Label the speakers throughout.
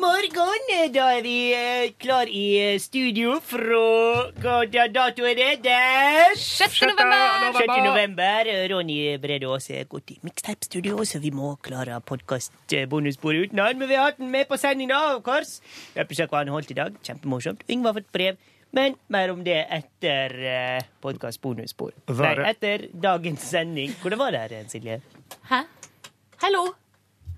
Speaker 1: morgen. eh, Da er vi eh, klar i eh, studio fra Hva da- dato er det? Der!
Speaker 2: 6. november!
Speaker 1: 6. november. Eh, Ronny Brede Aas er gått i mixtape-studio, så vi må klare podkast-bonusbordet uten han. Men vi har hatt han med på sending, da, of course. Jeg besøker hva han holdt i dag. Kjempemorsomt. Yngve har fått brev. Men mer om det etter eh, podkast-bonusbord. Nei,
Speaker 3: Var det-
Speaker 1: etter dagens sending. Hvordan var det her, Silje?
Speaker 2: Hæ? Hallo?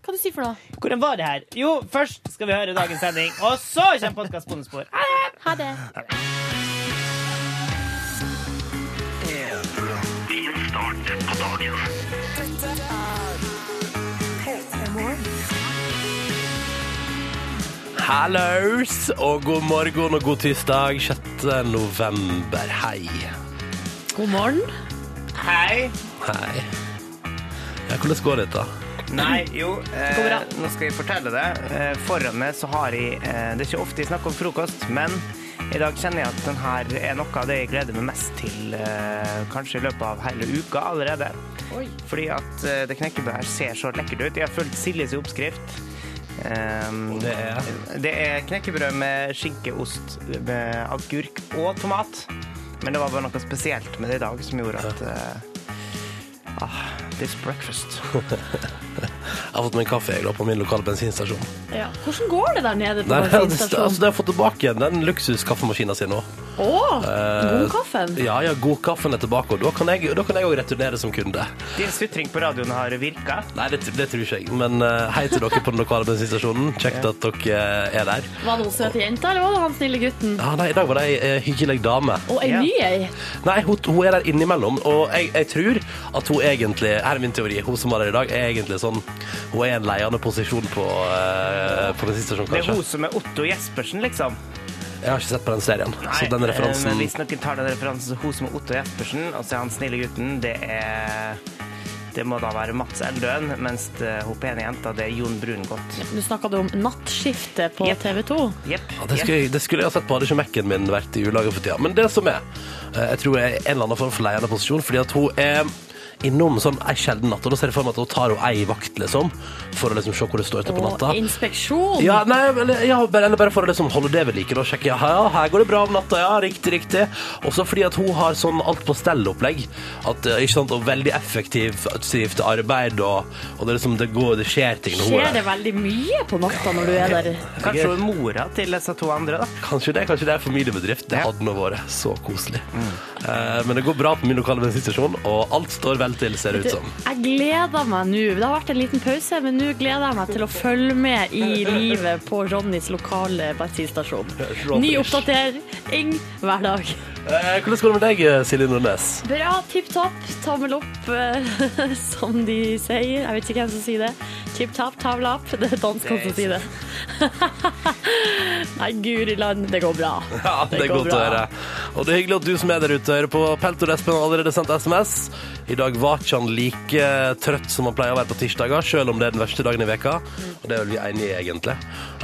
Speaker 2: Hva du sier for noe?
Speaker 1: Hvordan var det her? Jo, først skal vi høre dagens sending, og så kommer podkast bonusspor.
Speaker 2: Ha det.
Speaker 3: Hallows og god morgen og god tirsdag 6. november. Hei.
Speaker 2: God morgen.
Speaker 4: Hei.
Speaker 3: Hei. Ja, hvordan går dette?
Speaker 4: Nei, jo,
Speaker 2: går
Speaker 4: eh,
Speaker 2: bra.
Speaker 4: nå skal jeg fortelle det. Eh, foran meg så har jeg eh, Det er ikke ofte jeg snakker om frokost, men i dag kjenner jeg at den her er noe av det jeg gleder meg mest til eh, kanskje i løpet av hele uka allerede. Fordi at eh, det knekkebrødet her ser så lekkert ut. Jeg har fulgt Siljes oppskrift. Um,
Speaker 3: det er?
Speaker 4: det er knekkebrød med skinke, ost, med agurk og tomat. Men det var bare noe spesielt med det i dag som gjorde at eh, ah, This breakfast.
Speaker 3: Jeg har fått meg en kaffe jeg, da, på min lokale bensinstasjon.
Speaker 2: Ja. Hvordan går det der nede på
Speaker 3: Der, altså,
Speaker 2: bensinstasjonen?
Speaker 3: de har fått tilbake igjen den luksuskaffemaskina si nå.
Speaker 2: Å,
Speaker 3: Eh,
Speaker 2: god kaffen.
Speaker 3: Ja, ja, godkaffen er tilbake, og da kan jeg òg returnere som kunde.
Speaker 4: Din sutring på radioen har virka.
Speaker 3: Nei, det, det tror ikke jeg, men eh, hei til dere på den lokale bensinstasjonen. Kjekt at dere eh, er der.
Speaker 2: Var det hun søte jenta, eller var det han snille gutten?
Speaker 3: Ja, nei, I dag var det ei eh, hyggelig dame.
Speaker 2: Og ei
Speaker 4: Ja.
Speaker 2: ny ei.
Speaker 3: Nei, hun, hun er der innimellom, og jeg, jeg tror at hun egentlig Her er min teori. Hun som var der i dag, er egentlig sånn Hun er i en leiende posisjon på, uh, på den siste stasjonen,
Speaker 4: Det er
Speaker 3: kanskje.
Speaker 4: hun som er Otto Jespersen, liksom.
Speaker 3: Jeg har ikke sett på den serien, så den
Speaker 4: eh,
Speaker 3: referansen
Speaker 4: Men hvis noen tar den referansen, så hun som er Otto Jespersen, og så er han snille gutten, det er Det må da være Mats Eldøen, mens det, hun pene jenta, det er Jon Brungot.
Speaker 2: Nå snakka du om nattskiftet på
Speaker 4: Yep.
Speaker 2: TV 2.
Speaker 4: Jepp.
Speaker 3: ja, det, skulle, jeg- det skulle jeg ha sett på, hadde ikke Mac-en min vært i ulage for tida. Men det som er, eh, jeg tror jeg er en eller annen form for leiende posisjon, fordi at hun er innom sånn ei sjelden natt, og da ser jeg for meg at hun tar hun ei vakt, liksom, for å liksom se hvor det står til på
Speaker 2: Og
Speaker 3: natta.
Speaker 2: inspeksjon.
Speaker 3: Ja, nei, eller, ja, bare, eller bare for å liksom holde det ved like. Da sjekker jeg ja, her går det bra om natta, ja, riktig, riktig. Også fordi at hun har sånn alt på stell-opplegg. At, eh, Ikke sant, og veldig effektivt aktivt arbeid, og, og det, er liksom, det, går, det skjer ting når hun
Speaker 2: Skjer
Speaker 3: er
Speaker 2: det
Speaker 3: der.
Speaker 2: veldig mye på natta når du er der?
Speaker 4: Kanskje hun er mora til disse to andre, da.
Speaker 3: Kanskje det, kanskje det er familiebedrift. Det
Speaker 4: Ja.
Speaker 3: hadde nå vært så koselig.
Speaker 2: Mm.
Speaker 3: Eh, men det går bra på min lokale bensinstasjon, og alt står vel til, ser det ut som.
Speaker 2: Jeg gleder meg nå. Det har vært en liten pause, men nå gleder jeg meg til å følge med i livet på Ronnys lokale bensinstasjon. Ny oppdatering hver dag.
Speaker 3: Eh, hvordan går det med deg, Silje Nordnes?
Speaker 2: Bra, tipp topp, tommel opp, eh, som de sier. Jeg vet ikke hvem som sier det. Tipp topp, tavle opp. Det er danskene som sier det. Nei, guri land, det går bra.
Speaker 3: Ja, det, er godt å høre. Og det er hyggelig at du som er der ute hører på. Peltor Espen har allerede sendt SMS. I dag var ikke han like trøtt som han pleier å være på tirsdager, selv om det er den verste dagen i veka. Og det er vel vi enige i, egentlig.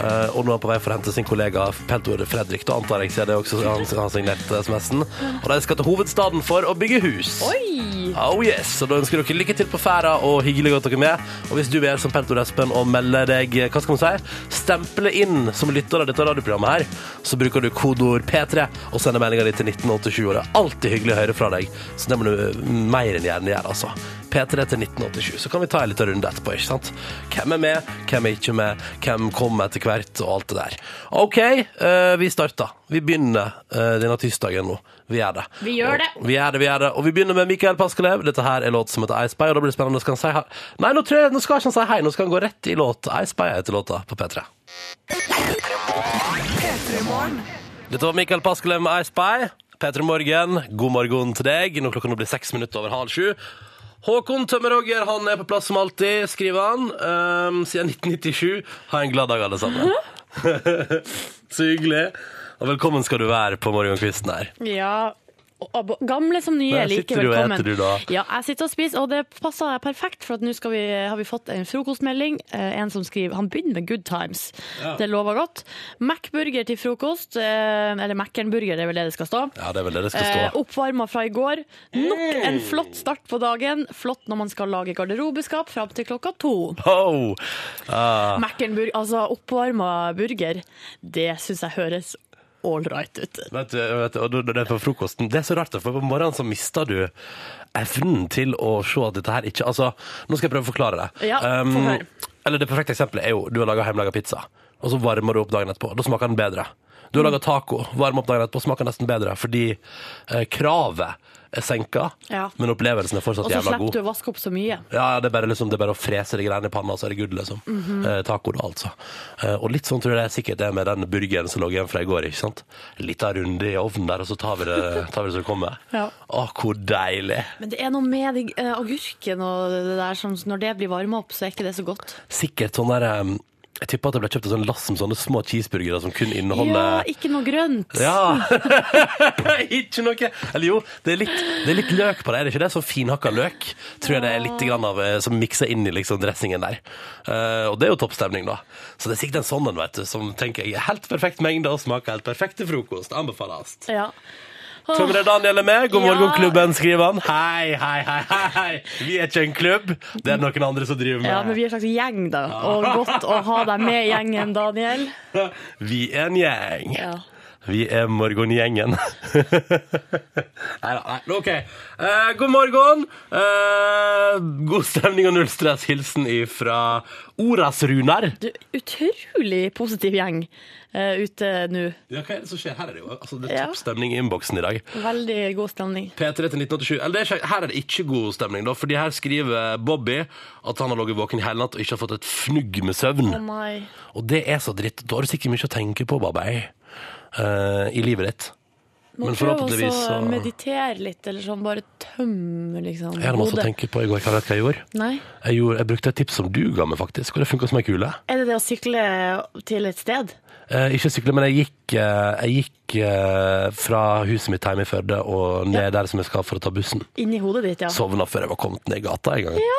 Speaker 3: Eh, og nå er han på vei for å hente sin kollega Peltor Fredrik. Da antar jeg, siden det er også han som har signert eh, SMS-en. Og de skal til hovedstaden for å bygge hus.
Speaker 2: Oi!
Speaker 3: Oh yes, så Da ønsker dere lykke til på ferda, og hyggelig at dere er med. Og hvis du er som Peltor Espen og melder deg eh, hva skal man si, stemple inn som lytter av dette radioprogrammet, her, så bruker du kodeord P3 og sender meldinga di til 1987. Og det er alltid hyggelig å høre fra deg, så det må du mm, mer enn gjerne gjøre. altså. P3 til 1987. Så kan vi ta en liten runde etterpå. ikke sant? Hvem er med, hvem er ikke med, hvem kommer etter hvert, og alt det der. OK, eh, vi starter. Vi begynner eh, denne tirsdagen nå. Vi gjør det.
Speaker 2: Vi gjør det.
Speaker 3: Og, vi gjør det, vi gjør det. Og vi begynner med Mikael Paskelev. Dette her er låt som heter I Spy, og da blir det spennende. Skal han si hei? Nei, nå, tror jeg, nå skal ikke han si hei, nå skal han gå rett i låt. I Spy heter låta på P3. Dette var Mikael Paskelev med I Spy. P3 Morgen, god morgen til deg. Nå klokka nå blir seks minutter over halv sju. Håkon Tømmerhogger han er på plass som alltid, skriver han. Ehm, siden 1997. Ha en glad dag, alle sammen.
Speaker 2: Mhm.
Speaker 3: Så hyggelig. Og velkommen skal du være på morgenkvisten her.
Speaker 2: Ja, og- og Gamle som nye,
Speaker 3: Der
Speaker 2: like
Speaker 3: sitter du og
Speaker 2: velkommen.
Speaker 3: eter du da.
Speaker 2: Ja, jeg sitter og spiser, og det passer perfekt, for at nå skal vi, har vi fått en frokostmelding. Eh, en som skriver Han begynner med good times. Det lover godt. Mac-burger til frokost. Eh, eller Mac-en-burger, det er vel det det skal stå.
Speaker 3: Ja, det er vel det Mm. det skal
Speaker 2: Eh,
Speaker 3: stå.
Speaker 2: Oppvarma fra i går. Nok en flott start på dagen. Flott når man skal lage garderobeskap fram til klokka to.
Speaker 3: Oh! Ah,
Speaker 2: Mac-en-burger, altså oppvarma burger, det syns jeg høres all right ut.
Speaker 3: vet du, vet du, og når det er på frokosten Det er så rart, for på morgenen så mister du evnen til å se at dette her ikke Altså, nå skal jeg prøve å forklare det. Ehm,
Speaker 2: Ja, få høre.
Speaker 3: eller det perfekte eksempelet er jo du har laga hjemmelaga pizza, og så varmer du opp dagen etterpå. Da smaker den bedre. Du har
Speaker 2: Mm.
Speaker 3: laga taco, varmer opp dagen etterpå, smaker nesten bedre fordi eh, kravet er senka,
Speaker 2: Ja.
Speaker 3: men opplevelsen er fortsatt
Speaker 2: Og så
Speaker 3: jævla
Speaker 2: slipper
Speaker 3: god.
Speaker 2: du å vaske opp så mye.
Speaker 3: Ja, ja, det er bare, liksom, det er bare å frese de greiene i panna, så er det good, liksom.
Speaker 2: Mhm.
Speaker 3: eh, taco, da, altså. Eh, og litt sånn tror jeg det er sikkert er med den burgeren som lå igjen fra i går, ikke sant? Lita runde i ovnen der, og så tar vi det, tar vi det som kommer.
Speaker 2: Ja.
Speaker 3: Åh, hvor deilig!
Speaker 2: Men det er noe med de, eh, agurken og det der som Når det blir varma opp, så er ikke det så godt.
Speaker 3: Sikkert sånn der eh, Jeg tipper at det ble kjøpt et sånn lass med sånne små cheeseburgere som kun
Speaker 2: Ja,
Speaker 3: inneholder
Speaker 2: ikke noe grønt.
Speaker 3: sånn, eh, Ja! ikke noe Eller jo, det er litt, det er litt løk på det, er det ikke det? Sånn finhakka løk tror jeg det er litt grann av, eh, som mikser inn i liksom dressingen der. Eh, og det er jo toppstemning, da. Så det er sikkert en sånn en, vet du, som tenker jeg er helt perfekt mengde og smaker helt perfekt til frokost. Anbefales.
Speaker 2: Ja.
Speaker 3: Tømrer Daniel er med. God morgen,
Speaker 2: Ja.
Speaker 3: klubben, skriver han. Hei, hei, hei, hei, hei. Vi er ikke en klubb. Det er noen andre som driver med.
Speaker 2: Ja, men vi er en slags gjeng, da. Og godt å ha deg med i gjengen, Daniel.
Speaker 3: Vi er en gjeng.
Speaker 2: Ja.
Speaker 3: Vi er morgengjengen. nei da, nei. OK. Eh, god morgen. Eh, god stemning og null stress. Hilsen ifra Oras Runar.
Speaker 2: Du, utrolig positiv gjeng eh, ute nå.
Speaker 3: Ja, hva er det som skjer? Her er det jo altså, det
Speaker 2: Ja.
Speaker 3: er topp stemning i innboksen i dag.
Speaker 2: Veldig god stemning.
Speaker 3: P3 til 1987. Eller det er ikke, her er det ikke god stemning, da, fordi her skriver Bobby at han har ligget våken i hele natt og ikke har fått et fnugg med søvn.
Speaker 2: Å nei.
Speaker 3: Og det er så dritt. Da har du sikkert mye å tenke på, Babei, eh, i livet ditt.
Speaker 2: Må
Speaker 3: Men
Speaker 2: prøve
Speaker 3: forhåpentligvis
Speaker 2: også eh, å
Speaker 3: så-
Speaker 2: meditere litt, eller sånn bare tømme liksom
Speaker 3: Jeg hadde masse å tenke på i går. Hva vet du hva jeg gjorde?
Speaker 2: Nei.
Speaker 3: Jeg, gjorde, jeg brukte et tips som du ga meg, faktisk, og det funka som ei kule.
Speaker 2: Er det det å sykle til et sted?
Speaker 3: Eh, ikke sykle, men jeg gikk, eh, jeg gikk eh, fra huset mitt hjemme i Førde og ned der som jeg skal for å ta bussen.
Speaker 2: Inni hodet ditt, ja.
Speaker 3: Sovna før jeg var kommet ned gata en gang.
Speaker 2: Ja.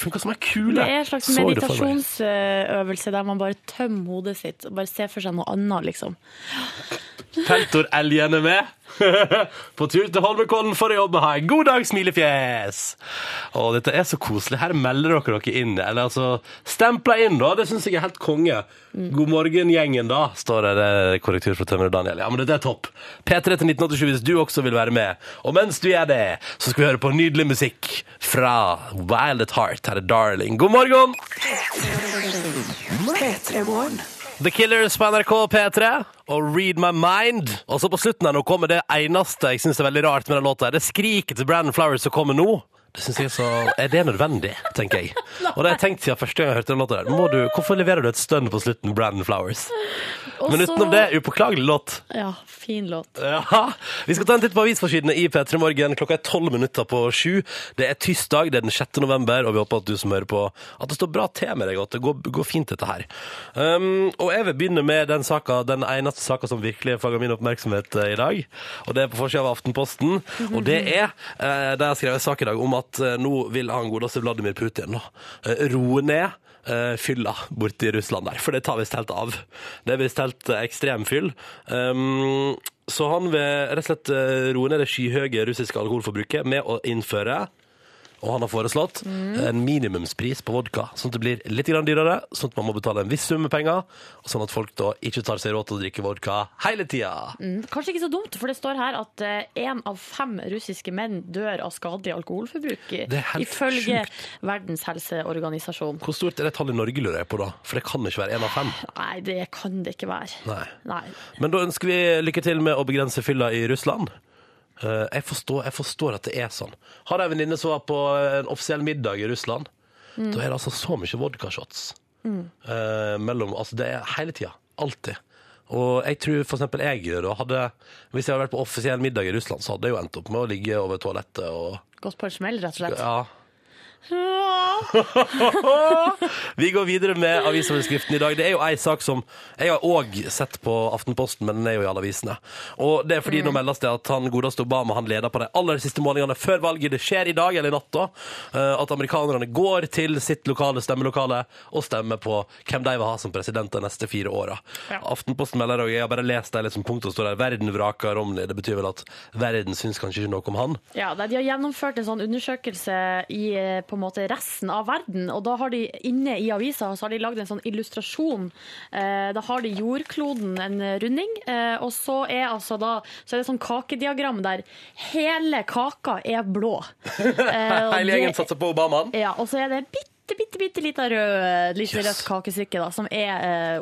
Speaker 3: Funka som ei kule!
Speaker 2: Det er en slags
Speaker 3: Så det for meg.
Speaker 2: meditasjonsøvelse der man bare tømmer hodet sitt og bare ser for seg noe annet, liksom.
Speaker 3: Peltor Elgen er med. På tur til Holmenkollen for å jobbe. Ha en god dag, smilefjes! Å, dette er så koselig. Her melder dere dere inn. Eller altså, stempla inn, da. Det syns jeg er helt konge. God morgen, gjengen, da, står det. Det er korrektur fra Tømrer Daniel. Ja, men dette er topp. P3 til 1987 hvis du også vil være med. Og mens du gjør det, så skal vi høre på nydelig musikk fra Wild at Heart. Her er Darling. God morgen! The Killers på NRK P3 og Read My Mind. Og så på slutten her nå kommer det eneste jeg syns er veldig rart med den låta. her. Det skriket til Brandon Flowers som kommer nå. Det synes jeg er så... Er det nødvendig, tenker jeg. Og det har jeg tenkt siden første gang jeg hørte den låta der. Må du, hvorfor leverer du et stønn på slutten, Brandon Flowers?
Speaker 2: Og
Speaker 3: Men
Speaker 2: så-
Speaker 3: utenom det, upåklagelig låt.
Speaker 2: Ja, fin låt.
Speaker 3: Ja, Vi skal ta en titt på avisforsidene i P3 Morgen. Klokka er tolv minutter på sju. Det er tirsdag, det er den 6. november, og vi håper at du som hører på, at det står bra til med deg, og at det går, går fint, dette her. Um, og jeg vil begynne med den saka, den eneste saka som virkelig fanger min oppmerksomhet eh, i dag. Og det er på forsida av Aftenposten. Og det er eh, Der skrev jeg en sak i dag om at eh, nå vil han godeste Vladimir Putin nå, eh, roe ned eh, fylla borte i Russland der, for det tar visst helt av. Det er visst helt eh, ekstrem fyll. Um, så han vil rett og slett eh, roe ned det skyhøye russiske alkoholforbruket med å innføre og han har foreslått en minimumspris på vodka, sånn at det blir litt grann dyrere, sånn at man må betale en viss sum med penger, og sånn at folk da ikke tar seg råd til å drikke vodka hele tida.
Speaker 2: Kanskje ikke så dumt, for det står her at én av fem russiske menn dør av skadelig alkoholforbruk, i-
Speaker 3: Det er helt
Speaker 2: ifølge Verdens helseorganisasjon.
Speaker 3: Hvor stort er det tallet i Norge, lurer jeg på da? For det kan ikke være én av fem.
Speaker 2: Nei, det kan det ikke være.
Speaker 3: Nei.
Speaker 2: Nei.
Speaker 3: Men da ønsker vi lykke til med å begrense fylla i Russland. Eh, Jeg forstår, jeg forstår at det er sånn. Har jeg en venninne som var på en offisiell middag i Russland, da er det altså så mye vodkashots. Eh, mellom, altså det er hele tida. Alltid. Og jeg tror for eksempel jeg da hadde Hvis jeg hadde vært på offisiell middag i Russland, så hadde jeg jo endt opp med å ligge over toalettet og
Speaker 2: Gått på en smell, rett og slett.
Speaker 3: Ja. Vi går videre med avisoverskriften i dag. Det er jo ei sak som jeg har òg sett på Aftenposten, men den er jo i alle avisene. Og det er fordi
Speaker 2: Mm.
Speaker 3: nå meldes det at han godeste Obama han leder på de aller siste målingene før valget. Det skjer i dag eller i natt, da. eh, At amerikanerne går til sitt lokale stemmelokale og stemmer på hvem de vil ha som president de neste fire åra. Aftenposten melder òg Jeg har bare lest det liksom punktet og står der. Verden vraker Romney. Det betyr vel at verden syns kanskje ikke noe om han.
Speaker 2: Ja, nei, De har gjennomført en sånn undersøkelse i eh, på en måte resten av verden. og da har de Inne i avisa så har de lagd en sånn illustrasjon. Eh, Da har de jordkloden en runding, eh, og så er, altså da, så er det sånn kakediagram der hele kaka er blå. Eh, og
Speaker 3: Hele gjengen
Speaker 2: det-
Speaker 3: satser på Obama.
Speaker 2: Ja, Og så er det en bitte, bitte, bitte lita rød, lite
Speaker 3: Yes.
Speaker 2: rødt kakestykke, da, som er eh,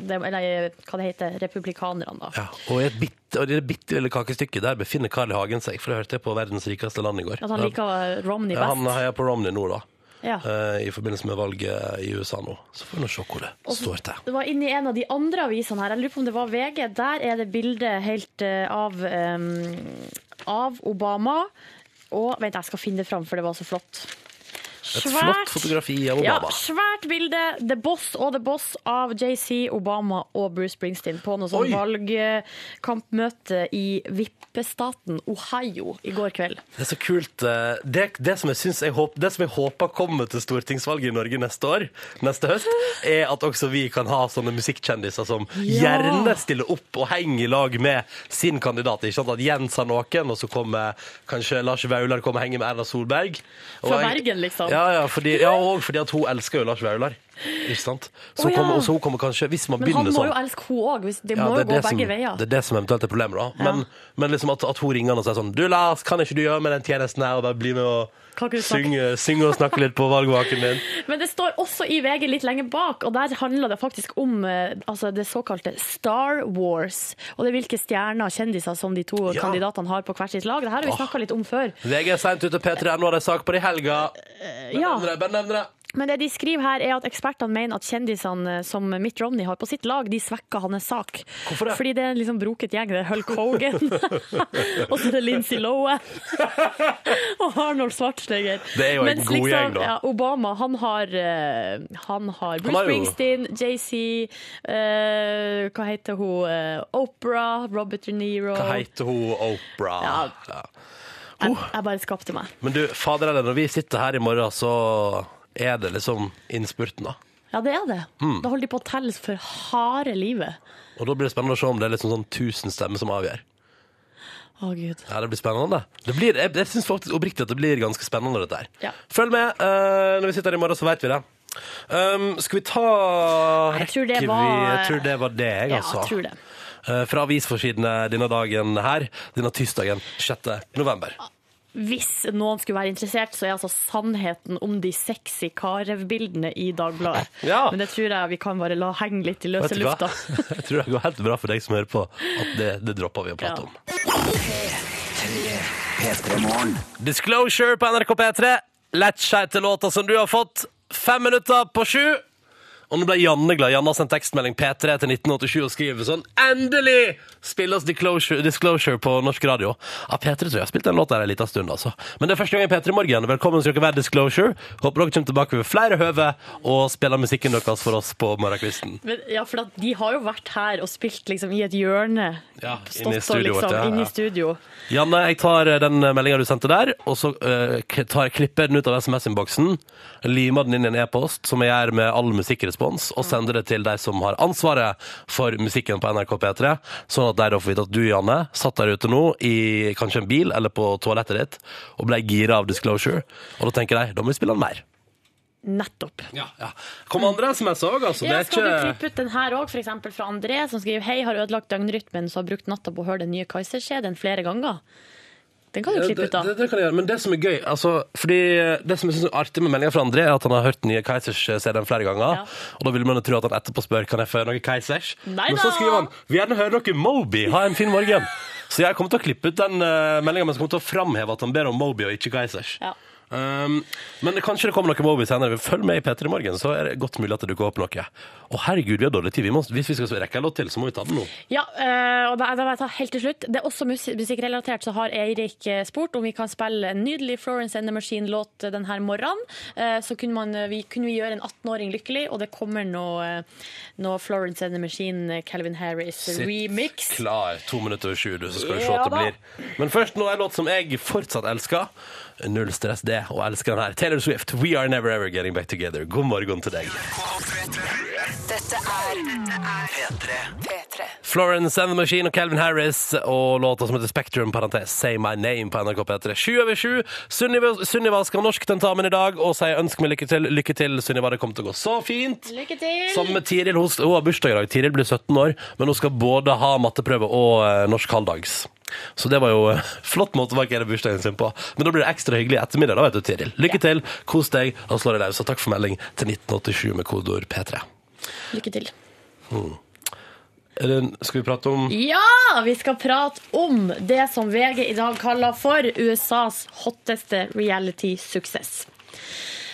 Speaker 2: det, Eller hva det heter, republikanerne, da.
Speaker 3: Ja, og i et bitte, og i det bitte lille kakestykket der befinner Carl I. Hagen seg, for det hørte jeg på Verdens rikeste land i går.
Speaker 2: At han liker Romney
Speaker 3: Ja, han
Speaker 2: best.
Speaker 3: heier på Romney nå, da.
Speaker 2: Ja.
Speaker 3: eh, I forbindelse med valget i USA nå. Så får vi nå se hvor det står til.
Speaker 2: Det var inni en av de andre avisene her. Jeg lurer på om det var VG. Der er det bilde helt eh, av em, av Obama. Og vent, jeg skal finne det fram, for det var så flott.
Speaker 3: Et flott fotografi av
Speaker 2: ja,
Speaker 3: Obama.
Speaker 2: svært bilde. The Boss og The Boss av JC, Obama og Bruce Springsteen på noe sånn
Speaker 3: Oi.
Speaker 2: valgkampmøte i vippestaten Ohio i går kveld.
Speaker 3: Det er så kult. eh, Det, det, som jeg syns jeg håp, det som jeg håper kommer til stortingsvalget i Norge neste år, neste høst, er at også vi kan ha sånne musikkjendiser som
Speaker 2: Ja.
Speaker 3: gjerne stiller opp og henger i lag med sin kandidat. Ikke sant? At Jens har noen, og så kommer kanskje Lars Vaular kommer og henger med Erna Solberg. Og
Speaker 2: Fra
Speaker 3: jeg-
Speaker 2: Bergen, liksom.
Speaker 3: Ja, ja, fordi, ja, og fordi at hun elsker jo Lars Vaular. Ikke sant? Så
Speaker 2: Å, ja.
Speaker 3: kommer, og så hun kommer kanskje, hvis man
Speaker 2: Men han
Speaker 3: begynner
Speaker 2: må
Speaker 3: sånn
Speaker 2: jo elske henne òg. Det
Speaker 3: ja,
Speaker 2: må jo
Speaker 3: det er
Speaker 2: gå
Speaker 3: det
Speaker 2: begge
Speaker 3: som,
Speaker 2: veier.
Speaker 3: Det er det som eventuelt er problemet, da. Men, men liksom at, at hun ringer han og sier sånn Du, Lars, kan ikke du gjøre meg den tjenesten her og bare bli med
Speaker 2: Kan ikke du
Speaker 3: og
Speaker 2: snakke?»
Speaker 3: synge, synge og snakke litt på valgvaken din?
Speaker 2: Men det står også i VG litt lenger bak, og der handler det faktisk om eh, altså det såkalte Star Wars. Og det er hvilke stjerner og kjendiser som de to
Speaker 3: Ja.
Speaker 2: kandidatene har på hvert sitt lag. Det her har vi snakka litt om før.
Speaker 3: VG er seint ute, P3. Nå har de sak på det i helga. Bare
Speaker 2: Ja.
Speaker 3: nevn det, bare nevn det.
Speaker 2: Men det de skriver her, er at ekspertene mener at kjendisene eh, som Mitt Romney har på sitt lag, de svekker hans sak.
Speaker 3: Hvorfor det?
Speaker 2: Fordi det er en liksom broket gjeng. Det er Hulk Hogan, og så er det Lincy Lohan og Arnold Schwarzenegger.
Speaker 3: Det er jo en
Speaker 2: Mens liksom,
Speaker 3: god gjeng, da.
Speaker 2: Ja, Obama, han har, eh, han har Bruce
Speaker 3: har jo-
Speaker 2: Springsteen, JC, eh, hva heter hun, eh, Oprah, Robert De Niro.
Speaker 3: Hva heter hun? Opera.
Speaker 2: Ja.
Speaker 3: Ja.
Speaker 2: Jeg, jeg bare skapte meg.
Speaker 3: Men du, fader eller, når vi sitter her i morgen, så er det liksom innspurten, da.
Speaker 2: Ja, det er det.
Speaker 3: Hmm.
Speaker 2: Da holder de på å telle for harde livet.
Speaker 3: Og da blir det spennende å se om det er liksom sånn 1000 stemmer som avgjør.
Speaker 2: Å, Gud.
Speaker 3: Ja, det blir spennende. Det blir, jeg jeg syns faktisk oppriktig at det blir ganske spennende, dette her.
Speaker 2: Ja.
Speaker 3: Følg med. eh, når vi sitter her i morgen, så veit vi det. Um, skal vi ta
Speaker 2: jeg tror det
Speaker 3: rekker vi-
Speaker 2: var-
Speaker 3: Jeg tror det var det, jeg,
Speaker 2: Ja,
Speaker 3: altså.
Speaker 2: jeg tror det.
Speaker 3: Eh, fra avisforsidene denne dagen her, denne tirsdagen 6. november.
Speaker 2: Hvis noen skulle være interessert, så er altså sannheten om de sexy Karev-bildene i Dagbladet.
Speaker 3: Ja.
Speaker 2: Men det tror jeg vi kan bare la henge litt i løse
Speaker 3: Vet du hva?
Speaker 2: lufta.
Speaker 3: Jeg tror det går helt bra for deg som hører på, at det, det dropper vi å prate
Speaker 2: Ja.
Speaker 3: om. Disclosure på NRK P3. Lettskeitelåta som du har fått. Fem minutter på sju. Og nå ble Janne glad. Janne har sendt tekstmelding P3 til 1987 og skriver sånn Endelig spilles Disclosure, disclosure på norsk radio. Ja, P3 tror jeg har spilt den låta her en liten stund, altså. Men det er første gang i P3 Morgen. Velkommen skal dere være Disclosure. Håper dere kommer tilbake ved flere høve og spiller musikken deres for oss på morgenkvisten.
Speaker 2: Men, ja, for at de har jo vært her og spilt liksom i et hjørne.
Speaker 3: Ja,
Speaker 2: Stått
Speaker 3: inne i
Speaker 2: og
Speaker 3: studioet,
Speaker 2: liksom,
Speaker 3: ja, ja.
Speaker 2: inne i studio.
Speaker 3: Janne, jeg tar eh, den meldinga du sendte der, og så eh, k- tar, klipper jeg den ut av SMS-innboksen. Limer den inn i en e-post, som jeg gjør med all musikkrespons,
Speaker 2: Mm.
Speaker 3: og sender det til de som har ansvaret for musikken på NRK P3. Sånn at de da får vite at du, Janne, satt der ute nå i kanskje en bil eller på toalettet ditt og ble gira av Disclosure. Og da tenker de da må vi spille den mer.
Speaker 2: Nettopp.
Speaker 3: Ja, ja. Kom andre SMS òg, altså.
Speaker 2: Ja,
Speaker 3: det er
Speaker 2: skal du
Speaker 3: ikke
Speaker 2: klippe ut den her òg, f.eks. fra André, som skriver Hei, har ødelagt døgnrytmen, så har brukt natta på å høre den nye Kaiserskjeden flere ganger. Den kan du
Speaker 3: Ja,
Speaker 2: klippe
Speaker 3: det,
Speaker 2: ut, da.
Speaker 3: det, det kan jeg gjøre, men det som er gøy altså, Fordi det som jeg synes er artig med meldingen fra André Er at han har hørt den nye Keisers-serien flere ganger
Speaker 2: Ja.
Speaker 3: Og da vil man jo tro at han etterpå spør Kan jeg få høre noe Keisers?
Speaker 2: Nei
Speaker 3: men
Speaker 2: da!
Speaker 3: så skriver han Vi gjerne hører noe Moby, ha en fin morgen Så jeg kommer til å klippe ut den eh, meldingen Men så kommer jeg til å framheve at han ber om Moby og ikke Keisers
Speaker 2: Ja.
Speaker 3: Um, men det, kanskje det kommer noe Moby senere. Følg med i P3 Morgen, så er det godt mulig at det dukker opp noe. Å herregud, vi har dårlig tid. Vi må, hvis vi skal rekke en låt til, så må vi ta den nå.
Speaker 2: Ja, eh, og da, da må jeg ta helt til slutt. Det er også mus- musikkrelatert, så har Eirik eh, spurt om vi kan spille en nydelig Florence and the Machine-låt denne morgenen. Eh, Så kunne, man, vi, kunne vi gjøre en 18-åring lykkelig, og det kommer noe, eh, noe Florence and the Machine, eh, Calvin Harris remix.
Speaker 3: klar to minutter over sju, du, så skal du se
Speaker 2: Ja
Speaker 3: at det
Speaker 2: da.
Speaker 3: blir. Men først nå en låt som jeg fortsatt elsker. Null stress det, og elsker den her. Taylor Swift, We Are Never Ever Getting Back Together. God morgen til deg.
Speaker 5: Dette er P3.
Speaker 3: Florence and the Machine og Calvin Harris og låta som heter Spectrum, parentes Say My Name på NRK P3. Sju over sju. Sunniva Sunniva skal ha norsk tentamen i dag og sier ønsk meg lykke til. Lykke til, Sunniva. Det kommer til å gå så fint.
Speaker 2: Lykke til!
Speaker 3: Sammen med Tiril. Hun, hun har bursdag i dag. Tiril blir 17 år, men hun skal både ha matteprøve og eh, norsk halvdags. Så det var jo eh, flott måte å markere bursdagen sin på. Men da blir det ekstra hyggelig i ettermiddag, da vet du, Tiril. Lykke til, kos deg, da slår jeg løs. Og takk for melding til 1987 med kodeord P3.
Speaker 2: Lykke til.
Speaker 3: Er det en- Skal vi prate om
Speaker 2: Ja! Vi skal prate om det som VG i dag kaller for USAs hotteste reality-suksess.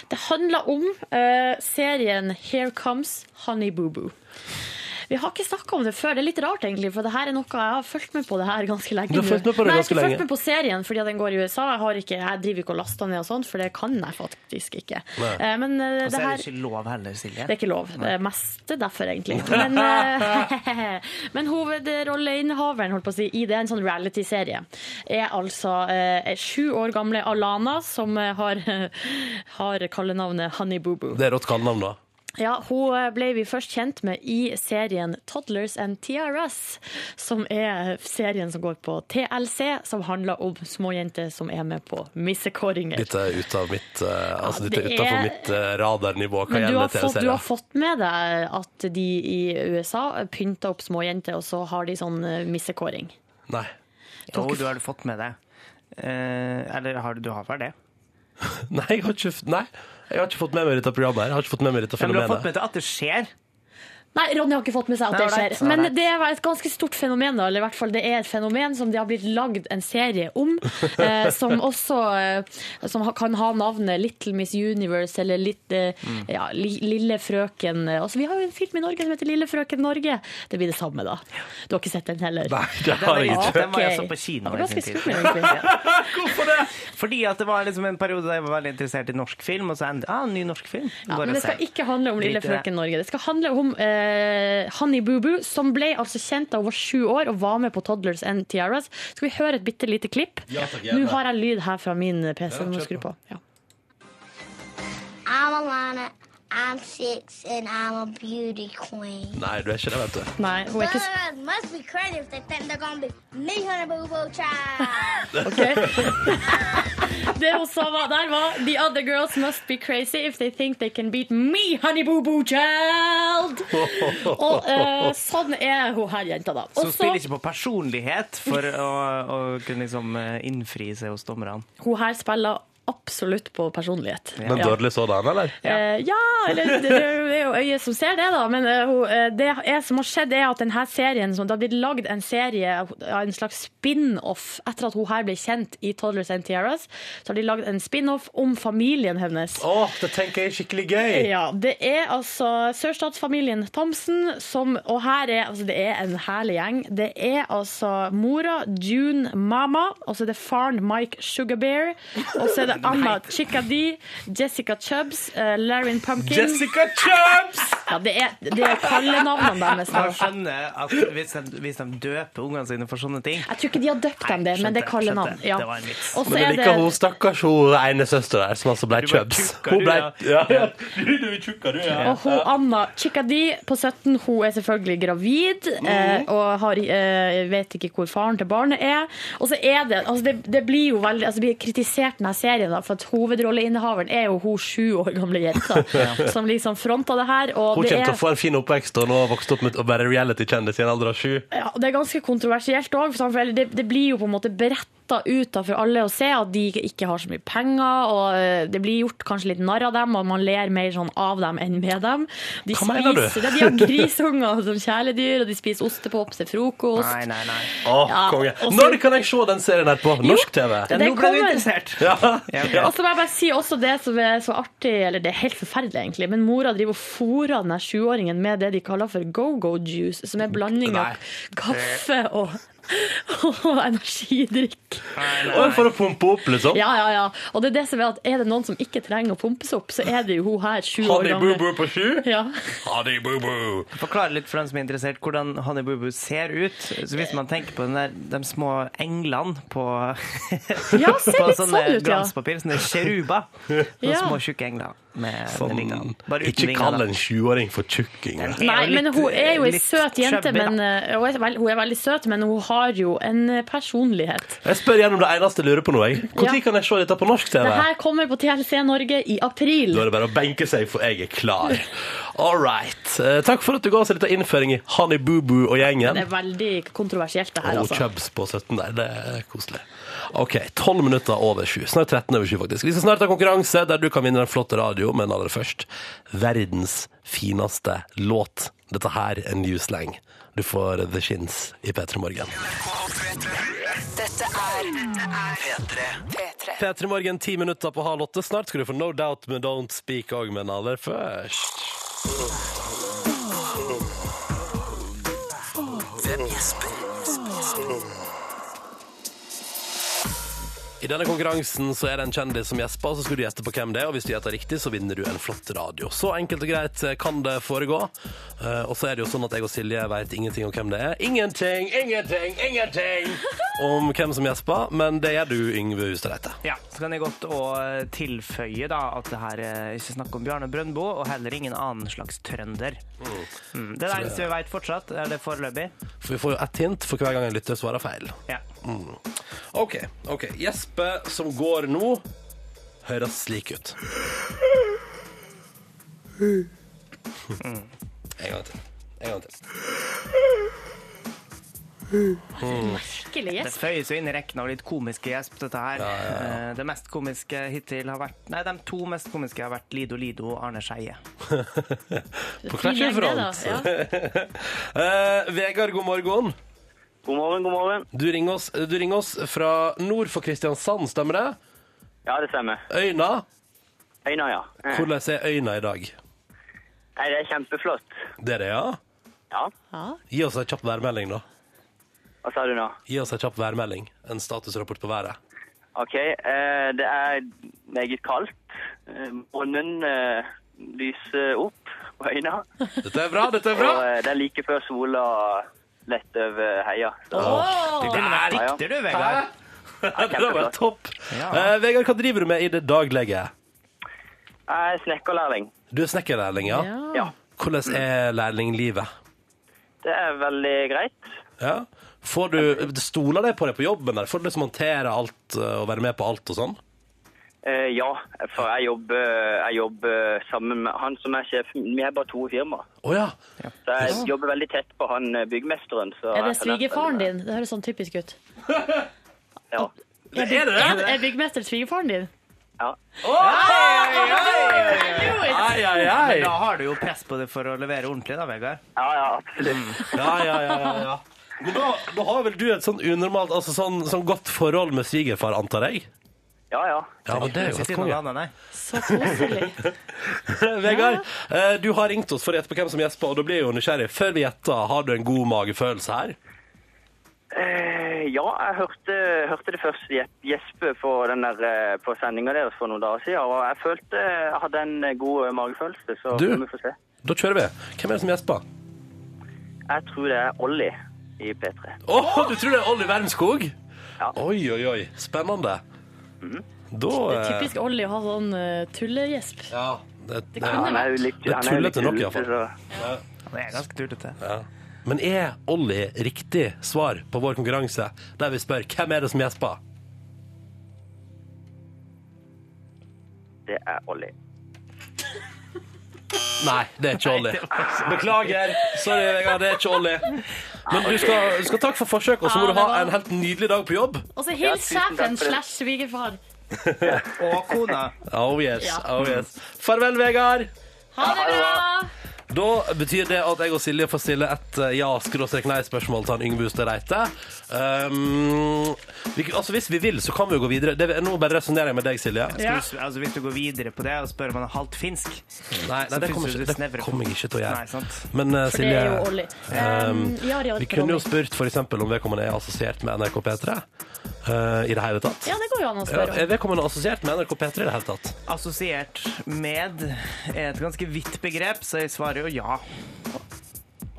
Speaker 2: Det handler om eh, serien Here Comes Honey Boo Boo. Vi har ikke snakka om det før. Det er litt rart, egentlig, for det her er noe jeg har fulgt med på det her ganske lenge.
Speaker 3: Du har
Speaker 2: nå.
Speaker 3: fulgt med på det
Speaker 2: Nei,
Speaker 3: ganske
Speaker 2: jeg har ikke
Speaker 3: lenge.
Speaker 2: fulgt med på serien fordi at den går i USA. Jeg, har ikke, jeg driver ikke og laster ned og sånn, for det kan jeg faktisk ikke.
Speaker 3: Nei.
Speaker 2: Eh, men eh,
Speaker 4: Og så
Speaker 2: det
Speaker 4: er
Speaker 2: her
Speaker 4: det ikke lov heller, Silje.
Speaker 2: det er ikke lov. Det er mest derfor, egentlig. Men, eh, men hovedrolleinnehaveren holdt på å si, i det, en sånn reality-serie, er altså eh, sju år gamle Alana, som eh, har, har kallenavnet Honey Boo Boo.
Speaker 3: Det er rått kallenavn, da.
Speaker 2: Ja, hun eh, ble vi først kjent med i serien Toddlers and Tiaras, som er serien som går på TLC, som handler om småjenter som er med på missekåringer.
Speaker 3: Dette er ut av mitt eh, Altså,
Speaker 2: Ja,
Speaker 3: dette er
Speaker 2: det
Speaker 3: utenfor
Speaker 2: er-
Speaker 3: mitt eh, radarnivå hva
Speaker 2: Men du har,
Speaker 3: gjelder
Speaker 2: fått, du har
Speaker 3: TV-serier.
Speaker 2: fått med deg at de i USA pynter opp småjenter, og så har de sånn eh, missekåring.
Speaker 3: Nei.
Speaker 4: Jo, du har fått med deg. Eh, eller har, du har vel det?
Speaker 3: Nei, jeg har ikke, f- nei, jeg har ikke fått med meg dette programmet. her Jeg har ikke fått med meg dette
Speaker 4: Men du har fått
Speaker 3: fenomenet.
Speaker 4: med deg at det skjer?
Speaker 2: Nei, Ronny har ikke fått med seg at
Speaker 4: Nei,
Speaker 2: det
Speaker 4: alright,
Speaker 2: skjer. Men
Speaker 4: alright.
Speaker 2: det er et ganske stort fenomen, da. Eller i hvert fall det er et fenomen som det har blitt lagd en serie om. Eh, som også eh, som ha- kan ha navnet Little Miss Universe eller litt, eh,
Speaker 4: Mm.
Speaker 2: ja, li, Lille frøken eh, altså, Vi har jo en film i Norge som heter Lille frøken Norge. Det blir det samme, da. Du har ikke sett den heller?
Speaker 3: Nei, det har
Speaker 4: Den
Speaker 3: jeg ikke.
Speaker 4: er- Den var
Speaker 2: Ok.
Speaker 4: jeg så på kino
Speaker 2: Det var
Speaker 4: i sin
Speaker 2: ganske
Speaker 4: tid.
Speaker 2: skummel, egentlig.
Speaker 4: Fordi at det var liksom en periode da jeg var veldig interessert i norsk film, og så endte ah, en ny norsk film.
Speaker 2: Ja,
Speaker 4: Går
Speaker 2: men
Speaker 4: og
Speaker 2: det skal
Speaker 4: ser.
Speaker 2: ikke handle om Lille
Speaker 4: Drit i det.
Speaker 2: frøken Norge. Det skal handle om eh, Honey Boo Boo, som ble altså kjent da hun var sju år og var med på Toddlers and Tiaras. Skal vi høre et bitte lite klipp?
Speaker 3: Ja, takk, gjerne.
Speaker 2: Nå har jeg lyd her fra min PC.
Speaker 3: Ja,
Speaker 2: Ja,
Speaker 3: kjør
Speaker 2: skru
Speaker 3: på.
Speaker 2: på. Ja.
Speaker 6: I'm Alana. I'm six, and I'm a beauty queen.
Speaker 3: Nei, du er ikke det, vet du.
Speaker 2: Nei, hun er ikke s-
Speaker 6: Girls must be crazy if they think they're gonna be me, honey boo boo child.
Speaker 2: Det hun sa var, der var The other girls must be crazy if they think they can beat me, honey boo boo child! Og eh, sånn er hun her jenta, da.
Speaker 4: Så
Speaker 2: Og
Speaker 4: hun spiller ikke på personlighet for å, å kunne liksom eh, innfri seg hos dommerne.
Speaker 2: hun her spiller absolutt på personlighet.
Speaker 3: Men dårlig sådan, eller?
Speaker 2: Ja, Eh, ja eller, det, det er jo øyet som ser det, da. Men eh, hun, eh, det er, som har skjedd, er at denne serien som, Det har blitt lagd en serie, ja, en slags spin-off, etter at hun her ble kjent i Toddlers and Tiaras. Så har de lagd en spin-off om familien hennes.
Speaker 3: Å, det tenker jeg er skikkelig gøy!
Speaker 2: Ja, Det er altså sørstatsfamilien Thomsen som Og her er altså det er en herlig gjeng. Det er altså mora June Mama, og så er det faren Mike Sugarbear, og så er det Anna Chickadee, Jessica Chubbs, uh, Larry Pumpkin
Speaker 3: Jessica Chubbs!
Speaker 2: ja, det er, det er kallenavnene deres. da.
Speaker 4: Jeg skjønner at hvis de, hvis de døper ungene sine for sånne ting
Speaker 2: Jeg tror ikke de har døpt dem det,
Speaker 4: Nei,
Speaker 2: men det er
Speaker 4: skjønte,
Speaker 2: kallenavn.
Speaker 4: skjønte.
Speaker 2: Ja.
Speaker 4: Det var en vits.
Speaker 2: Og så
Speaker 3: Men jeg
Speaker 2: er
Speaker 3: liker hun
Speaker 2: det
Speaker 3: stakkars hun ene søster der, som altså ble
Speaker 4: Du bare
Speaker 3: Chubbs.
Speaker 4: tjukka,
Speaker 3: Hun
Speaker 4: du,
Speaker 3: ble
Speaker 4: ja.
Speaker 3: Ja, ja. Du, du er tjukka, du, ja.
Speaker 2: og hun, Anna Chickadee på 17 hun er selvfølgelig gravid
Speaker 4: Mhm.
Speaker 2: eh, og har, eh, vet ikke hvor faren til barnet er. Og så er det altså det, det blir jo veldig altså det blir kritisert denne serien, da, for at hovedrolleinnehaveren er jo hun sju år gamle jenta som liksom fronta det her. Og
Speaker 3: Hun
Speaker 2: det
Speaker 3: kommer
Speaker 2: er,
Speaker 3: til å få en fin oppvekst og nå har vokst opp med å være reality-kjendis i en alder av sju.
Speaker 2: ja, det er ganske kontroversielt òg. Det, det blir jo på en måte beretta ut da for alle å se at de ikke har så mye penger. og eh, Det blir gjort kanskje litt narr av dem, og man ler mer sånn av dem enn med dem. De
Speaker 3: Hva mener du?
Speaker 2: spiser, det, de har grisunger som kjæledyr, og de spiser ostepop til frokost.
Speaker 4: Nei, nei, nei.
Speaker 3: Å,
Speaker 2: Ja,
Speaker 3: konge.
Speaker 2: og så-
Speaker 3: Når kan jeg se den serien her på norsk TV?
Speaker 2: Den
Speaker 4: Nå ble du
Speaker 2: kommer.
Speaker 4: interessert.
Speaker 3: Ja,
Speaker 4: Ja,
Speaker 2: Og
Speaker 4: ok.
Speaker 2: så må jeg bare si også det som er så artig, eller det er helt forferdelig egentlig, men mora driver og fôrer den her sjuåringen med det de kaller for go-go juice, som er blanding
Speaker 3: Nei.
Speaker 2: av kaffe og, og energidrikk.
Speaker 4: Nei, nei,
Speaker 3: Og
Speaker 4: nei.
Speaker 3: for å pumpe opp, liksom.
Speaker 2: Ja, ja, ja. Og det er det som er at er det noen som ikke trenger å pumpes opp, så er det jo hun her, sju år
Speaker 3: Honey Boo
Speaker 2: gammel.
Speaker 3: Boo på sju?
Speaker 2: Ja.
Speaker 3: Honey Boo Boo.
Speaker 4: Forklare litt for dem som er interessert hvordan Honey Boo Boo ser ut. Så Hvis man tenker på den der, de små englene på,
Speaker 2: Ja, ser
Speaker 4: på
Speaker 2: litt
Speaker 4: sånne
Speaker 2: sånn ut, ja.
Speaker 4: glanspapir, sånne cheruber. Sånne
Speaker 2: Ja.
Speaker 4: små tjukke engler med, med
Speaker 3: Sånn,
Speaker 4: vingene. Bare uten
Speaker 3: ikke
Speaker 4: vinger.
Speaker 3: kall
Speaker 4: da.
Speaker 3: en sjuåring for tjukking. da.
Speaker 4: er jo
Speaker 2: Nei, men
Speaker 4: litt-
Speaker 2: hun er jo ei
Speaker 4: litt
Speaker 2: søt jente,
Speaker 4: chubby, da.
Speaker 2: men eh, hun er, vel- hun er veldig søt, men hun har jo en eh, personlighet.
Speaker 3: Jeg spør gjennom det eneste jeg lurer på nå. jeg. Når
Speaker 2: Ja.
Speaker 3: kan jeg se dette på norsk TV?
Speaker 2: Det her kommer på TLC Norge i april.
Speaker 3: Da er det bare å benke seg, for jeg er klar. All right. Eh, takk for at du ga oss en liten innføring i Honey Boo Boo og gjengen.
Speaker 2: Det er veldig kontroversielt, det her,
Speaker 3: Og
Speaker 2: altså.
Speaker 3: Chubbs på 17 der. Det er koselig. OK, 12 minutter over 7. Snart 13 over 7, faktisk. Vi skal snart ha konkurranse der du kan vinne en flott radio, men aller først verdens fineste låt. Dette her er New Slang. Du får The Shins i P3 Morgen.
Speaker 5: Dette er P3. P3.
Speaker 3: P3 Morgen, ti minutter på halv åtte. Snart skal du få No Doubt med Don't Speak òg, men aller først I denne konkurransen så er det en kjendis som gjesper, og så skal du gjeste på hvem det er. Og hvis du gjetter riktig, så vinner du en flott radio. Så enkelt og greit kan det foregå. Eh, Og så er det jo sånn at jeg og Silje veit ingenting om hvem det er. Ingenting, ingenting, ingenting om hvem som gjesper, men det gjør du, Yngve Hustadreite.
Speaker 4: Ja, så kan jeg godt å tilføye da at det her er ikke snakk om Bjarne Brøndbo, og heller ingen annen slags trønder. Mm. Det er det eneste vi vet fortsatt, eller foreløpig.
Speaker 3: For vi får jo ett hint for hver gang en lytter svarer feil.
Speaker 4: Ja.
Speaker 3: OK. ok. Gjespet som går nå, høres slik ut. En gang til. En gang til.
Speaker 2: Merkelig
Speaker 4: Det
Speaker 2: gjesp.
Speaker 4: føyer seg inn i rekken av litt komiske gjesp, dette her. Eh, Det mest komiske hittil har vært Nei, de to mest komiske har vært Lido Lido og Arne Skeie.
Speaker 3: På hver sin
Speaker 2: Fin gjeng, det,
Speaker 3: front.
Speaker 2: da. Ja.
Speaker 3: Eh, Vegard, god morgen.
Speaker 7: God morgen, god morgen.
Speaker 3: Du ringer, oss, du ringer oss fra nord for Kristiansand, stemmer det?
Speaker 7: Ja, det stemmer.
Speaker 3: Øyna.
Speaker 7: Øyna, ja. Eh.
Speaker 3: Hvordan er Øyna i dag?
Speaker 7: Nei, det er kjempeflott.
Speaker 3: Det er det, ja?
Speaker 7: Ja.
Speaker 3: Gi oss en kjapp værmelding, da.
Speaker 7: Hva sa du nå?
Speaker 3: Gi oss en kjapp værmelding. En statusrapport på været.
Speaker 7: OK, eh, det er meget kaldt. Eh, Månen eh, lyser opp på øyna.
Speaker 3: Dette er bra, dette er bra!
Speaker 7: Og
Speaker 2: Ah!
Speaker 7: eh, det er like før sola letter over heia. Så
Speaker 3: Det der
Speaker 7: ja, ja.
Speaker 4: Dikter du, Vegard?
Speaker 3: Det var bare topp.
Speaker 4: Ja.
Speaker 3: Eh, Vegard, hva driver du med i det daglige?
Speaker 7: Jeg er snekkerlærling.
Speaker 3: Du er snekkerlærling, ja.
Speaker 7: Ja.
Speaker 3: Hvordan er lærlinglivet?
Speaker 7: Det er veldig greit.
Speaker 3: Ja. Får du stoler deg på det på jobben? der? Får du liksom håndtere alt eh, og være med på alt og sånn?
Speaker 7: Eh, ja, for jeg jobber, jeg jobber sammen med han som er sjefen. Vi er bare to i firmaet.
Speaker 3: Å ja.
Speaker 7: Så jeg jobber veldig tett på han eh, byggmesteren.
Speaker 2: Er
Speaker 7: Så
Speaker 2: det
Speaker 7: jeg har lært
Speaker 2: svigerfaren
Speaker 7: veldig-
Speaker 2: din? Det høres sånn typisk ut.
Speaker 7: Ja.
Speaker 2: Er, byg, er, er byggmester svigerfaren din?
Speaker 7: ja.
Speaker 3: Ai, ai, ai.
Speaker 4: Da har du jo press på det for å levere ordentlig, da, Vegard.
Speaker 7: Ja, ja, absolutt.
Speaker 3: Ja, ja, ja, ja, ja. Men da, da har vel du et sånn unormalt, altså sånn, sånn godt forhold med svigerfar, antar jeg?
Speaker 7: Ja, ja.
Speaker 3: Ja, men det er jo
Speaker 4: Ikke
Speaker 3: helt
Speaker 4: si noe
Speaker 3: konge.
Speaker 4: annet, nei.
Speaker 2: Så koselig.
Speaker 3: Vegard, eh, du har ringt oss for å gjette på hvem som gjesper, og da blir jeg jo nysgjerrig. Før vi gjetter, har du en god magefølelse her?
Speaker 7: Eh, ja, jeg hørte, hørte det først gje- gjespe på, den der, eh, på sendinga deres for noen dager siden, og jeg følte jeg hadde en eh, god magefølelse, så
Speaker 3: Du?
Speaker 7: vi får se.
Speaker 3: Da kjører vi. Hvem er det som gjesper?
Speaker 7: Jeg tror det er Olli i P3.
Speaker 3: Å, du tror det er Olli Wermskog?
Speaker 7: Ja.
Speaker 3: Oi, oi, oi. Spennende. Da
Speaker 2: Mhm. Det er
Speaker 3: eh,
Speaker 2: typisk Olli å ha sånn eh, tullegjesp.
Speaker 3: Ja. Det, det,
Speaker 2: kan
Speaker 7: Han er jo litt,
Speaker 3: Det er
Speaker 7: han er jo litt
Speaker 3: tullete nok, i hvert fall.
Speaker 7: tullete,
Speaker 4: Det er ganske tullete.
Speaker 3: Men er Olli riktig svar på vår konkurranse, der vi spør hvem er det som gjesper?
Speaker 7: så Det er Olli.
Speaker 3: Nei, det er ikke Olli. Beklager. Sorry, Vegard, det er ikke Olli. Men du skal, du skal takke for forsøket, og så må
Speaker 2: Ja,
Speaker 3: du ha
Speaker 2: det var-
Speaker 3: en helt nydelig dag på jobb.
Speaker 2: Og så
Speaker 7: Ja,
Speaker 2: hils
Speaker 7: tusen takk
Speaker 2: sjefen
Speaker 7: for det.
Speaker 2: slash svigerfar.
Speaker 4: Og kona.
Speaker 3: Oh yes,
Speaker 2: Ja.
Speaker 3: oh yes. Farvel, Vegard.
Speaker 2: Ha det bra!
Speaker 3: Da betyr det at jeg og Silje får stille et eh, ja-nei-spørsmål til han Yngve Hustad Reite. Um, vi, altså, hvis vi vil, så kan vi jo gå videre. Det, nå bare resonnerer jeg med deg, Silje.
Speaker 1: Ja.
Speaker 4: Hvis, altså, hvis du går videre på det og spør om han er halvt finsk
Speaker 3: Nei, nei
Speaker 4: Så
Speaker 3: det, kommer
Speaker 4: plutselig
Speaker 3: ikke,
Speaker 4: snevrer
Speaker 3: det
Speaker 4: på.
Speaker 3: kommer jeg ikke til å
Speaker 4: Nei,
Speaker 3: gjøre.
Speaker 4: sant.
Speaker 3: Men eh,
Speaker 2: For det
Speaker 3: Silje
Speaker 2: er jo Olli. Um, ja, det er
Speaker 3: Vi
Speaker 2: for
Speaker 3: kunne jo
Speaker 2: Olli.
Speaker 3: spurt for eksempel om vedkommende er assosiert med NRK P3 eh, i det hele tatt.
Speaker 2: Ja, det går jo an å
Speaker 3: Ja,
Speaker 2: spørre om.
Speaker 3: er vedkommende assosiert med NRK P3 i det hele tatt?
Speaker 4: Assosiert med er et ganske vidt begrep, så jeg svarer jo ja.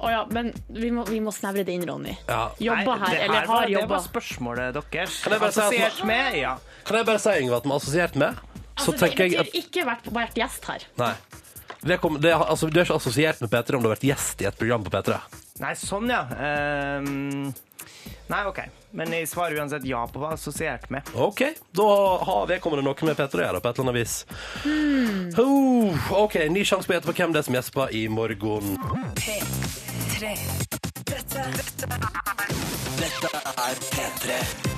Speaker 2: Å ja, men vi må, vi må snevre det inn, Ronny.
Speaker 3: Ja.
Speaker 2: Jobba
Speaker 4: det
Speaker 2: her, eller
Speaker 4: var,
Speaker 2: har
Speaker 4: Det
Speaker 2: jobba.
Speaker 4: var spørsmålet deres.
Speaker 3: jeg bare si at-
Speaker 4: Assosiert med, ja.
Speaker 3: Kan jeg bare si, Yngve, at vi er assosiert med? Så
Speaker 2: Altså, det
Speaker 3: tenker jeg
Speaker 2: betyr
Speaker 3: at
Speaker 2: ikke vært, vært gjest her.
Speaker 3: Nei. Vedkommende- det, er- altså, du er ikke assosiert med P3 om du har vært gjest i et program på P3.
Speaker 4: Nei, sånn, ja. Ehm, nei, OK. Men jeg svarer uansett ja på hva assosiert med.
Speaker 3: Ok, da har vedkommende noe med Petter å gjøre på et eller annet vis. Oh, ok, ny sjanse på å gjette på hvem det er som gjesper i morgen.
Speaker 5: P3. Dette, dette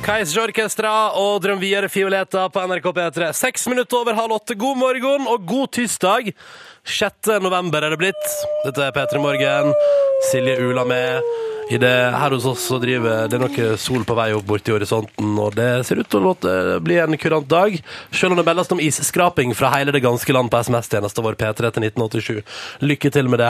Speaker 3: Kais Orkestra og Drøm videre Fioleta på NRK P3. Seks minutter over halv åtte. God morgen og god tirsdag. 6. november er det blitt. Dette er P3 Morgen. Silje Ula med. I det, her hos oss så driver det er noe sol på vei opp borti horisonten, og det ser ut til å låte- bli en kurant dag. Selv om det meldes om isskraping fra hele det ganske land på SMS-tjenesten vår P3 til 1987. Lykke til med det.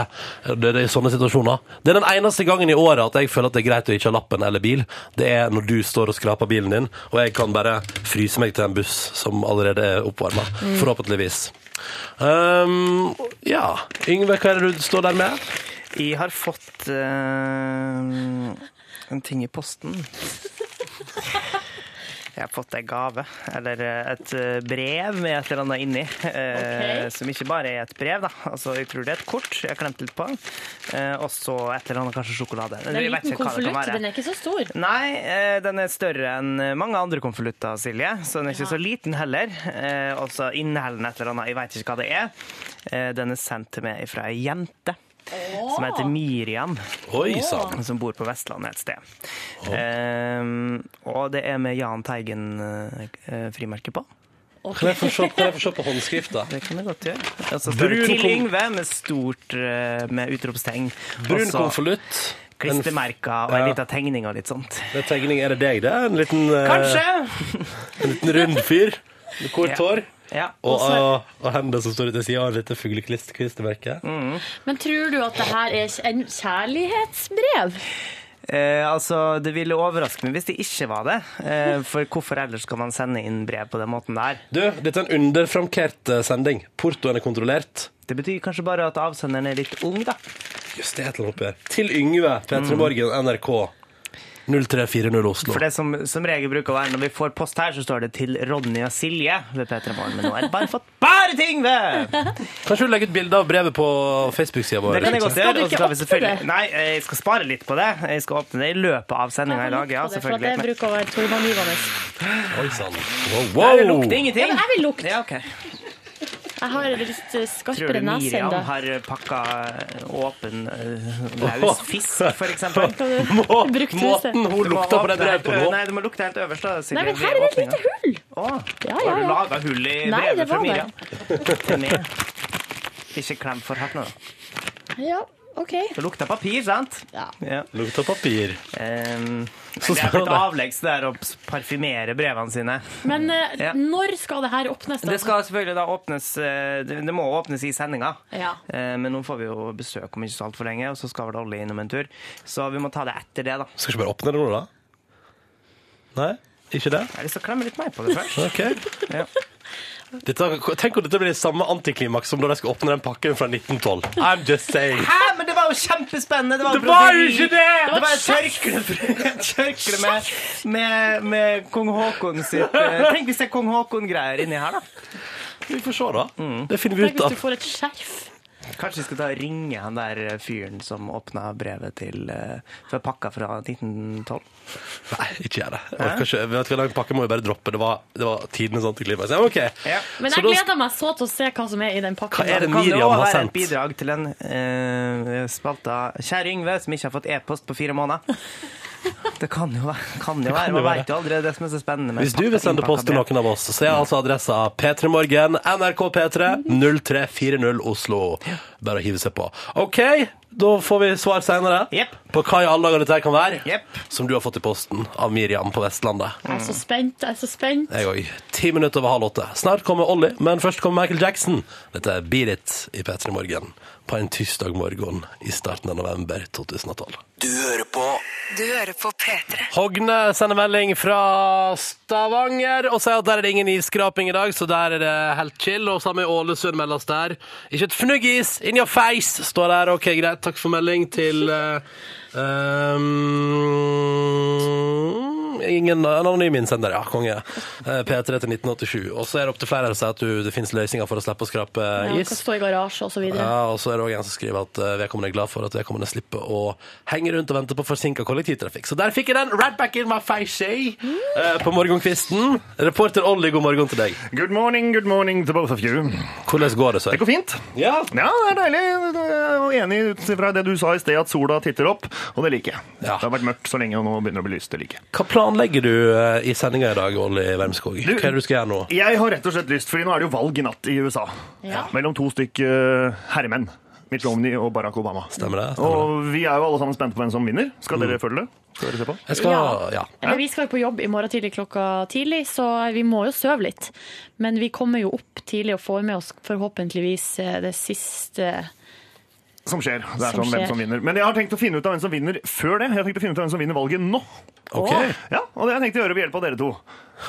Speaker 3: Det er i sånne situasjoner. Det er den eneste gangen i året at jeg føler at det er greit å ikke ha lappen eller bil. Det er når du står og skraper bilen din, og jeg kan bare fryse meg til en buss som allerede er oppvarma. Forhåpentligvis. Um, ja. Yngve, hva er det du står der med?
Speaker 4: Jeg har fått ehm, en ting i posten. Jeg har fått ei gave, eller eh, et eh, brev med et eller annet inni. eh,
Speaker 2: Ok.
Speaker 4: Som ikke bare er et brev, da. Altså, jeg tror det er et kort jeg har klemt litt på. Eh, og så et eller annet, kanskje sjokolade.
Speaker 2: Det er
Speaker 4: Jeg
Speaker 2: en
Speaker 4: vet
Speaker 2: liten
Speaker 4: ikke hva det kan
Speaker 2: konvolutt,
Speaker 4: være.
Speaker 2: den er ikke så stor.
Speaker 4: Nei, eh, den er større enn mange andre konvolutter, Silje. Så den er ikke så liten heller. Eh, Og så inneholder den et eller annet, jeg veit ikke hva det er. Eh, Den er sendt til meg fra ei jente som heter Miriam,
Speaker 3: Oi sann.
Speaker 4: som bor på Vestlandet et sted. Eh, og det er med Jahn Teigen-frimerke på.
Speaker 3: Kan jeg få se, kan jeg få se på håndskrifta?
Speaker 4: Det kan jeg godt gjøre. Og så står det
Speaker 3: Brun
Speaker 4: 'Til
Speaker 3: kon-
Speaker 4: Yngve' med stort eh, med utropstegn.
Speaker 3: Brun
Speaker 4: Og så
Speaker 3: konvolutt. En f-
Speaker 4: Klistremerker og ei
Speaker 3: Ja.
Speaker 4: lita tegning og litt sånt.
Speaker 3: Det er tegning. Er det deg, det? En liten, eh,
Speaker 4: Kanskje!
Speaker 3: en liten rund fyr? Med kort
Speaker 4: Ja.
Speaker 3: hår?
Speaker 4: Ja.
Speaker 3: Og, og, og hender som står ute i sida av et lite fugleklistremerke.
Speaker 2: Men tror du at det her er en kjærlighetsbrev?
Speaker 4: Eh, altså, Det ville overraske meg hvis det ikke var det. Eh, for hvorfor ellers skal man sende inn brev på den måten der?
Speaker 3: Du, dette er en underframkert eh, sending. Portoen er kontrollert.
Speaker 4: Det betyr kanskje bare at avsenderen er litt ung, da.
Speaker 3: Just det, et eller annet oppi her. Til Yngve, P3 Morgen, NRK. 0340 Oslo.
Speaker 4: For det som, som regel bruker å være når vi får post her, så står det 'til Ronny og Silje' ved P3 Morgen. Men nå er det bare fått bare ting ved!
Speaker 3: Kanskje du legger ut bilde av brevet på Facebook-sida vår?
Speaker 4: Det kan jeg godt gjøre.
Speaker 2: du
Speaker 4: og så
Speaker 2: ikke
Speaker 4: kan vi
Speaker 2: åpne det?
Speaker 4: selvfølgelig- Nei, eh, jeg skal spare litt på det. Jeg skal åpne det i løpet av sendinga i dag. Ja,
Speaker 2: Jeg har lukta det, for at Det
Speaker 4: selvfølgelig.
Speaker 2: bruker å være toneangivende.
Speaker 3: Oi sann.
Speaker 4: Men
Speaker 3: Wow,
Speaker 4: det
Speaker 3: wow.
Speaker 4: lukter
Speaker 2: Ja,
Speaker 4: ingenting.
Speaker 2: men jeg vil lukte.
Speaker 4: Ja, ok.
Speaker 2: Jeg har en litt eh,
Speaker 4: Tror du
Speaker 2: skarpere nese enn
Speaker 4: Miriam
Speaker 2: deg.
Speaker 4: har pakka åpen eh, løs fisk, for eksempel?
Speaker 3: Må,
Speaker 2: Brukt huset.
Speaker 3: måten hun
Speaker 4: Du må
Speaker 3: lukta på det
Speaker 4: åpne
Speaker 3: brevet
Speaker 4: helt
Speaker 3: på
Speaker 4: ø-
Speaker 3: nå.
Speaker 4: Nei, du må lukte helt øverst. da, Silje,
Speaker 2: Nei, men
Speaker 4: ved
Speaker 2: her er det et
Speaker 4: åpningen.
Speaker 2: lite hull!
Speaker 4: Å,
Speaker 2: Ja,
Speaker 4: Har
Speaker 2: ja,
Speaker 4: du
Speaker 2: ja.
Speaker 4: laga hull i
Speaker 2: Nei, det
Speaker 4: brevet fra
Speaker 2: var
Speaker 4: Miriam? Ned. Ikke klem for hardt nå. da.
Speaker 2: Ja, OK.
Speaker 4: Det lukter papir, sant?
Speaker 2: Ja.
Speaker 4: Ja.
Speaker 3: Lukta papir.
Speaker 4: Ehm,
Speaker 3: Så
Speaker 4: det er blitt
Speaker 3: spennende.
Speaker 4: avleggs det der å parfymere brevene sine.
Speaker 2: Men eh,
Speaker 4: Ja.
Speaker 2: når skal det her åpnes, da?
Speaker 4: Det skal selvfølgelig da åpnes eh, Det det må åpnes i sendinga.
Speaker 2: Ja.
Speaker 4: Eh, Men nå får vi jo besøk om ikke så altfor lenge, og så skal vel Olli innom en tur. Så vi må ta det etter det, da.
Speaker 3: Skal ikke bare åpne det nå, da? Nei? Ikke det?
Speaker 4: Jeg har lyst til å klemme litt mer på det først.
Speaker 3: OK.
Speaker 4: Ja.
Speaker 3: Dette, tenk om dette blir samme antiklimaks som da de skal åpne den pakken fra 1912. I'm just saying.
Speaker 4: Hæ, men det var jo kjempespennende! Det var,
Speaker 3: Det var jo
Speaker 4: broderi.
Speaker 3: ikke det!
Speaker 4: Det var et tørkle, tørkle med, med, med kong Haakon sitt eh, Tenk hvis det er kong Haakon-greier inni her, da.
Speaker 3: Vi får se, da. Det finner vi
Speaker 2: Mm. Tenk
Speaker 3: ut
Speaker 2: hvis
Speaker 3: av.
Speaker 2: du får et skjerf.
Speaker 4: Kanskje vi skal ta og ringe han der eh, fyren som åpna brevet til eh, fra pakka fra 1912.
Speaker 3: Nei, ikke gjør det. Jeg orker ikke. Vet du hva, Den pakken må vi bare droppe. Det var, det var tidenes antiklimaks. Ja, men OK.
Speaker 4: Ja.
Speaker 2: Men
Speaker 3: Så
Speaker 2: jeg
Speaker 3: da-
Speaker 2: gleder meg så til å se hva som er i den
Speaker 3: Hva
Speaker 2: pakken.
Speaker 3: er det
Speaker 4: Kan det
Speaker 3: Miriam
Speaker 4: òg
Speaker 3: har
Speaker 4: være et
Speaker 3: sendt?
Speaker 4: bidrag til den eh, spalta Kjære Yngve, som ikke har fått e-post på fire måneder. Det kan jo være. Kan jo være.
Speaker 3: jo
Speaker 4: Man
Speaker 3: være.
Speaker 4: vet jo aldri det som er så spennende. med
Speaker 3: Hvis du vil sende
Speaker 4: innpakka
Speaker 3: post til
Speaker 4: brev.
Speaker 3: noen av oss, så er altså adressa P3morgen, NRK P3, 0340 Oslo. Bare å hive seg på. OK, da får vi svar seinere
Speaker 1: Jepp.
Speaker 3: på hva i alle dager dette her kan være,
Speaker 4: Jepp.
Speaker 3: som du har fått i posten av Miriam på Vestlandet.
Speaker 2: Jeg er så spent, jeg er så spent.
Speaker 3: Jeg òg. Ti minutter over halv åtte. Snart kommer Ollie, men først kommer Michael Jackson. Dette er Beat It i P3 Morgen på en tirsdag morgen i starten av november 2012.
Speaker 5: Du hører på P3.
Speaker 3: Hogne sender melding fra Stavanger og sier at der er det ingen isskraping i dag, så der er det helt chill. Og samme i Ålesund meldes der. Ikke et fnugg is in your face, står der. OK, greit. Takk for melding til eh, ehm, Ingen en anonym innsender, ja. Konge. Eh, P3 til 1987. Og så er det opp til flere her som sier at du, det finnes løsninger for å slippe å skrape
Speaker 2: Ja,
Speaker 3: eh,
Speaker 2: kan
Speaker 3: is.
Speaker 2: stå i garasje og så videre.
Speaker 3: Ja, og så er det også en som skriver at eh, vedkommende er glad for at vedkommende slipper å henge rundt og vente på forsinka kollektivtrafikk. Så der fikk jeg den right back in my face eh, på morgenkvisten. Reporter Olli, god morgen til deg.
Speaker 8: Good morning, good morning to both of you.
Speaker 3: Hvordan går
Speaker 8: Det
Speaker 3: det, sør?
Speaker 8: går fint.
Speaker 3: Ja,
Speaker 8: Ja, det er deilig. Jeg er enig ut fra det du sa i sted, at sola titter opp, og det liker jeg.
Speaker 3: Ja.
Speaker 8: Det har vært mørkt så lenge, og nå begynner det å bli lyst. Det liker jeg.
Speaker 3: Hva planlegger du eh, i sendinga i dag, Olli Wermskog? Hva er det du skal gjøre nå?
Speaker 8: Jeg har rett og slett lyst, fordi nå er det jo valg i natt i USA.
Speaker 2: Ja.
Speaker 8: Mellom to stykk eh, herremenn. Mitt Romney og Barack Obama.
Speaker 3: Stemmer det? Stemmer det?
Speaker 8: Og vi er jo alle sammen spente på hvem som vinner. Skal dere følge det? Skal dere se på?
Speaker 3: Jeg skal Ja.
Speaker 2: Eller vi skal jo på jobb i morgen tidlig klokka tidlig, så vi må jo sove litt. Men vi kommer jo opp tidlig og får med oss forhåpentligvis eh, det siste
Speaker 8: Som skjer. Det er
Speaker 2: Som
Speaker 8: sånn
Speaker 2: skjer.
Speaker 8: hvem som vinner. Men jeg har tenkt å finne ut av hvem som vinner før det. Jeg har tenkt å finne ut av hvem som vinner valget nå.
Speaker 3: OK.
Speaker 8: Ja, og det har jeg tenkt å gjøre ved hjelp av dere to.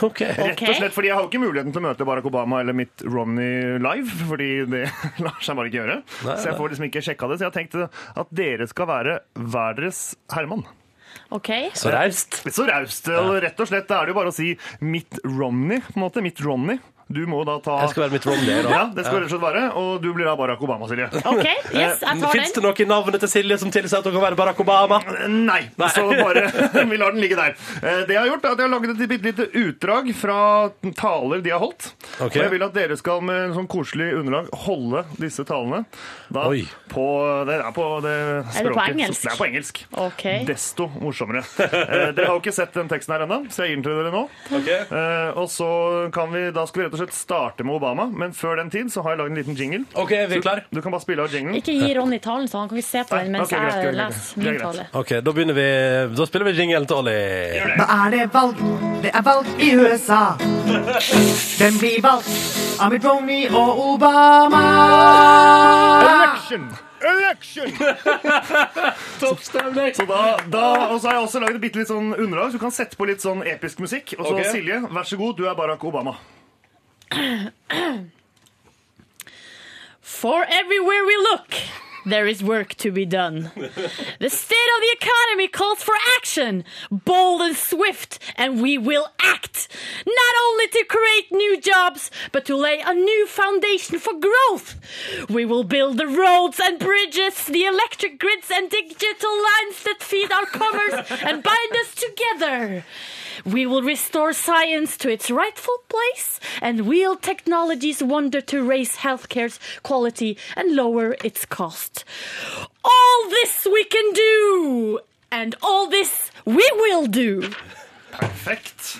Speaker 3: ok.
Speaker 8: Rett og slett, fordi Jeg har jo ikke muligheten til å møte Barack Obama eller Mitt Romney live. fordi det lar seg bare ikke gjøre.
Speaker 3: Nei,
Speaker 8: så jeg
Speaker 3: nei.
Speaker 8: får liksom ikke sjekka det. Så jeg har tenkt at dere skal være hver deres Herman.
Speaker 2: OK?
Speaker 3: Så raust.
Speaker 8: Så raust. og Rett og slett, da er det jo bare å si Mitt Romney. på en måte, Mitt Romney. Du må da ta
Speaker 3: Jeg skal være mitt Romney.
Speaker 8: Ja, det skal du rett og slett være. Og du blir da Barack Obama, Silje.
Speaker 2: OK,
Speaker 8: Eh,
Speaker 2: yes, jeg tar
Speaker 3: Fins
Speaker 2: den.
Speaker 3: det noe i navnet til Silje som tilsier at hun kan være Barack Obama?
Speaker 8: Nei, så bare vi lar den ligge der. Eh, Det jeg har gjort er at jeg har laget et bitte lite utdrag fra taler de har holdt.
Speaker 3: Ok.
Speaker 8: Og jeg vil at dere skal med en sånn koselig underlag holde disse talene da
Speaker 3: Oi.
Speaker 8: på Det er på det språket.
Speaker 2: Er det på engelsk?
Speaker 8: Det er på engelsk.
Speaker 2: OK.
Speaker 8: Desto morsommere. Eh, Dere har jo ikke sett den teksten her ennå, så jeg gir den til dere nå. Eh, Og så kan vi, Da skal vi rett og slett starte med Obama, men før den tid så har jeg lagd en liten jingle.
Speaker 3: OK, vi er klar?
Speaker 8: Du kan bare spille av jinglen.
Speaker 2: Ikke gi Ronny talen, så han kan ikke se på den mens
Speaker 8: Ok, greit, greit,
Speaker 2: jeg
Speaker 8: greit.
Speaker 2: leser
Speaker 8: Det er
Speaker 2: min
Speaker 8: greit.
Speaker 2: tale.
Speaker 3: OK, da begynner vi. Da spiller vi jingelen til Olli.
Speaker 9: Da er det valg. Det er valg i USA. Hvem blir valgt av Mitt Romney og Obama?
Speaker 8: Election! Election! Så da, da, og så har jeg også laget et bitte litt sånn underlag, så du kan sette på litt sånn episk musikk. Og så
Speaker 3: Ok.
Speaker 8: Silje, vær så god, du er Barack Obama.
Speaker 2: For everywhere we look, there is work to be done. The state of the economy calls for action, bold and swift, and we will act. Not only to create new jobs, but to lay a new foundation for growth. We will build the roads and bridges, the electric grids and digital lines that feed our commerce and bind us together. We will restore science to its rightful place and wield technology's wonder to raise healthcare's quality and lower its cost. All this we can do, and all this we will do.
Speaker 8: Perfekt.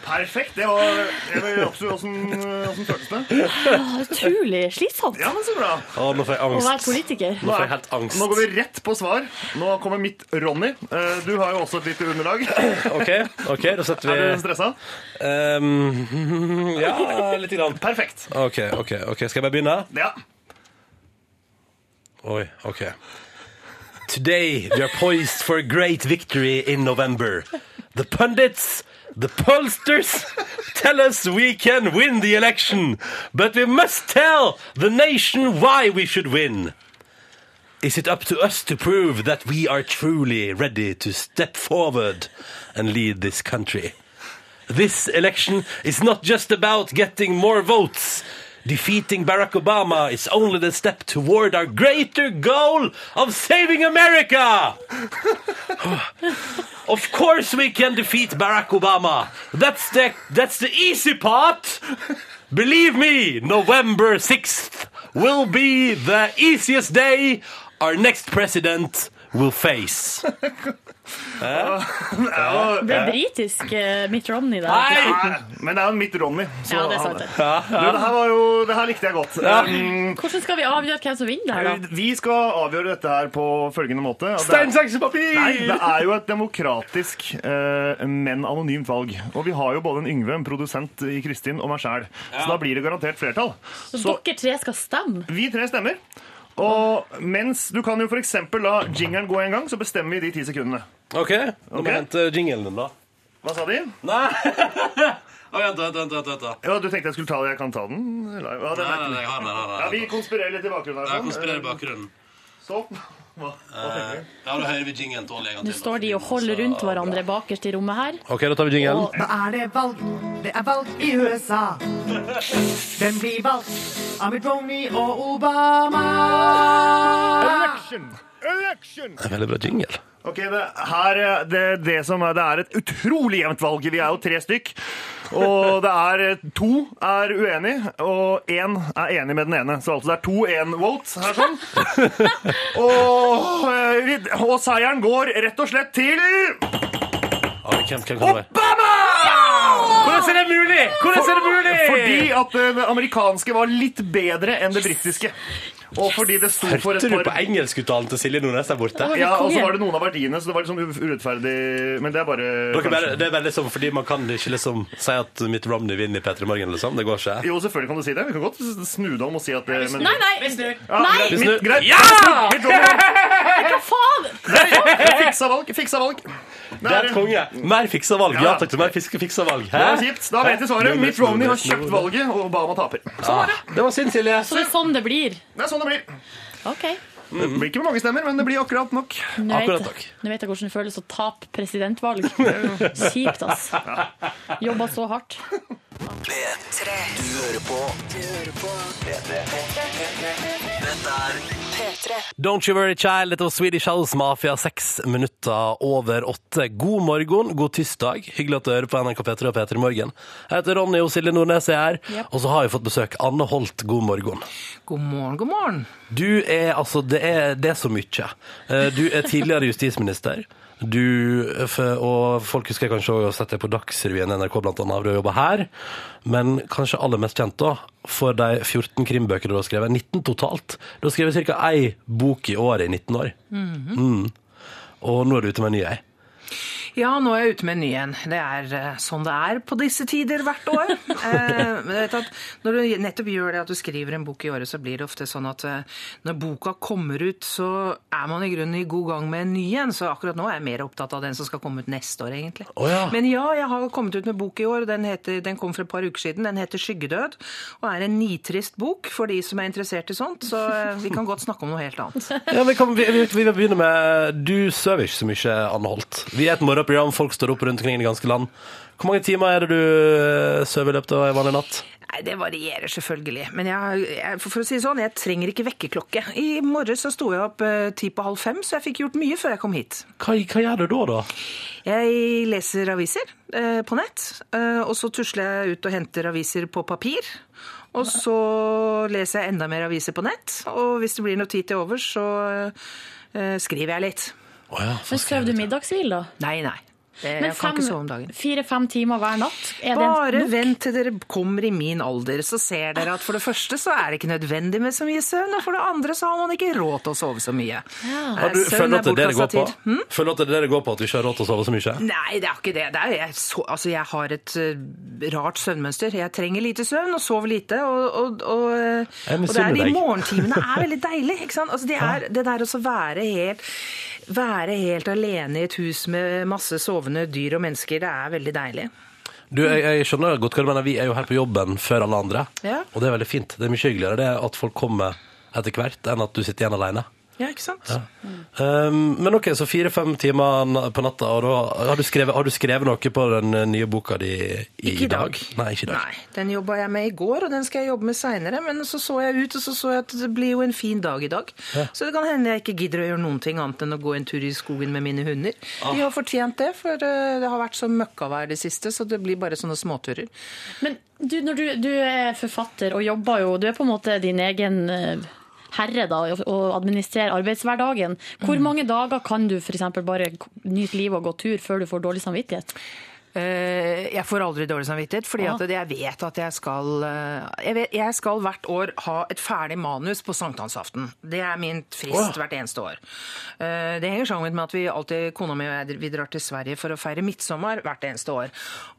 Speaker 8: Perfekt. Det var jeg vil absolutt åssen åssen føltes det.
Speaker 2: Ah, Utrolig slitsomt
Speaker 8: Ja, men så bra.
Speaker 3: Å, nå får jeg
Speaker 2: å være
Speaker 3: angst.
Speaker 2: politiker.
Speaker 3: Nå får jeg helt angst.
Speaker 8: Nå går vi rett på svar. Nå kommer mitt Ronny. Eh, Du har jo også et lite underlag.
Speaker 3: OK, ok, da setter
Speaker 8: Er
Speaker 3: vi
Speaker 8: du stressa?
Speaker 3: Ehm, Ja, litt grann.
Speaker 8: Perfekt.
Speaker 3: OK, ok, ok, skal jeg bare begynne?
Speaker 8: Ja.
Speaker 3: Oi, OK. Today we are poised for a great victory in November. The pundits, the pollsters tell us we can win the election, but we must tell the nation why we should win. Is it up to us to prove that we are truly ready to step forward and lead this country? This election is not just about getting more votes. Defeating Barack Obama is only the step toward our greater goal of saving America. of course, we can defeat Barack Obama. That's the, that's the easy part. Believe me, November 6th will be the easiest day our next president will face.
Speaker 2: Det ble britisk eh, Mitt Romney der.
Speaker 3: Nei!
Speaker 8: Nei, Men det er jo en Mitt Ronny. så
Speaker 2: Ja, det er
Speaker 8: han-
Speaker 2: sant. det.
Speaker 3: Ja,
Speaker 8: Du,
Speaker 3: ja.
Speaker 8: det her var jo Det her likte jeg godt. Um,
Speaker 2: Hvordan skal vi avgjøre hvem som vinner det her, da?
Speaker 8: vi skal avgjøre dette her på følgende måte. at det er-
Speaker 3: Stein, saks, papir!
Speaker 8: Nei, det er jo et demokratisk, eh, men anonymt valg. Og vi har jo både en Yngve, en produsent i Kristin, og meg sjæl. Så da blir det garantert flertall.
Speaker 2: Så
Speaker 8: Så
Speaker 2: dere tre skal stemme?
Speaker 8: vi tre stemmer. Og mens Du kan jo f.eks. la jingeren gå en gang, så bestemmer vi de ti sekundene.
Speaker 3: OK, nå må jeg hente jinglen din, da.
Speaker 8: Hva sa de?
Speaker 3: Nei! Å, vent, vent, vent, vent, vent. da.
Speaker 8: Ja, Du tenkte jeg skulle ta det, jeg kan ta den? Eller- Ja, den
Speaker 3: Nei, nei,
Speaker 8: er,
Speaker 3: nei, jeg har den, jeg har den, jeg
Speaker 8: ja,
Speaker 3: har den.
Speaker 8: vi konspirerer litt i bakgrunnen. her.
Speaker 3: Jeg
Speaker 8: sånn.
Speaker 3: konspirerer i bakgrunnen.
Speaker 8: Så, hva, hva tenker du?
Speaker 3: Ja, da hører vi jinglen til Olje en gang
Speaker 2: Nå
Speaker 3: til, da,
Speaker 2: står de
Speaker 3: fordi
Speaker 2: og holder
Speaker 3: den,
Speaker 2: rundt
Speaker 3: altså,
Speaker 2: hverandre bakerst i rommet her.
Speaker 3: OK, da tar vi jinglen.
Speaker 2: Og
Speaker 9: Da er det valg. Det er valg i USA. Den blir valgt av Mitt Romney og Obama.
Speaker 3: Ah!
Speaker 8: Election! Election!
Speaker 3: Veldig bra jingle.
Speaker 8: Ok, det, her, eh, det, det, som er, det er et utrolig jevnt valg. Vi er jo tre stykk. Og det er eh, to er uenig, og én er enig med den ene. Så altså det er to én votes her sånn. Og, eh, vi- og seieren går rett og slett til
Speaker 3: Oi, hvem, hvem kan det være?
Speaker 8: Hvordan er det mulig? Fordi at eh, det amerikanske var litt bedre enn det britiske. Og fordi det sto for et
Speaker 3: Hørte du på
Speaker 8: par
Speaker 3: engelskuttalen til Silje Nordnes der borte?
Speaker 2: Oi.
Speaker 8: ja, Og så
Speaker 2: Konge.
Speaker 8: var det noen av verdiene, så det var litt sånn u- urettferdig. Men det er bare
Speaker 3: Dere bare, det er bare liksom fordi man kan ikke liksom si at Mitt Romney vinner i P3 Morgen, liksom. Det går ikke.
Speaker 8: Jo, selvfølgelig kan du si det. Vi kan godt s- snu det om og si at det men...
Speaker 2: Nei, nei! Nei!
Speaker 3: Hvis du-
Speaker 8: Mitt, greit.
Speaker 3: Ja!
Speaker 8: Mitt rommet.
Speaker 2: Hva faen?
Speaker 8: Fiksa valg, fiksa valg.
Speaker 3: Det er konge. Mer fiksa valg. Ja takk til mer fiske fiksa valg.
Speaker 8: Det var
Speaker 3: Hæ?
Speaker 8: kjipt. Da vet vi svaret. Mitt Romney har kjøpt valget, og Obama taper.
Speaker 3: Ah, det var synd, Silje.
Speaker 2: Så det er sånn det blir.
Speaker 8: Det er sånn det blir.
Speaker 2: OK.
Speaker 8: Det blir ikke med mange stemmer, men det blir akkurat nok.
Speaker 2: Nå
Speaker 3: Akkurat
Speaker 2: vet,
Speaker 3: takk.
Speaker 2: nå vet jeg hvordan det føles å tape presidentvalg. Kjipt, ass. Jobba så hardt.
Speaker 5: P3. Du hører på. Du hører på. Dette er P3.
Speaker 3: Don't you worry, child. Dette var Swedish House Mafia, seks minutter over åtte. God morgen, god tirsdag. Hyggelig at du hører på NRK P3 og P3 Morgen. Jeg heter Ronny og Silje Nordnes er her, og så har vi fått besøk. Anne Holt, god morgen.
Speaker 9: God morgen, god morgen.
Speaker 3: Du er altså Det er, det er så mye. Eh, Du er tidligere justisminister. Du, f- og folk husker kanskje også å sette deg på Dagsrevyen i NRK blant annet, du har jobbet her. Men kanskje aller mest kjent da, for de 14 krimbøkene du har skrevet. 19 totalt. Du har skrevet ca. ei bok i året i 19 år. Mm. Og nå er du ute med en ny ei.
Speaker 9: Ja, nå er jeg ute med en ny en. Det er eh, sånn det er på disse tider hvert år. Eh, men du vet at når du nettopp gjør det at du skriver en bok i året, så blir det ofte sånn at eh, når boka kommer ut, så er man i grunnen i god gang med en ny en. Så akkurat nå er jeg mer opptatt av den som skal komme ut neste år, egentlig.
Speaker 3: Å ja.
Speaker 9: Men ja, jeg har kommet ut med bok i år. og Den, heter, den kom for et par uker siden. Den heter 'Skyggedød', og er en nitrist bok for de som er interessert i sånt. Så eh, vi kan godt snakke om noe helt annet.
Speaker 3: Ja, vi, kan, vi, vi, vi vil begynne med Du sover ikke så mye, Anne Holt. Vi er et morgenprogram, folk står opp rundt omkring i det ganske land. Hvor mange timer er det du eh, sover i løpet av en vanlig natt?
Speaker 9: Nei, Det varierer selvfølgelig. Men jeg, jeg, for, for å si det sånn, jeg trenger ikke vekkerklokke. I morges så sto jeg opp eh, ti på halv fem, så jeg fikk gjort mye før jeg kom hit.
Speaker 3: Hva, hva gjør du da, da?
Speaker 9: Jeg leser aviser eh, på nett, eh, og så tusler jeg ut og henter aviser på papir. Og så leser jeg enda mer aviser på nett, og hvis det blir noe tid til overs, så eh, skriver jeg litt.
Speaker 3: Å ja,
Speaker 2: Men sover du middagshvil, da?
Speaker 9: Nei, nei. Det,
Speaker 2: Men
Speaker 9: jeg kan ikke sove om dagen.
Speaker 2: fire-fem timer hver natt? Er det
Speaker 9: Bare
Speaker 2: nok?
Speaker 9: vent til dere kommer i min alder, så ser dere at for det første så er det ikke nødvendig med så mye søvn, og for det andre så har man ikke råd til å sove så mye. Eh,
Speaker 3: Har du,
Speaker 9: søvn
Speaker 3: føler du at
Speaker 9: er
Speaker 3: det er det det går
Speaker 9: bortkastet
Speaker 3: på?
Speaker 9: tid. Mm.
Speaker 3: Føler du at det er det det går på at du ikke har råd til å sove så mye?
Speaker 9: Nei, det er ikke det. det er, jeg, så, altså, jeg har et eh, rart søvnmønster. Jeg trenger lite søvn og sover lite. Og, og, og, eh,
Speaker 3: Jeg
Speaker 9: og det er
Speaker 3: misunner
Speaker 9: de
Speaker 3: deg.
Speaker 9: morgentimene er veldig deilig. Ikke sant? Altså, det, er, det der å være helt, være helt alene i et hus med masse sovende dyr og mennesker, det er veldig deilig.
Speaker 3: Du, jeg, jeg skjønner godt hva du mener. Vi er jo her på jobben før alle andre.
Speaker 9: Ja.
Speaker 3: Og det er veldig fint. Det er mye hyggeligere det at folk kommer etter hvert, enn at du sitter igjen alene.
Speaker 9: Ja, ikke sant?
Speaker 3: Um, men ok, så fire-fem timer na- på natta, og da har du, skrevet, har du skrevet noe på den nye boka di i,
Speaker 9: Ikke i dag.
Speaker 3: Nei, ikke i dag.
Speaker 9: Nei, Den jobba jeg med i går, og den skal jeg jobbe med seinere. Men så så jeg ut, og så så jeg at det blir jo en fin dag i dag. Så det kan hende jeg ikke gidder å gjøre noen ting annet enn å gå en tur i skogen med mine hunder. De har fortjent det, for eh, det har vært så møkkavær det siste, så det blir bare sånne småturer.
Speaker 2: Men du, når du, du er forfatter og jobber jo Du er på en måte din egen eh, herre da, i å- å administrere arbeidshverdagen.
Speaker 9: Mm.
Speaker 2: Hvor mange dager kan du f.eks. bare k- nyte livet og gå tur før du får dårlig samvittighet?
Speaker 9: Eh, Jeg får aldri dårlig samvittighet, fordi at jeg vet at jeg skal eh, jeg, vet, jeg skal hvert år ha et ferdig manus på sankthansaften. Det er min frist hvert eneste år. Eh, Det henger sammen med at vi alltid, kona mi og jeg vi drar til Sverige for å feire midtsommer hvert eneste år.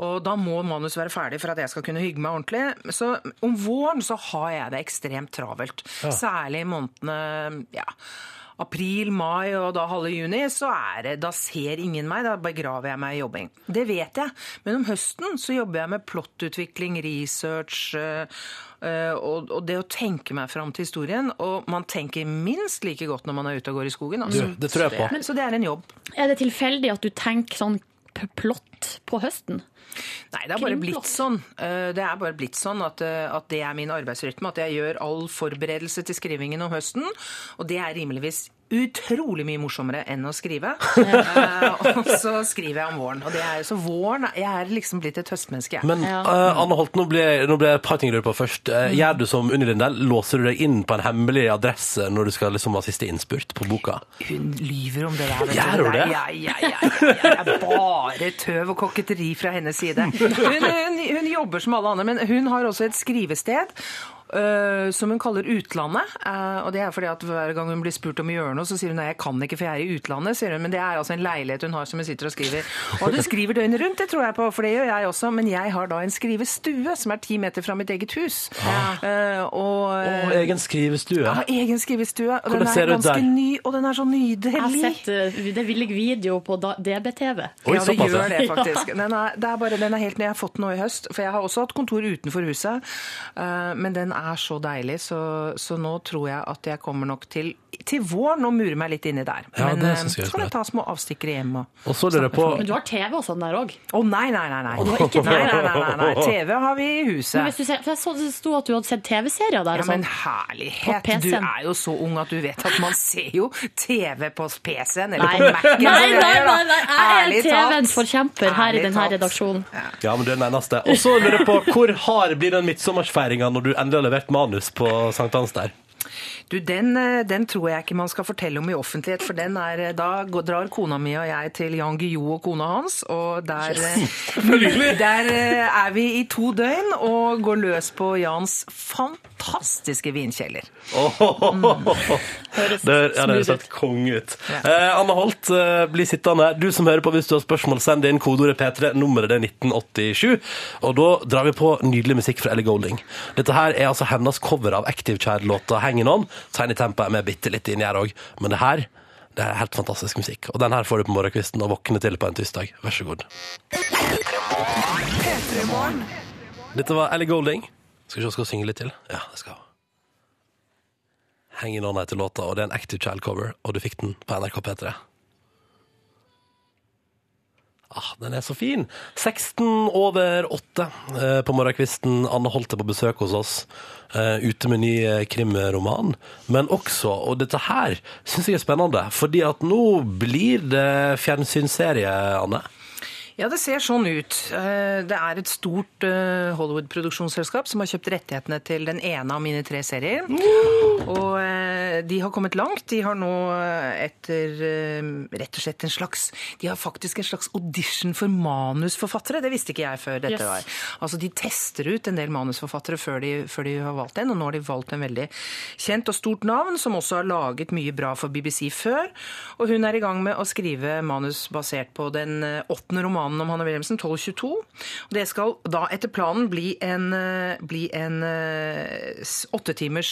Speaker 9: Og da må manus være ferdig for at jeg skal kunne hygge meg ordentlig. Så om våren så har jeg det ekstremt travelt. Særlig i månedene ja, april, mai og da halve juni, så er det, da ser ingen meg, da begraver jeg meg i jobbing. Det vet jeg, men om høsten så jobber jeg med plottutvikling, research, øh, øh, og, og det å tenke meg fram til historien, og man tenker minst like godt når man er ute og går i skogen. Altså.
Speaker 3: Du, det tror jeg
Speaker 9: Så
Speaker 3: på.
Speaker 9: det, er- så det er en jobb.
Speaker 2: Er det tilfeldig at du tenker sånn p- plott på høsten?
Speaker 9: Nei, det har bare
Speaker 2: Kringplott.
Speaker 9: blitt sånn. Eh, Det er bare blitt sånn at, eh, at det er min arbeidsrytme. At jeg gjør all forberedelse til skrivingen om høsten. Og det er rimeligvis utrolig mye morsommere enn å skrive. Eh, og så skriver jeg om våren. Og det er, så våren Jeg er liksom blitt et høstmenneske. jeg.
Speaker 3: Men eh, Anne Holt, nå ble, nå ble jeg et par ting jeg lurer på først. Eh,
Speaker 9: Mm.
Speaker 3: Gjør du som Unni Lindell, låser du deg inn på en hemmelig adresse når du skal liksom ha siste innspurt på boka?
Speaker 9: Hun lyver om det der. vet du.
Speaker 3: Gjør hun det?
Speaker 9: Ja, ja, ja, ja, ja. Det er bare tøv og koketteri fra hennes side. Hun, hun, hun jobber som alle andre, men hun har også et skrivested. øh, som hun kaller utlandet. Eh, og det er fordi at Hver gang hun blir spurt om å gjøre noe, så sier hun nei, jeg kan ikke, for jeg er i utlandet. sier hun, Men det er altså en leilighet hun har som hun sitter og skriver. Og du skriver døgnet rundt, det tror jeg på, for det gjør jeg også. Men jeg har da en skrivestue som er ti meter fra mitt eget hus. Eh, og,
Speaker 3: Å, egen skrivestue.
Speaker 9: jeg har egen skrivestue, og
Speaker 3: Hvordan
Speaker 9: den
Speaker 3: ser
Speaker 9: er
Speaker 3: det ut
Speaker 9: ganske
Speaker 3: der?
Speaker 9: ny, og den er så
Speaker 2: Jeg har
Speaker 9: nydelig.
Speaker 2: sett eh, det ligger video på da- DBTV.
Speaker 3: Oi,
Speaker 9: ja, det
Speaker 3: såpass.
Speaker 9: gjør det
Speaker 2: ja.
Speaker 9: faktisk. Den er, det er bare, den er helt ny. Jeg har fått den nå i høst, for jeg har også hatt kontor utenfor huset. Eh, men den er så deilig, så, så nå tror jeg at jeg kommer nok til til våren og murer meg litt inni der.
Speaker 3: Ja,
Speaker 9: men
Speaker 3: det
Speaker 9: eh,
Speaker 3: synes jeg er
Speaker 9: så kan
Speaker 3: smart.
Speaker 9: jeg ta små avstikkere hjem og
Speaker 3: Og så lurer jeg på
Speaker 2: Men du har TV og sånn der òg.
Speaker 9: Å nei, nei, nei, nei.
Speaker 3: du har ikke-
Speaker 9: nei, nei, nei, nei, nei. TV har vi i huset.
Speaker 2: For jeg så det sto at du hadde sett TV-serier der.
Speaker 9: Ja,
Speaker 2: og
Speaker 9: men
Speaker 2: sånn.
Speaker 9: herlighet,
Speaker 2: På
Speaker 9: du
Speaker 2: PC-en.
Speaker 9: er jo så ung at du vet at man ser jo TV på PC-en eller
Speaker 2: Nei,
Speaker 9: på
Speaker 2: nei,
Speaker 9: Mac-en.
Speaker 2: nei,
Speaker 9: som
Speaker 2: nei,
Speaker 9: det
Speaker 2: nei,
Speaker 9: gjør, da.
Speaker 2: jeg
Speaker 9: Ærlig
Speaker 2: er TV-ens
Speaker 9: talt.
Speaker 2: forkjemper her i
Speaker 9: Ærlig
Speaker 2: denne
Speaker 9: talt.
Speaker 2: redaksjonen.
Speaker 3: Ja, men du er den eneste. Og så lurer jeg på hvor hard blir den midtsommersfeiringa når du endelig har levert manus på sankthans der?
Speaker 9: Du, den, eh, den tror jeg ikke man skal fortelle om i offentlighet, for den er, eh, da går- drar kona mi og jeg til Jan Guillou og kona hans, og der, eh, der eh, er vi i to døgn og går løs på Jans fantastiske vinkjeller.
Speaker 3: Det, ja, det høres helt konge ut. Eh, Anne Holt, eh, bli sittende. Du som hører på, hvis du har spørsmål, send inn kodeordet P3. Nummeret det er 1987. Og da drar vi på nydelig musikk fra Ellie Golding. Dette her er altså hennes cover av Active Child-låta 'Hanging On'. Tiny Tempo er med bitte litt inni her òg. Men det her det er helt fantastisk musikk. Og den her får du på morgenkvisten og våkne til på en tirsdag. Vær så god. Dette var Ellie Golding. Skal vi se om jeg skal synge litt til? Ja, det skal jeg. Hanging On heter låta, og det er en Active Child-cover, og du fikk den på NRK P3. Ah, den er så fin! 16 over 8 eh, på morgenkvisten. Anne Holt er på besøk hos oss, eh, ute med ny eh, krimroman. Men også, og dette her syns jeg er spennende, fordi at nå blir det fjernsynsserie, Anne.
Speaker 9: Ja, det ser sånn ut. Eh, Det er et stort eh, Hollywood-produksjonsselskap som har kjøpt rettighetene til den ene av mine tre serier. Og eh, de har kommet langt. De har nå eh, etter eh, rett og slett en slags De har faktisk en slags audition for manusforfattere. Det visste ikke jeg før dette
Speaker 2: Yes.
Speaker 9: var. Altså, de tester ut en del manusforfattere før de, før de har valgt en, og nå har de valgt en veldig kjent og stort navn, som også har laget mye bra for BBC før. Og hun er i gang med å skrive manus basert på den eh, åttende romanen om Hanne Wilhelmsen, 1222. Og det skal da etter planen bli en, eh, bli en eh, s- åttetimers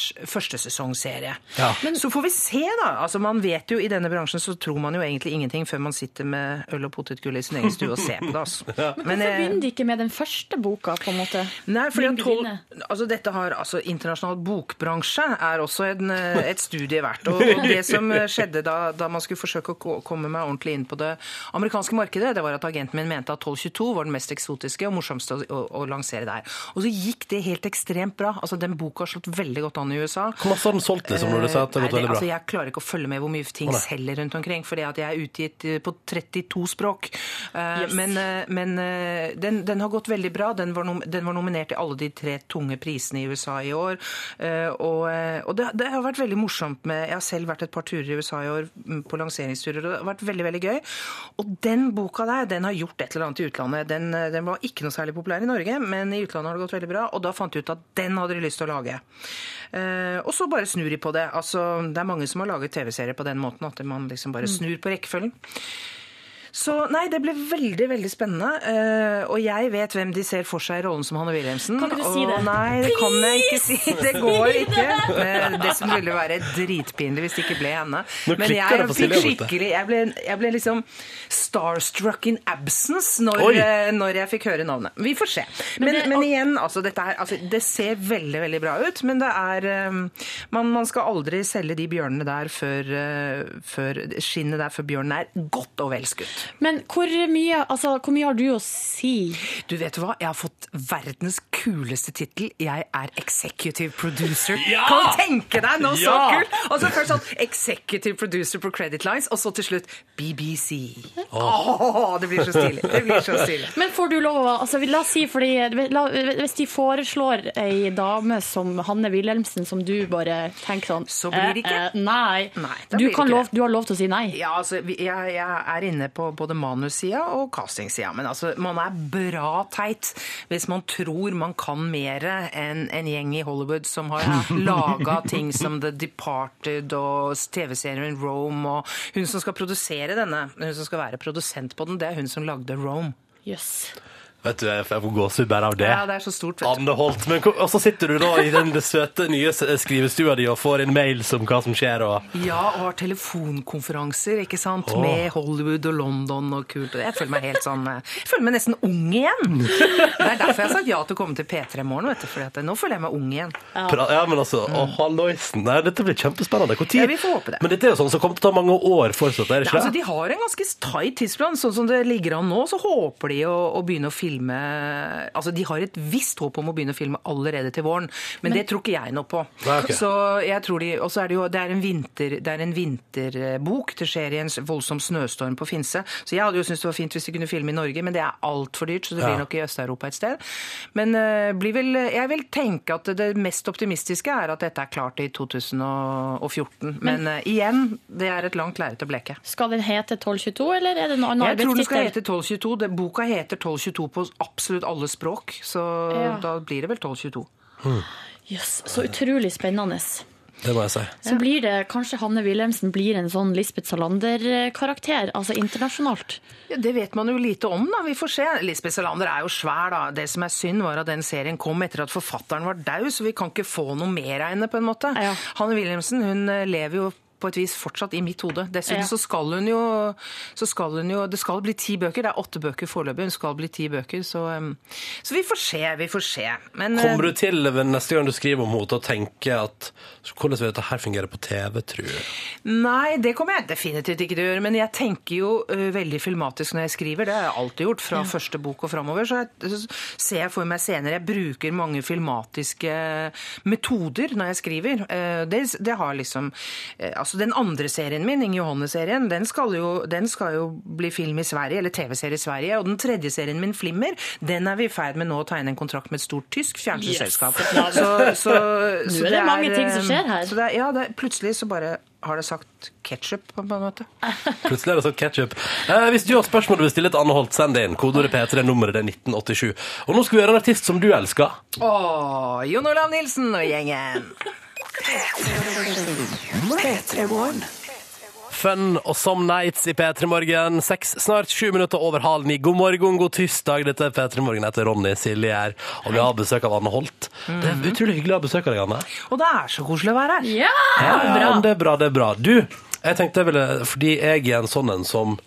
Speaker 9: førstesesongserie.
Speaker 3: Ja.
Speaker 9: Men så får vi se, da. Altså, man vet jo, I denne bransjen så tror man jo egentlig ingenting før man sitter med øl og potetgull i sin egen stue og ser på det. altså. Men,
Speaker 2: Hvorfor
Speaker 9: eh,
Speaker 2: begynner de ikke med den første boka, på en måte?
Speaker 9: Nei, fordi at
Speaker 2: Begynner
Speaker 9: tolv,
Speaker 2: de med?
Speaker 9: altså dette har, altså Internasjonal bokbransje er også en, eh, et studie verdt. Og, og det som eh, skjedde da, da man skulle forsøke å ko- komme meg ordentlig inn på det amerikanske markedet, det var at agenten min min mente at 1222 var den mest eksotiske og morsomste å, å, å lansere der. Og så gikk det helt ekstremt bra. Altså, Den boka har slått veldig godt an i USA.
Speaker 3: Hvor masse har den solgt, liksom, når du sier at det har
Speaker 9: Nei,
Speaker 3: gått veldig
Speaker 9: Altså,
Speaker 3: bra?
Speaker 9: jeg klarer ikke å følge med hvor mye ting
Speaker 3: Å, nei.
Speaker 9: selger rundt omkring, fordi at jeg er utgitt eh, på 32 språk. Eh, Men, eh, men eh, den, den har gått veldig bra. Den var, nom den var nominert til alle de tre tunge prisene i USA i år. Eh, Og, eh, og det, det har vært veldig morsomt med Jeg har selv vært et par turer i USA i år mm, på lanseringsturer, og det har vært veldig, veldig gøy. Og den boka der, den har gjort et eller annet i utlandet. Den, eh, den var ikke noe særlig populær i Norge, men i utlandet har det gått veldig bra, og da fant de ut at den hadde de lyst til å lage. Eh, og så bare snur de på det. Altså, det er mange som har laget TV-serier på den måten, at man liksom
Speaker 2: Mm.
Speaker 9: bare snur på rekkefølgen. Så nei, det ble veldig, veldig spennende. eh, og jeg vet hvem de ser for seg i rollen som Hanne Wilhelmsen.
Speaker 2: Kan ikke du si
Speaker 9: og
Speaker 2: det?
Speaker 9: Nei, det kan jeg ikke si. Det går ikke. Eh, Det som ville være dritpinlig hvis det ikke ble henne.
Speaker 3: Nå
Speaker 9: Men
Speaker 3: klikker det
Speaker 9: jeg
Speaker 3: på
Speaker 9: fikk
Speaker 3: Silje borte.
Speaker 9: skikkelig Jeg ble, jeg ble liksom starstruck in absence når,
Speaker 3: Oi.
Speaker 9: eh, når jeg fikk høre navnet. Vi får se. Men, men, igjen, altså, dette her, altså, det ser veldig, veldig bra ut, men det er eh, man, man skal aldri selge de bjørnene der før, eh, før skinnet der før bjørnen er godt og velskutt.
Speaker 2: Men hvor mye, altså, hvor mye har du å si?
Speaker 9: Du vet hva, jeg har fått verdens kuleste tittel. Jeg er executive producer.
Speaker 3: Ja!
Speaker 9: Kan du tenke deg noe så
Speaker 3: Ja!
Speaker 9: kult? Og så først sånn executive producer på Credit Lines, og så til slutt BBC. Åh, det blir så stilig. Det blir så stilig.
Speaker 2: Men får du lov å altså, La oss si, fordi la, Hvis de foreslår ei dame som Hanne Wilhelmsen, som du bare tenker sånn
Speaker 9: Så blir det ikke.
Speaker 2: eh, eh, Nei.
Speaker 9: Nei,
Speaker 2: du,
Speaker 9: da blir det
Speaker 2: kan
Speaker 9: ikke
Speaker 2: lov,
Speaker 9: det.
Speaker 2: du har lov til å si nei.
Speaker 9: Ja, altså, vi- jeg, jeg er inne på både manussida og castingsida, men altså, man er bra teit hvis man tror man kan mer enn en gjeng i Hollywood som har laga ting som The Departed og TV-serien Rome, og hun som skal produsere denne, hun som skal være produsent på den, det er hun som lagde Rome.
Speaker 2: Jøss.
Speaker 3: Vet du, jeg får gåsehud bare av det.
Speaker 9: Ja, det er så stort, vet du.
Speaker 3: Anne Holt. Men, hvor- og så sitter du da i den søte nye s- skrivestua di og får en mail som hva som skjer og
Speaker 9: Ja, og har telefonkonferanser, ikke sant,
Speaker 3: Åh.
Speaker 9: med Hollywood og London og kult. og Jeg føler meg helt sånn eh, Jeg føler meg nesten ung igjen. Det er derfor jeg har sagt ja til å komme til P3 i morgen, vet du, for nå føler jeg meg ung igjen.
Speaker 3: Pra ja, men altså, å, halloisen. Nei, dette blir kjempespennende. Hvor tid?
Speaker 9: Ja, vi får håpe det.
Speaker 3: Men dette er jo sånn som kommer til å ta mange år fortsatt, er det
Speaker 9: Ja,
Speaker 3: ikke
Speaker 9: altså,
Speaker 3: det?
Speaker 9: de har en ganske tight tidsplan. Sånn som det ligger an nå, så håper de å, å begynne å filme Altså, de har et visst håp om å begynne å filme allerede til våren, men, det tror ikke jeg noe på.
Speaker 3: Nei, ok.
Speaker 9: Så jeg tror de Og så er det jo Det er en vinter Det er en vinterbok. Det skjer i en voldsom snøstorm på Finse. Så jeg hadde jo syntes det var fint hvis de kunne filme i Norge, men det er altfor dyrt, så det
Speaker 3: Ja.
Speaker 9: blir nok i Øst-Europa et sted. Men eh, blir vel Jeg vil tenke at det mest optimistiske er at dette er klart i 2014. Men, eh, igjen, det er et langt lerret å bleke.
Speaker 2: Skal den hete 1222, eller er det en annen
Speaker 9: Jeg tror den skal hete
Speaker 2: arbeidstittel?
Speaker 9: 1222. Det- Boka heter 1222 på absolutt alle språk, så
Speaker 2: Ja.
Speaker 9: da blir det vel 1222.
Speaker 2: Jøss, så utrolig spennende.
Speaker 3: Det må jeg si.
Speaker 2: Så blir det kanskje Hanne Wilhelmsen blir en sånn Lisbeth Salander-karakter, altså internasjonalt.
Speaker 9: Ja, det vet man jo lite om, da. Vi får se. Lisbeth Salander er jo svær, da. Det som er synd, var at den serien kom etter at forfatteren var daud, så vi kan ikke få noe mer av henne, på en måte.
Speaker 2: Ja.
Speaker 9: Hanne Wilhelmsen, hun eh, lever jo på et vis fortsatt i mitt hode. Dessuten
Speaker 2: Ja.
Speaker 9: så skal hun jo så skal hun jo, Det skal bli ti bøker. Det er åtte bøker foreløpig. Hun skal bli ti bøker, så eh, Så vi får se, vi får se. Men eh,
Speaker 3: Kommer du til ved neste gang du skriver om henne, til å tenke at hvordan vil dette her fungere på TV, tror jeg?
Speaker 9: Nei, det kommer jeg definitivt ikke til å gjøre. Men jeg tenker jo ø, veldig filmatisk når jeg skriver. Det har jeg alltid gjort, fra første bok og framover. Så, jeg, så ser jeg for meg senere. Jeg bruker mange filmatiske metoder når jeg skriver. Eh, Det, det har liksom eh, Altså, den andre serien min, Inge Johanne-serien, den, skal jo- den skal jo bli film i Sverige, eller TV-serie i Sverige. Og den tredje serien min, Flimmer, den er vi i ferd med nå å tegne en kontrakt med et stort tysk fjernsynsselskap. Så, så, så
Speaker 2: det mange ting som
Speaker 9: eh,
Speaker 2: skjer her.
Speaker 9: Så det er, ja, det, plutselig så bare har det sagt ketsjup, på en måte.
Speaker 3: Plutselig har det sagt ketchup. Eh, hvis du har et spørsmål du vil stille til Anne Holt, send det inn. Kodeordet P3, nummeret det er 1987. Og nå skal vi høre en artist som du elsker.
Speaker 9: Åh, Jon Olav Nilsen og gjengen!
Speaker 3: Fun og Some Nights i P3 Morgen. Seks, snart sju minutter over halv ni. God morgen, god tirsdag. Dette er P3 Morgen. Jeg heter Ronny Silje her, og vi har besøk av Anne Holt. Det er utrolig hyggelig å ha besøk av deg, Anne.
Speaker 9: Og det er så koselig å være her.
Speaker 2: Ja!
Speaker 3: Ja, ja, men Det er bra, det er bra. Du, jeg tenkte jeg ville Fordi jeg er en sånn en som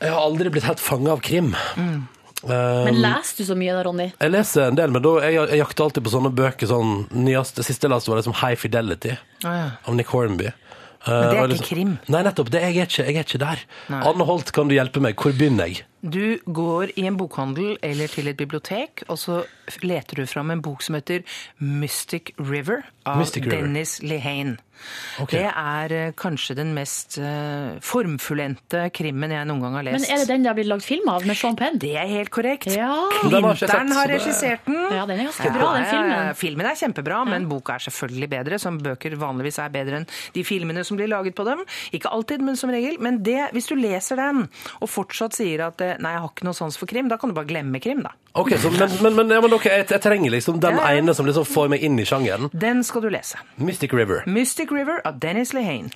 Speaker 3: Jeg har aldri blitt helt fanga av krim. Eh,
Speaker 2: Men leser du så mye da, Ronny?
Speaker 3: jeg leser en del, men da, jeg, jeg jakter alltid på sånne bøker. Sånn, nyeste, siste jeg leste, var liksom High Fidelity
Speaker 9: ja.
Speaker 3: av Nick Hornby.
Speaker 9: Men det
Speaker 3: Eh,
Speaker 9: er
Speaker 3: og
Speaker 9: ikke krim.
Speaker 3: Nei, nettopp. Det, jeg, er ikke, jeg er ikke der. Anne Holt, kan du hjelpe meg? Hvor begynner jeg?
Speaker 9: Du går i en bokhandel eller til et bibliotek, og så leter du fram en bok som heter Mystic River av
Speaker 3: Mystic River.
Speaker 9: Dennis Lehane.
Speaker 3: Ok.
Speaker 9: Det er eh, kanskje den mest eh, formfullendte krimmen jeg noen gang har
Speaker 2: Men
Speaker 9: lest.
Speaker 2: er det den det har blitt lagd film av, med Sean Penn?
Speaker 9: Det er helt korrekt.
Speaker 2: Ja.
Speaker 3: Den har ikke jeg
Speaker 9: Klinteren
Speaker 3: sett, så
Speaker 9: har
Speaker 3: det-
Speaker 9: regissert den.
Speaker 2: Ja, den er ganske bra, den
Speaker 9: Ja, ja, ja.
Speaker 2: filmen.
Speaker 9: Filmen er kjempebra, men boka er selvfølgelig bedre, som bøker vanligvis er bedre enn de filmene som blir laget på dem. Ikke alltid, men som regel. Men det, hvis du leser den, og fortsatt sier at eh, nei, jeg har ikke noe sans for krim, da kan du bare glemme krim, da.
Speaker 3: Ok, så, men, men, men, ja, men ok, jeg, jeg trenger liksom den
Speaker 9: Ja, ja.
Speaker 3: ene som liksom får meg inn i sjangeren.
Speaker 9: Den skal du lese.
Speaker 3: Mystic River.
Speaker 9: Mystic River av Dennis Lehane.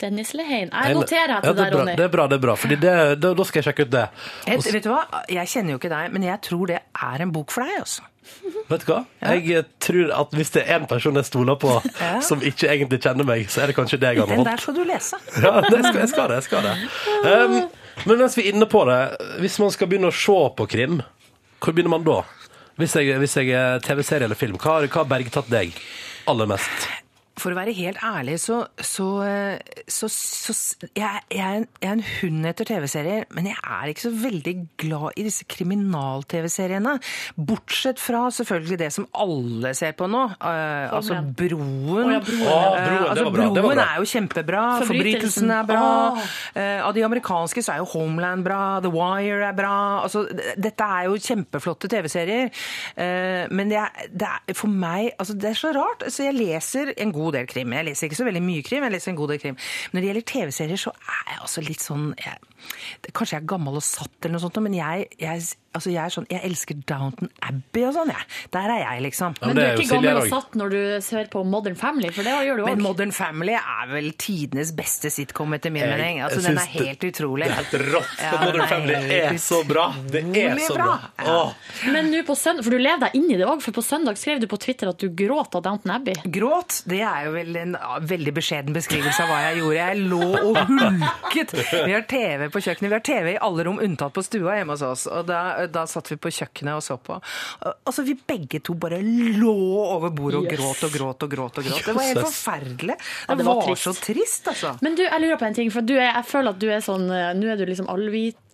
Speaker 2: Dennis Lehane. Jeg noterer
Speaker 3: Ja,
Speaker 2: etter det
Speaker 3: det er
Speaker 2: der,
Speaker 3: bra,
Speaker 2: Ronny.
Speaker 3: Det er bra, det er bra, fordi det, det, da skal jeg sjekke ut det.
Speaker 9: Jeg,
Speaker 3: Og så-
Speaker 9: vet du hva? Jeg kjenner jo ikke deg, men jeg tror det er en bok for deg, altså.
Speaker 3: Vet du hva? Jeg eh, tror at hvis det er en person jeg stoler på
Speaker 9: Ja.
Speaker 3: som ikke egentlig kjenner meg, så er det kanskje deg, Anne
Speaker 9: Den
Speaker 3: Holt.
Speaker 9: der skal du lese.
Speaker 3: Ja, det skal, jeg skal det. Jeg skal det. Um, men mens vi er inne på det, hvis man skal begynne å se på krim, hvor begynner man da? Hvis jeg, hvis jeg er TV-serie eller film, hva har, hva har bergtatt deg aller mest?
Speaker 9: For å være helt ærlig, så, så, så, så jeg, jeg, er en, jeg er en hund etter TV-serier, men jeg er ikke så veldig glad i disse kriminal-TV-seriene. Bortsett fra selvfølgelig det som alle ser på nå, eh, altså
Speaker 2: igjen.
Speaker 9: Broen.
Speaker 2: Å, ja, Broen.
Speaker 3: Å,
Speaker 9: Eh,
Speaker 3: Broen, det
Speaker 9: altså,
Speaker 3: var bra, det var
Speaker 9: broen
Speaker 3: bra.
Speaker 9: er jo kjempebra,
Speaker 2: Forbrytelsen.
Speaker 9: Forbrytelsen er bra. Eh, Av de amerikanske så er jo Homeland bra, The Wire er bra. Altså, d- dette er jo kjempeflotte TV-serier. Eh, Men det er, det er for meg altså, Det er så rart. Altså, jeg leser en god del krim. Jeg leser ikke så veldig mye krim, jeg leser en god del krim. Men når det gjelder TV-serier, så er jeg altså litt sånn jeg, det, Kanskje jeg er gammel og satt, eller noe sånt, men jeg, jeg, altså, jeg, er sånn, jeg elsker Downton Abbey og sånn, jeg. Der er jeg, liksom.
Speaker 3: Ja, men
Speaker 2: Men du
Speaker 3: det
Speaker 2: er
Speaker 3: er jo
Speaker 2: ikke
Speaker 3: Silje
Speaker 2: gammel og
Speaker 3: Rag.
Speaker 2: satt når du ser på Modern Family, for det gjør du
Speaker 9: Men
Speaker 2: òg.
Speaker 9: Modern Family er vel tidenes beste sitcom, etter min
Speaker 3: Jeg-
Speaker 9: mening. Altså,
Speaker 3: jeg
Speaker 9: den er
Speaker 3: syns det-
Speaker 9: helt utrolig.
Speaker 3: Det er helt rått.
Speaker 9: Ja,
Speaker 3: for Modern
Speaker 9: det er
Speaker 3: Family er
Speaker 9: helt
Speaker 3: så bra. Det er
Speaker 9: utrolig
Speaker 3: så bra.
Speaker 9: bra. Ja.
Speaker 3: Åh.
Speaker 2: Men nå på søndag, for du lever deg inn i det òg, for på søndag skrev du på Twitter at du gråt av Downton Abbey.
Speaker 9: Gråt, det er jo vel en ja, veldig beskjeden beskrivelse av hva jeg gjorde. Jeg lå og hulket. Vi har TV på kjøkkenet. Vi har TV i alle rom unntatt på stua hjemme hos oss. Og da, da satt vi på kjøkkenet og så på. Og så vi begge to bare lå over bordet og
Speaker 2: Yes.
Speaker 9: gråt og gråt og gråt. og gråt. Det var helt
Speaker 3: Jesus.
Speaker 9: forferdelig.
Speaker 2: Ja,
Speaker 9: Det var så trist, altså.
Speaker 2: Men du, jeg lurer på en ting, for du er, jeg føler at du er sånn eh, Nå er du liksom allvitende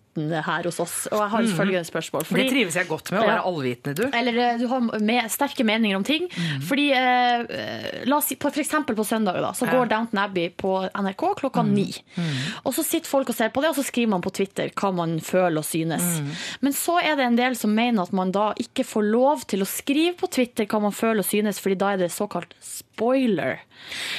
Speaker 2: her hos oss, og jeg har følgende spørsmål.
Speaker 9: Det trives jeg godt med, å
Speaker 2: Ja.
Speaker 9: være allvitende, du.
Speaker 2: Eller eh, du har med, sterke meninger om ting.
Speaker 9: Mm.
Speaker 2: Fordi, eh, eh, la oss si, på, for eksempel på søndag, da, så går Downton Abbey på NRK klokka
Speaker 9: Mm.
Speaker 2: ni. Og så sitter folk og ser på det, og så skriver man på Twitter hva man føler og synes.
Speaker 9: Mm.
Speaker 2: Men så er det en del som mener at man da ikke får lov til å skrive på Twitter hva man føler og synes, fordi da er det såkalt spoiler.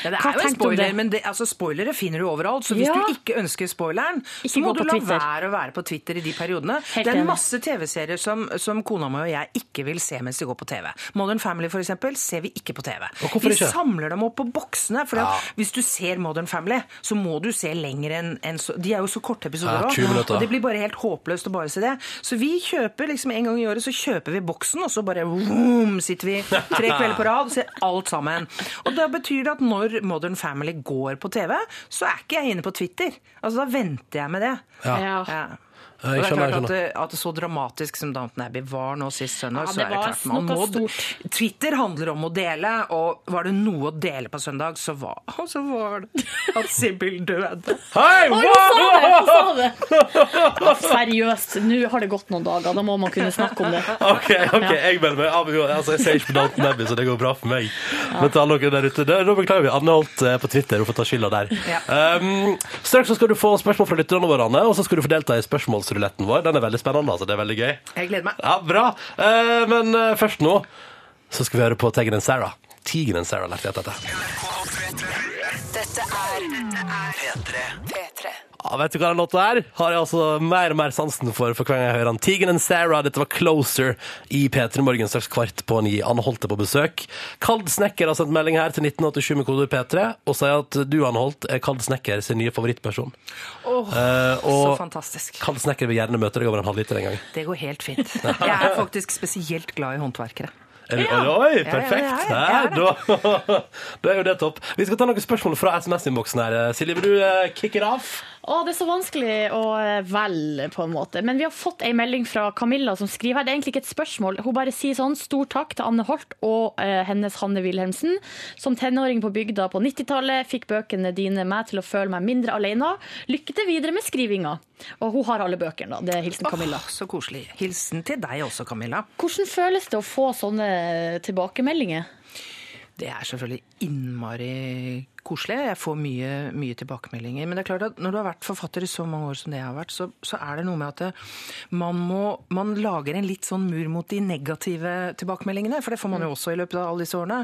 Speaker 9: Ja, det
Speaker 2: Hva
Speaker 9: er
Speaker 2: tenkte du
Speaker 9: jo en
Speaker 2: om
Speaker 9: spoiler,
Speaker 2: det?
Speaker 9: men det, altså, spoilere finner du overalt. Så hvis
Speaker 2: Ja.
Speaker 9: du ikke ønsker spoileren,
Speaker 2: Ikke
Speaker 9: så må
Speaker 2: gå
Speaker 9: du
Speaker 2: på
Speaker 9: la
Speaker 2: Twitter.
Speaker 9: være å være på Twitter i de periodene.
Speaker 2: Helt
Speaker 9: det er
Speaker 2: enig.
Speaker 9: masse TV-serier som, som kona mi og jeg ikke vil se mens de går på TV. Modern Family for eksempel, ser vi ikke på TV.
Speaker 3: hvorfor
Speaker 9: Vi
Speaker 3: ikke?
Speaker 9: samler dem opp på boksene. For hvis du ser Modern Family, så må du se lenger enn enn så. De er jo så korte
Speaker 3: Ja,
Speaker 9: episoder
Speaker 3: 20
Speaker 9: også,
Speaker 3: minutter.
Speaker 9: og det blir bare helt håpløst å bare se det. Så vi kjøper liksom en gang i året så kjøper vi boksen, og så bare vroom, sitter vi tre kvelder på rad og ser alt sammen. Og da betyr det at når Modern Family går på TV, så er ikke jeg inne på Twitter. Altså da venter jeg med det.
Speaker 3: Ja.
Speaker 2: Ja.
Speaker 3: Ja,
Speaker 9: Og det
Speaker 3: jeg
Speaker 9: er
Speaker 3: skjønner,
Speaker 9: klart
Speaker 3: jeg
Speaker 9: at
Speaker 3: skjønner.
Speaker 9: det, at det så dramatisk som Downton Abbey var nå sist
Speaker 2: Ja,
Speaker 9: søndag, så
Speaker 2: det
Speaker 9: er det
Speaker 2: var
Speaker 9: klart man
Speaker 2: noe
Speaker 9: må
Speaker 2: stort.
Speaker 9: Twitter handler om å dele, og var det noe å dele på søndag, så var, så var det at Sibyl døde.
Speaker 2: Oi,
Speaker 3: Hei,
Speaker 2: hun sa det! Hun sa det! Seriøst, nå har det gått noen dager. Da må man kunne snakke om det.
Speaker 3: Ok, ok, jeg melder meg. av. Altså, jeg ser ikke på Downton Abbey, så det går bra for meg. Men til alle dere der ute, da da beklager vi. Anne Holt eh, på Twitter, hun får ta skylda der. Um, straks så skal du få spørsmål fra lytterne våre, Anne, og så skal du få delta i spørsmålsruletten vår. Den er veldig spennende, altså. Det er veldig gøy.
Speaker 9: Jeg gleder meg.
Speaker 3: Ja, bra. Eh, men eh, først nå så skal vi høre på Teggen and Sarah. Tigen and Sarah lærte jeg dette.
Speaker 5: Dette er P3. P3.
Speaker 3: Ja, vet du hva den låta er? Har jeg altså mer og mer sansen for for hver gang jeg hører den. Tegan and Sarah, dette var Closer i P3 Morgen straks kvart på ni. Anne Holt er på besøk. Kald Snekker har sendt melding her til 1987 med kodeord P3 og sier at du, Anne Holt, er Kald Snekker sin nye favorittperson.
Speaker 9: Åh,
Speaker 3: Eh,
Speaker 9: så
Speaker 3: og
Speaker 9: fantastisk.
Speaker 3: Kald Snekker vil gjerne møte deg over en halvliter en gang.
Speaker 9: Det går helt fint. Jeg er faktisk spesielt glad i håndverkere.
Speaker 3: Er du, er du, oi,
Speaker 9: ja,
Speaker 3: perfekt!
Speaker 9: det er jeg.
Speaker 3: Nei, da, da er jo det topp. Vi skal ta noen spørsmål fra SMS-innboksen her. Silje, vil du eh, kicke det av?
Speaker 2: Å, det er så vanskelig å eh, velge, på en måte. Men vi har fått ei melding fra Camilla som skriver her. Det er egentlig ikke et spørsmål. Hun bare sier sånn stor takk til Anne Holt og eh, hennes Hanne Wilhelmsen. Som tenåring på bygda på 90-tallet fikk bøkene dine meg til å føle meg mindre alene. Lykke til videre med skrivinga. Og hun har alle bøkene, da. Det er hilsen Camilla.
Speaker 9: Åh, så koselig. Hilsen til deg også, Camilla.
Speaker 2: Hvordan føles det å få sånne tilbakemeldinger?
Speaker 9: Det er selvfølgelig innmari koselig. Jeg får mye, mye tilbakemeldinger. Men det er klart at når du har vært forfatter i så mange år som det jeg har vært, så, så er det noe med at det, man, må, man lager en litt sånn mur mot de negative tilbakemeldingene. For det får man jo også i løpet av alle disse årene.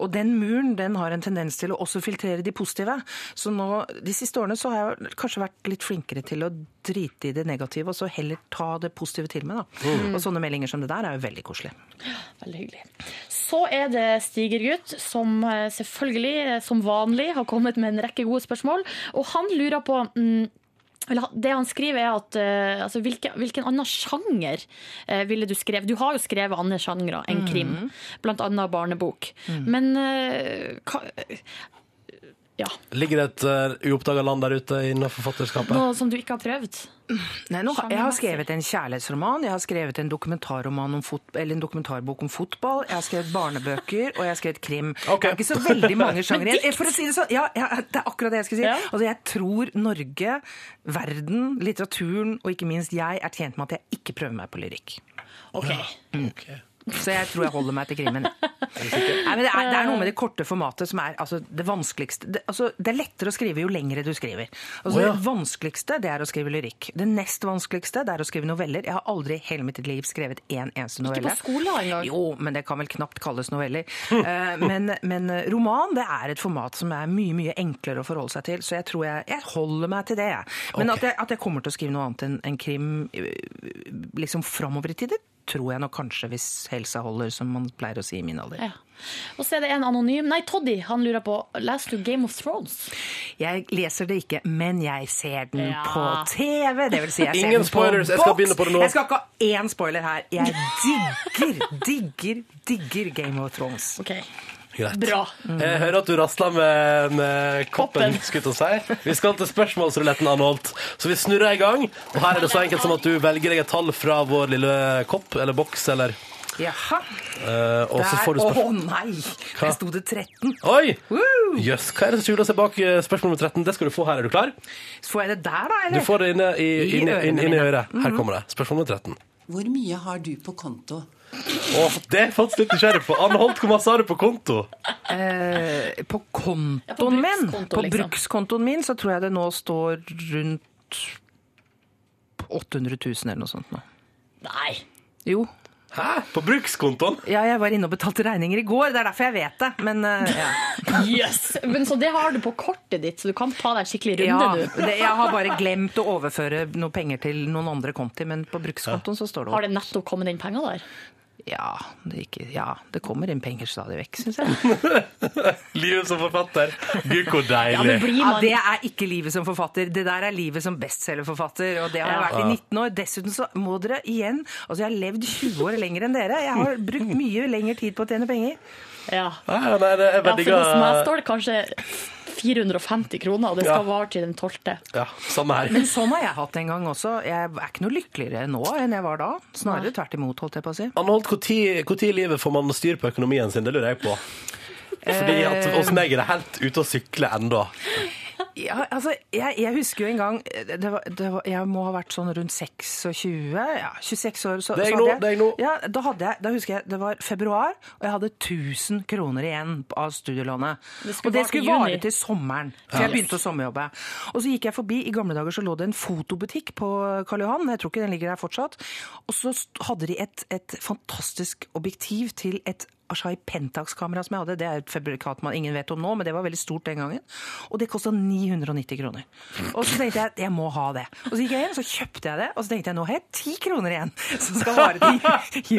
Speaker 9: Og den muren den har en tendens til å også filtrere de positive. Så nå, de siste årene så har jeg kanskje vært litt flinkere til å drite i det negative, og så heller ta det positive til meg. Da. Og sånne meldinger som det der er jo veldig koselig.
Speaker 2: Veldig hyggelig. Så er det Stigergutt, som eh, selvfølgelig, eh, som vanlig, har kommet med en rekke gode spørsmål. Og han lurer på mm, eller han- det han skriver er at eh, altså, hvilke, Hvilken annen sjanger eh, ville du skrevet? Du har jo skrevet andre sjangre enn krim, blant annet barnebok. Men eh, hva, ja,
Speaker 3: Ligger det et uh, uoppdaga land der ute innen forfatterskapet?
Speaker 2: Noe som du ikke har prøvd?
Speaker 9: Nei, nå, har- jeg har
Speaker 2: Sjangermessig.
Speaker 9: skrevet en kjærlighetsroman, jeg har skrevet en, dokumentarroman om fot, eller en dokumentarbok om fotball, jeg har skrevet barnebøker, og jeg har skrevet krim.
Speaker 3: Ok.
Speaker 9: Det er ikke så veldig mange sjangre
Speaker 2: Men
Speaker 9: igjen. For å si det sånn, ja, ja, det er akkurat det jeg skulle si.
Speaker 2: Ja.
Speaker 9: Altså, jeg tror Norge, verden, litteraturen, og ikke minst jeg, er tjent med at jeg ikke prøver meg på lyrikk.
Speaker 2: Ok.
Speaker 9: Så jeg tror jeg holder meg til krimmen. Nei, men det, er, det er noe med det korte formatet som er altså, det vanskeligste. Det, altså, det er lettere å skrive jo lengre du skriver. Altså,
Speaker 3: Å, ja.
Speaker 9: Det vanskeligste det er å skrive lyrikk. Det nest vanskeligste det er å skrive noveller. Jeg har aldri i hele mitt liv skrevet én eneste novelle.
Speaker 2: skolen engang?
Speaker 9: Jo, men det kan vel knapt kalles noveller. Eh, men, men roman det er et format som er mye mye enklere å forholde seg til, så jeg tror jeg, jeg holder meg til det. jeg. Men
Speaker 3: Ok.
Speaker 9: at, jeg, Eh, at jeg kommer til å skrive noe annet enn enn krim eh, liksom framover i tid, det tror jeg nok kanskje hvis helsa holder, som man pleier å si i min alder.
Speaker 2: Ja. Og så er det en anonym Nei, Toddy han lurer på Leser du Game of Thrones?
Speaker 9: Jeg leser det ikke, men jeg ser den
Speaker 2: Ja.
Speaker 9: på TV. Det vil si, jeg ser
Speaker 3: Ingen
Speaker 9: den på
Speaker 3: spoilers, jeg skal
Speaker 9: boks.
Speaker 3: begynne på det nå.
Speaker 9: Jeg skal ikke ha én spoiler her. Jeg digger, digger, digger Game of Thrones.
Speaker 2: Ok,
Speaker 3: Greit.
Speaker 2: bra.
Speaker 3: Jeg hører Eh, at du rasler med, med koppen.
Speaker 2: Koppen.
Speaker 3: skulle jeg til å si. Vi skal til spørsmålsruletten, Anne Holt. Så vi snurrer i gang. Og her er det så enkelt som at du velger deg et tall fra vår lille kopp eller boks, eller
Speaker 9: Jaha.
Speaker 3: eh, Og så
Speaker 9: Der-
Speaker 3: får du
Speaker 9: Å
Speaker 3: spørsmål.
Speaker 9: nei! Der sto det 13.
Speaker 3: Oi!
Speaker 9: Woo!
Speaker 3: Jøss, hva er det som skjuler seg bak eh, spørsmål nummer 13? Det skal du få her. Er du klar?
Speaker 9: Så får jeg det der, da?
Speaker 3: Du
Speaker 9: eller?
Speaker 3: får det inne i,
Speaker 9: I
Speaker 3: inne,
Speaker 9: ørene
Speaker 3: inne, inne i
Speaker 9: mine. Mhm.
Speaker 3: øret. Her kommer det. Spørsmål nummer 13.
Speaker 5: Hvor mye har du på konto?
Speaker 3: Åh, det er jeg faktisk litt nysgjerrig på. Anne Holt, hvor masse har du på konto?
Speaker 9: Eh, på kontoen
Speaker 2: Ja, på
Speaker 9: min,
Speaker 2: brukskonto,
Speaker 9: på
Speaker 2: liksom.
Speaker 9: brukskontoen min, så tror jeg det nå står rundt 800 000 eller noe sånt nå.
Speaker 2: Nei.
Speaker 9: Jo.
Speaker 3: Hæ? På brukskontoen?
Speaker 9: Ja, jeg var inne og betalte regninger i går, det er derfor jeg vet det. Men eh, ja.
Speaker 2: Yes. Men så det har du på kortet ditt, så du kan ta deg en skikkelig
Speaker 9: ja
Speaker 2: runde, du.
Speaker 9: det, jeg har bare glemt å overføre noen penger til noen andre konti, men på brukskontoen så står
Speaker 2: Har
Speaker 9: det
Speaker 2: det nettopp kommet inn penger der?
Speaker 9: Ja, det, ikke, ja, det kommer inn penger stadig vekk, syns jeg.
Speaker 3: Livet som forfatter. Gud, hvor
Speaker 2: Ja, men
Speaker 3: deilig.
Speaker 2: blir
Speaker 9: Ja,
Speaker 2: man
Speaker 9: det er ikke livet som forfatter, det der er livet som bestselgerforfatter. Og det har jeg vært i 19 år. Dessuten så må dere igjen Altså, jeg har levd 20 år lenger enn dere. Jeg har brukt mye lengre tid på å tjene penger.
Speaker 2: Ja.
Speaker 3: Nei, nei, det er
Speaker 2: ja,
Speaker 3: veldig
Speaker 2: for hos meg
Speaker 3: glad.
Speaker 2: står det kanskje 450 kroner, og det skal
Speaker 3: Ja.
Speaker 2: vare til den 12.
Speaker 3: Ja, samme her.
Speaker 9: Men sånn har jeg hatt det en gang også. Jeg er ikke noe lykkeligere nå enn jeg var da. Snarere tvert imot, holdt jeg på å si.
Speaker 3: Anne Holt, når i livet får man styr på økonomien sin? Det lurer jeg på. Fordi at hos meg er det helt ute å sykle ennå.
Speaker 9: Ja, altså, jeg, jeg husker jo en gang eh, det var, det var, Jeg må ha vært sånn rundt 26, ja, 26 år. Så,
Speaker 3: Det er jeg
Speaker 9: så
Speaker 3: nå,
Speaker 9: hadde jeg-
Speaker 3: det er jeg nå.
Speaker 9: Ja, da, hadde jeg, da husker jeg det var februar, og jeg hadde 1000 kroner igjen av studielånet.
Speaker 2: Det skulle vare
Speaker 9: og det
Speaker 2: til
Speaker 9: skulle vare
Speaker 2: juni.
Speaker 9: til sommeren, for jeg begynte å sommerjobbe. Og så gikk jeg forbi, i gamle dager så lå det en fotobutikk på Karl Johan, jeg tror ikke den ligger der fortsatt. Og så st- hadde de et, et fantastisk objektiv til et Ashai Pentax-kamera som jeg hadde, det er et fabrikat man ingen vet om nå, men det var veldig stort den gangen. Og det kosta 990 kroner. Og så tenkte jeg at jeg må ha det. Og så gikk jeg inn, så kjøpte jeg det, og så tenkte jeg nå har jeg ti kroner igjen som skal vare til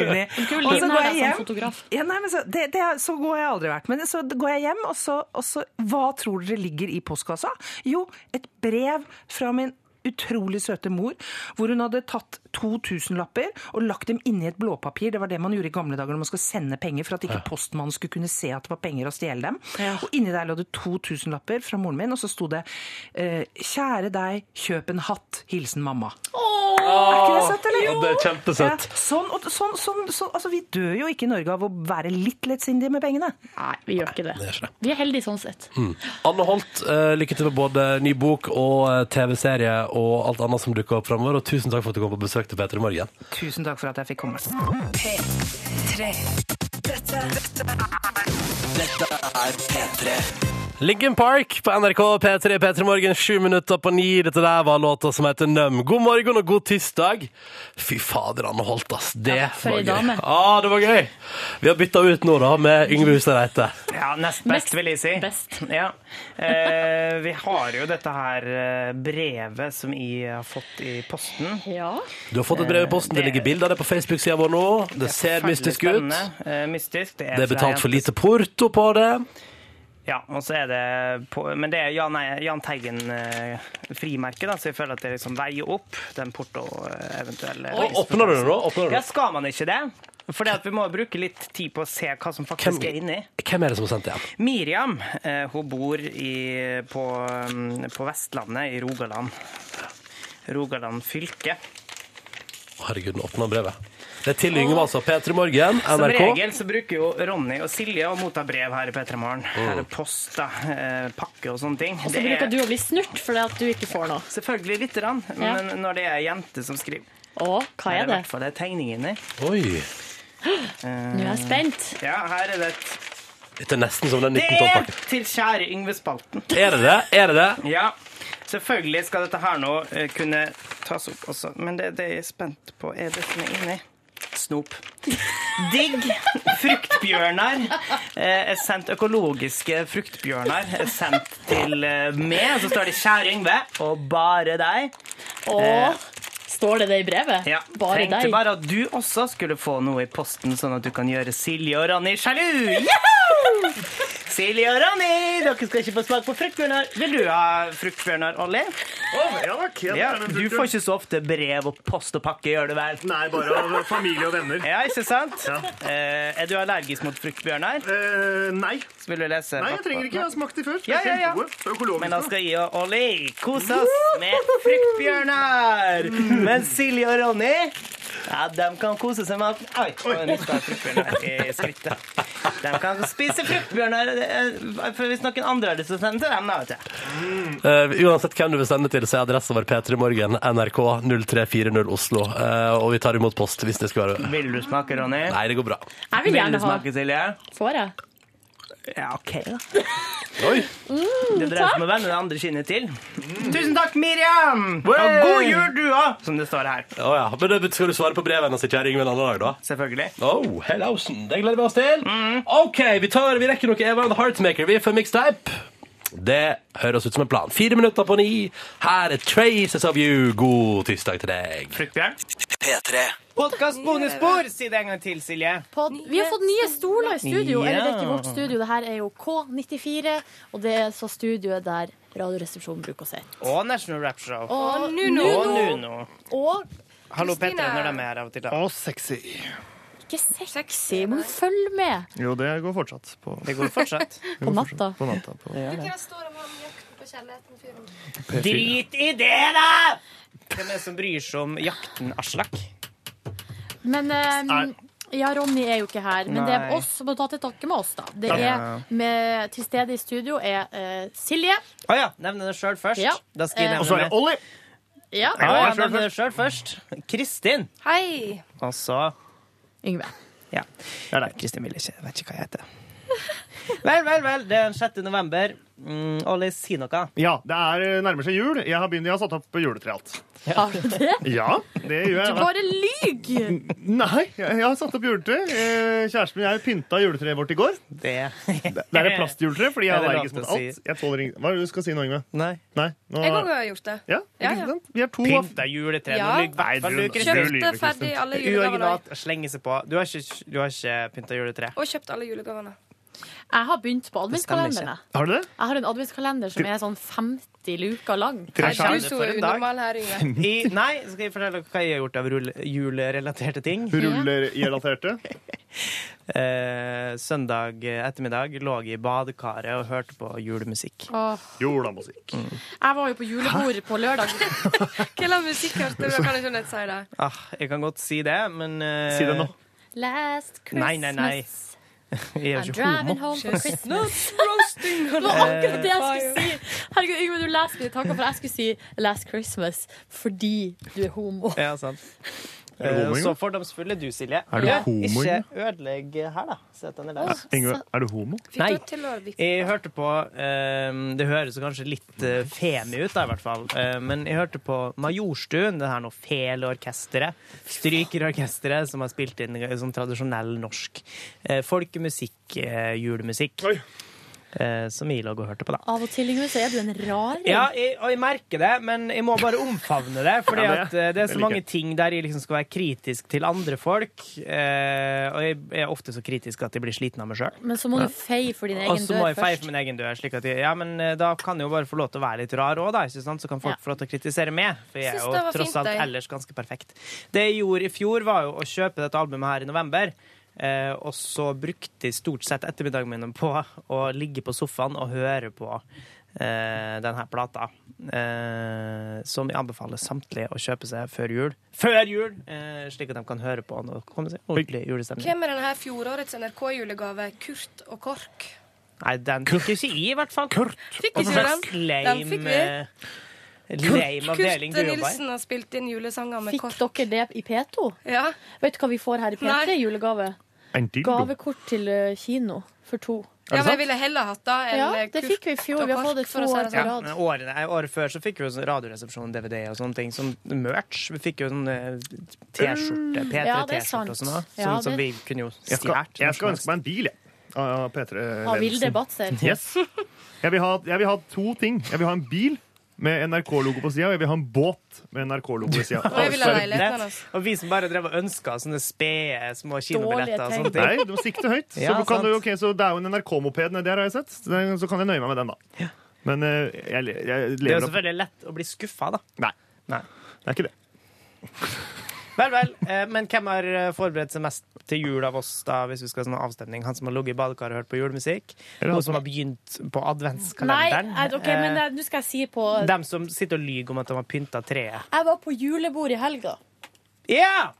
Speaker 9: juni.
Speaker 2: skulle jo
Speaker 9: Og
Speaker 2: ligne
Speaker 9: så går
Speaker 2: deg
Speaker 9: jeg
Speaker 2: som
Speaker 9: hjem.
Speaker 2: fotograf.
Speaker 9: Ja, nei, men så, det, det, er- så går jeg aldri vært. Men så går jeg hjem, og så, og så Hva tror dere ligger i postkassa? Jo, et brev fra min utrolig søte mor, hvor hun hadde tatt 2000-lapper og lagt dem inni et blåpapir. Det var det man gjorde i gamle dager når man skulle sende penger, for at ikke postmannen skulle kunne se at det var penger og stjele dem. Og inni der lå det 2000-lapper fra moren min, og så sto det eh, 'Kjære deg, kjøp en hatt. Hilsen mamma'. Er ikke det søtt, eller?
Speaker 3: Ja, det er kjempesøtt.
Speaker 9: Ja, sånn, og, sånn, sånn, sånn, altså, vi dør jo ikke i Norge av å være litt lettsindige med pengene.
Speaker 2: Nei, vi gjør ikke det.
Speaker 3: er ikke det.
Speaker 2: Vi er heldige sånn sett.
Speaker 3: Anne Holt, eh, lykke til med både ny bok og eh, TV-serie og alt annet som dukker opp framover. Og tusen takk for at du kom på besøk til Peter i morgen.
Speaker 9: Tusen takk for at jeg fikk komme.
Speaker 3: Linkin Park på NRK P3 P3 Morgen, sju minutter på ni. Dette der var låta som heter Nøm. God morgen og god tirsdag. Fy fader, Anne Holt, ass. Det
Speaker 2: Ja, for
Speaker 3: var
Speaker 2: ei
Speaker 3: gøy.
Speaker 2: dame.
Speaker 3: Ah, det var gøy. Vi har bytta ut nå, da, med Yngve Hustad Reite.
Speaker 4: Ja, nest best, vil jeg si.
Speaker 2: best.
Speaker 4: Ja. Eh, vi har jo dette her eh, brevet som jeg har fått i posten.
Speaker 2: Ja.
Speaker 3: Du har fått et brev i posten. Det ligger bilder av det på Facebook-sida vår nå. Det ser
Speaker 4: Forferdelig
Speaker 3: mystisk ut.
Speaker 4: spennende. Eh, mystisk. Det
Speaker 3: Det er
Speaker 4: fra
Speaker 3: betalt
Speaker 4: en-
Speaker 3: for lite porto på det.
Speaker 4: Ja, og så er det på, Men det er Jan, Jan Teigen-frimerket, eh, da, så jeg føler at det liksom veier opp den porto eh, eventuelle
Speaker 3: Å, Åpner du det nå? Åpner du
Speaker 4: Ja,
Speaker 3: det?
Speaker 4: skal man ikke det? For det at vi må bruke litt tid på å se hva som faktisk er inni.
Speaker 3: Hvem er det som har sendt det igjen?
Speaker 4: Miriam, eh, hun bor i, på, mm, på Vestlandet, i Rogaland. Rogaland fylke.
Speaker 3: Å, Herregud, nå åpner han brevet. Det er til Yngve, altså. P3 Morgen,
Speaker 4: Som
Speaker 3: NRK.
Speaker 4: regel så bruker jo Ronny og Silje å motta brev her i P3 Morgen.
Speaker 3: Mm.
Speaker 4: Eller post, da. eh, Pakke og sånne ting.
Speaker 2: Og så bruker du å bli snurt fordi at du ikke får noe.
Speaker 4: Selvfølgelig lite grann,
Speaker 2: Ja.
Speaker 4: men når det er ei jente som skriver
Speaker 2: Å, hva er
Speaker 4: Her er i
Speaker 2: det?
Speaker 4: hvert fall det er tegning inni.
Speaker 3: Oi.
Speaker 2: Nå er jeg spent.
Speaker 4: Ja, her er det et
Speaker 3: Dette er nesten som den
Speaker 4: Det er
Speaker 3: 1912-pakken.
Speaker 4: til kjære Yngve-spalten.
Speaker 3: Er det det? Er det det?
Speaker 4: Ja, selvfølgelig skal dette her nå eh, kunne tas opp også, men det, det jeg er spent på, er det som er inni. Snop. Digg fruktbjørnar eh, er sendt økologiske fruktbjørnar er sendt til eh, meg. Så står det 'Kjære Yngve' og 'Bare deg'.
Speaker 2: Og står det det i brevet?
Speaker 4: Ja,
Speaker 2: Bare
Speaker 4: Tenkte
Speaker 2: deg.
Speaker 4: bare at du også skulle få noe i posten, sånn at du kan gjøre Silje og Ronny sjalu! Yahoo! Silje og Ronny, dere skal ikke få smak på fruktbjørnar. Vil du ha fruktbjørnar, Olli?
Speaker 8: ja, takk. Jeg
Speaker 4: Ja,
Speaker 8: tar den
Speaker 4: du
Speaker 8: fruktbjørn.
Speaker 4: får ikke så ofte brev og post og pakke, gjør du vel?
Speaker 8: Nei, bare av familie og venner.
Speaker 4: Ja, ikke sant?
Speaker 8: Ja.
Speaker 4: Eh, er du allergisk mot fruktbjørnar?
Speaker 8: Eh, nei.
Speaker 4: Så vil du lese
Speaker 8: nei, jeg trenger ikke. Jeg har smakt de før.
Speaker 4: Ja, ja, ja.
Speaker 8: Kjempegode. Økologiske.
Speaker 4: Men da skal jeg og Olli kose oss med fruktbjørnar. Men Silje og Ronny ja, de kan kose seg med at Oi, nå mista jeg fruktbjørnar i skrittet. De kan spise fruktbjørnar eh, for hvis noen andre har lyst til å sende til dem. da, vet du.
Speaker 3: Eh, uansett hvem du vil sende til, så er adressen vår P3 Morgen, NRK 0340 Oslo. Eh, og vi tar imot post hvis det skulle være
Speaker 4: Vil du smake, Ronny?
Speaker 3: Nei, det går bra.
Speaker 2: Jeg vil
Speaker 4: Vil du
Speaker 2: gjerne ha
Speaker 4: smake, Silje?
Speaker 2: Får jeg?
Speaker 4: Ja, OK, da.
Speaker 3: Oi.
Speaker 4: Det dreier seg om å vende det andre kinnet til. Tusen takk, Miriam! Og god jul, du òg! Som det står her.
Speaker 3: Å ja. Men det, skal du svare på brevet hennes, kjære Yngve, en annen dag, da?
Speaker 4: Selvfølgelig.
Speaker 3: Oh, hellausen. Det gleder vi oss til. OK, vi, tar, vi rekker noe Eva and the Heartmaker vi for mixtape. Det høres ut som en plan. Fire minutter på ni. Her er Traces of You. God tirsdag til deg.
Speaker 4: Fruktbjørn.
Speaker 5: P3
Speaker 4: Podkast bonusspor! Si det en gang til, Silje.
Speaker 10: Pod. Vi har fått nye stoler i studio.
Speaker 4: Ja.
Speaker 10: Eller det er ikke vårt studio, det her er jo K94. Og det er så studioet der Radioresepsjonen bruker å sitte.
Speaker 4: Og National Rap Show.
Speaker 10: Og
Speaker 4: Og
Speaker 10: Nuno.
Speaker 4: Nuno.
Speaker 10: Og
Speaker 4: Hallo, Petra, når de er her av og til. da.
Speaker 8: Og sexy.
Speaker 10: ikke sexy, men følg med
Speaker 8: Jo, det går fortsatt på,
Speaker 4: Det går fortsatt.
Speaker 10: på natta.
Speaker 8: på natta. På.
Speaker 4: Drit i det, da! Hvem er det som bryr seg om jakten Aslak?
Speaker 10: Men eh, ja, Ronny er jo ikke her. Men det er
Speaker 4: Nei.
Speaker 10: oss som må ta til takke med oss, da. Det er med, til stede i studio er eh, Silje.
Speaker 4: Å ja, nevne det sjøl først.
Speaker 10: Ja.
Speaker 4: Da skal jeg
Speaker 10: Eh,
Speaker 8: Og så er det
Speaker 4: nevne det.
Speaker 8: Ollie.
Speaker 10: Ja.
Speaker 4: Å ja, nevne det selv først. Kristin.
Speaker 10: Hei.
Speaker 4: Og så
Speaker 10: Yngve.
Speaker 4: Ja. Kristin vil ikke. Vet ikke hva jeg heter. Vel, vel, vel. Det er den 6. november. Mm, Olli, si noe.
Speaker 8: Ja, det er eh, nærmer seg jul. Jeg har begynt, jeg har satt opp juletre alt.
Speaker 10: Har du det?
Speaker 8: Ja, det gjør jeg.
Speaker 10: Bare lyg!
Speaker 8: Nei, jeg har satt opp juletre. Eh, Kjæresten min jeg pynta juletreet vårt i går.
Speaker 4: Det
Speaker 8: Det er et plastjuletre, fordi jeg
Speaker 4: Ja,
Speaker 8: er
Speaker 4: det er
Speaker 8: allergisk
Speaker 4: lov
Speaker 8: mot
Speaker 4: til Eh, å
Speaker 8: alt. Jeg tåler ingen... Hva er det du skal si nå, Yngve?
Speaker 4: Nei.
Speaker 8: Nei, nå...
Speaker 11: Jeg òg har gjort det.
Speaker 8: Ja,
Speaker 11: Ja,
Speaker 8: ikke
Speaker 11: ja.
Speaker 8: sant? Vi er to av...
Speaker 4: Pynt deg juletre.
Speaker 11: Ja.
Speaker 4: Nå lyver i hvert fall du, Kristin.
Speaker 8: lyver,
Speaker 11: Kjøpte
Speaker 8: Kristin.
Speaker 11: ferdig alle julegavene.
Speaker 4: Uoriginalt å slenge seg på. Du har ikke, du har ikke pynta juletre.
Speaker 11: Og kjøpt alle julegavene.
Speaker 10: Jeg har begynt på
Speaker 4: stemmer ikke.
Speaker 10: adventskalenderen. jeg.
Speaker 8: Har du det?
Speaker 10: Jeg har en adventskalender som er sånn 50
Speaker 2: 50 luker lang.
Speaker 4: Tre sjanger. Er du så For en dag. unormal
Speaker 2: her,
Speaker 4: I, nei, skal jeg fortelle dere hva jeg har gjort av rull- julerelaterte ting?
Speaker 8: Rullerrelaterte?
Speaker 4: Eh, søndag ettermiddag lå jeg i badekaret og hørte på julemusikk.
Speaker 11: Åh.
Speaker 8: Julemusikk.
Speaker 4: Mm.
Speaker 11: Jeg var jo på julebord på lørdag. Hva slags musikk hørte du? Jeg kan ikke nett si det.
Speaker 4: Ah, jeg kan godt si det, men eh,
Speaker 8: Si det nå.
Speaker 11: Last
Speaker 4: Nei, nei, nei. Jeg er jo ikke homo.
Speaker 11: roasting
Speaker 2: Det var akkurat det jeg skulle si! Herregud, Yngve, du leser mine tanker, for jeg skulle si 'Last Christmas' fordi du er homo.
Speaker 4: Ja, sant.
Speaker 8: Er du homo,
Speaker 4: Eh, så
Speaker 8: Ingo?
Speaker 4: fordomsfull er du, Silje.
Speaker 8: Er du homo,
Speaker 4: Ikke
Speaker 8: Ingo?
Speaker 4: ødelegg her, da. Sett denne
Speaker 8: Ja,
Speaker 4: løs.
Speaker 8: Ingrid, er du homo?
Speaker 4: Nei.
Speaker 11: til å vippe.
Speaker 4: Jeg hørte på ehm, Det høres jo kanskje litt eh, femi ut, da, i hvert fall. Eh, men jeg hørte på Majorstuen, det her nå feleorkesteret. Strykerorkesteret som har spilt inn eh, sånn tradisjonell norsk eh, folkemusikk, eh, julemusikk. Eh, som jeg lå og hørte på, da.
Speaker 2: Av og til, Yngve, så er du en rar
Speaker 4: Ja, jeg, og jeg merker det, men jeg må bare omfavne det. Fordi
Speaker 7: Ja, det-
Speaker 4: at eh, det er
Speaker 7: det
Speaker 4: så
Speaker 7: liker
Speaker 4: mange
Speaker 7: jeg.
Speaker 4: ting der jeg liksom skal være kritisk til andre folk. Eh, og jeg er ofte så kritisk at jeg blir sliten av meg sjøl.
Speaker 2: Men så må du feie for din
Speaker 4: Og
Speaker 2: egen
Speaker 4: så må
Speaker 2: dør
Speaker 4: jeg feie
Speaker 2: først.
Speaker 4: for min egen dør. Slik at jeg, ja, men eh, Da kan jeg jo bare få lov til å være litt rar òg, da. Ikke sant? Så kan folk få lov til å kritisere meg. For jeg er
Speaker 7: Syns
Speaker 4: jo
Speaker 7: det var
Speaker 4: tross
Speaker 7: fint,
Speaker 4: alt
Speaker 7: jeg.
Speaker 4: ellers ganske perfekt. Det jeg gjorde i fjor, var jo å kjøpe dette albumet her i november. Eh, og så brukte jeg stort sett ettermiddagen min på å ligge på sofaen og høre på eh, denne plata. Eh, som jeg anbefaler samtlige å kjøpe seg før jul. Før jul! Eh, slik at de kan høre på når det kommer seg ordentlig julestemning.
Speaker 11: Hvem er denne her fjorårets NRK-julegave? Kurt og KORK?
Speaker 4: Nei, den fikk jo ikke i, i hvert fall.
Speaker 11: Fikk ikke
Speaker 4: Hva
Speaker 11: den.
Speaker 4: slags
Speaker 11: Den fikk vi.
Speaker 4: lame, eh, lame avdeling du
Speaker 11: Kurt
Speaker 4: jobber i?
Speaker 11: Nilsen har spilt inn julesanger med
Speaker 2: Fikk
Speaker 11: KORK.
Speaker 2: dere det i P2? Vet du hva vi får her i P3
Speaker 11: Nei.
Speaker 2: i julegave? Gavekort til eh, kino for to.
Speaker 11: Ja, men jeg ville heller hatt da enn
Speaker 2: Ja, det
Speaker 11: Kurt
Speaker 2: fikk vi i fjor.
Speaker 11: og
Speaker 2: Vi har fått
Speaker 11: KORK,
Speaker 2: det
Speaker 11: for å
Speaker 2: to
Speaker 11: si
Speaker 2: år
Speaker 11: det
Speaker 2: på
Speaker 11: sånn.
Speaker 2: rad.
Speaker 4: Men Året, nei, året før så fikk vi jo sånn Radioresepsjonen, DVD og sånne ting. Sånn merch. Vi fikk jo sånn eh, T-skjorte,
Speaker 8: Mm, ja, det er sant.
Speaker 4: P3-T-skjorte og sånn. da,
Speaker 8: Ja,
Speaker 4: Som, som vi
Speaker 8: det-
Speaker 4: kunne jo
Speaker 8: Jeg skal,
Speaker 4: stjålet.
Speaker 8: jeg skal ønske meg en bil, jeg. Av P3-ledelsen.
Speaker 2: Av Vilde Batzer.
Speaker 8: Yes. Jeg vil, ha, jeg vil ha to ting. Jeg vil ha en bil med NRK-logo på sida, og jeg vil ha en båt med NRK-logo på sida.
Speaker 11: altså.
Speaker 4: Og vi som bare drev og ønska sånne spede små
Speaker 8: Dårlige
Speaker 4: kinobilletter og sånne ting.
Speaker 8: Nei, du må sikte høyt. Så,
Speaker 4: Ja,
Speaker 8: du kan,
Speaker 4: sant.
Speaker 8: du- ok, så det er jo en NRK-moped nedi her, har jeg sett. Så den- Så kan jeg nøye meg med den, da. Men eh, jeg, le- jeg
Speaker 4: Det er jo
Speaker 8: lever opp
Speaker 4: selvfølgelig lett å bli skuffa, da.
Speaker 8: Nei. Det er ikke det.
Speaker 4: Vel, vel. eh, Men hvem har eh, forberedt seg mest til jul av oss, da, hvis vi skal ha sånn avstemning? Han som har ligget i badekaret og hørt på julemusikk? Hun som har begynt på
Speaker 2: Nei,
Speaker 4: adventskalenderen?
Speaker 2: eh, ok, men
Speaker 4: Eh,
Speaker 2: eh, nå skal jeg si på
Speaker 4: Dem som sitter og lyver om at de har pynta treet.
Speaker 2: Jeg var på julebord i helga.
Speaker 4: Ja!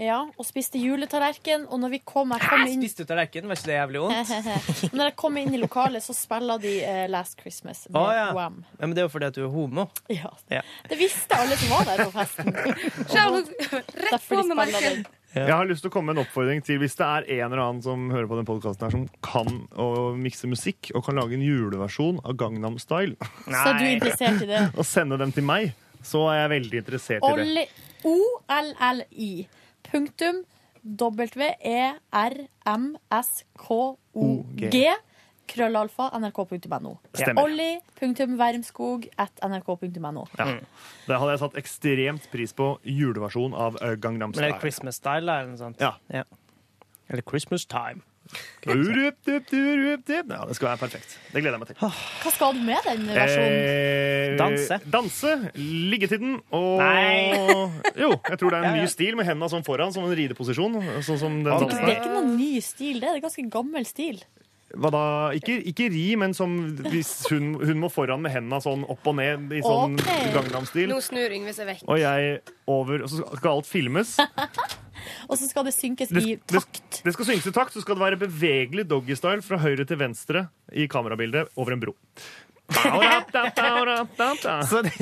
Speaker 2: Ja, og spiste juletallerken, og når vi kom, jeg kom
Speaker 4: Jeg
Speaker 2: inn
Speaker 4: spiste tallerkenen, var ikke det jævlig vondt?
Speaker 2: Når jeg kom inn i lokalet, så spiller de eh, Last Christmas med
Speaker 4: Å ja. ja.
Speaker 2: Wham.
Speaker 4: Men det er jo fordi at du er homo.
Speaker 2: Ja.
Speaker 4: Ja.
Speaker 2: Det visste alle som var der på festen. Rett
Speaker 11: på med marken.
Speaker 8: Jeg har lyst til å komme med en oppfordring til hvis det er en eller annen som hører på den podcasten her som kan å mikse musikk og kan lage en juleversjon av Gangnam Style.
Speaker 2: Så er du Nei. interessert i det?
Speaker 8: Og sende dem til meg, så er jeg veldig interessert i det.
Speaker 2: Olli- O-L-L-I. Punktum E W-E-R-M-S-K-O-G. Krøllalfa nrk.no.
Speaker 8: Stemmer.
Speaker 2: Olli.vermskog at nrk.no.
Speaker 8: Ja. Det hadde jeg satt ekstremt pris på juleversjon av eh, Gangnam
Speaker 4: Men det er
Speaker 8: Style.
Speaker 4: Christmas style, da, eller noe sånt?
Speaker 8: Ja.
Speaker 4: Eller Christmas time. liksom?
Speaker 8: Urup, dup, durup, dup. Ja, det skal være perfekt. Det gleder jeg meg til.
Speaker 2: Hva skal du med den versjonen?
Speaker 8: Eh,
Speaker 4: sånn Danse.
Speaker 8: Danse, liggetiden og
Speaker 4: Nei.
Speaker 8: Jo, jeg tror det er en
Speaker 2: Ja, ja.
Speaker 8: ny stil med hendene sånn foran, som en rideposisjon. Sånn som den
Speaker 2: Det er
Speaker 8: dansen
Speaker 2: ikke noen ny stil, det er en ganske gammel stil.
Speaker 8: Hva da? Ikke, ikke ri, men som hvis hun, hun må foran med hendene sånn opp og ned i sånn
Speaker 2: Ok.
Speaker 8: Gangnam-stil.
Speaker 11: Nå snur Yngve seg vekk.
Speaker 8: Og jeg over, og så skal alt filmes.
Speaker 2: Og så skal det synkes
Speaker 8: Det,
Speaker 2: i
Speaker 8: det, det skal synges i takt, så skal det være bevegelig doggystyle fra høyre til venstre i kamerabildet over en bro.
Speaker 4: Så det,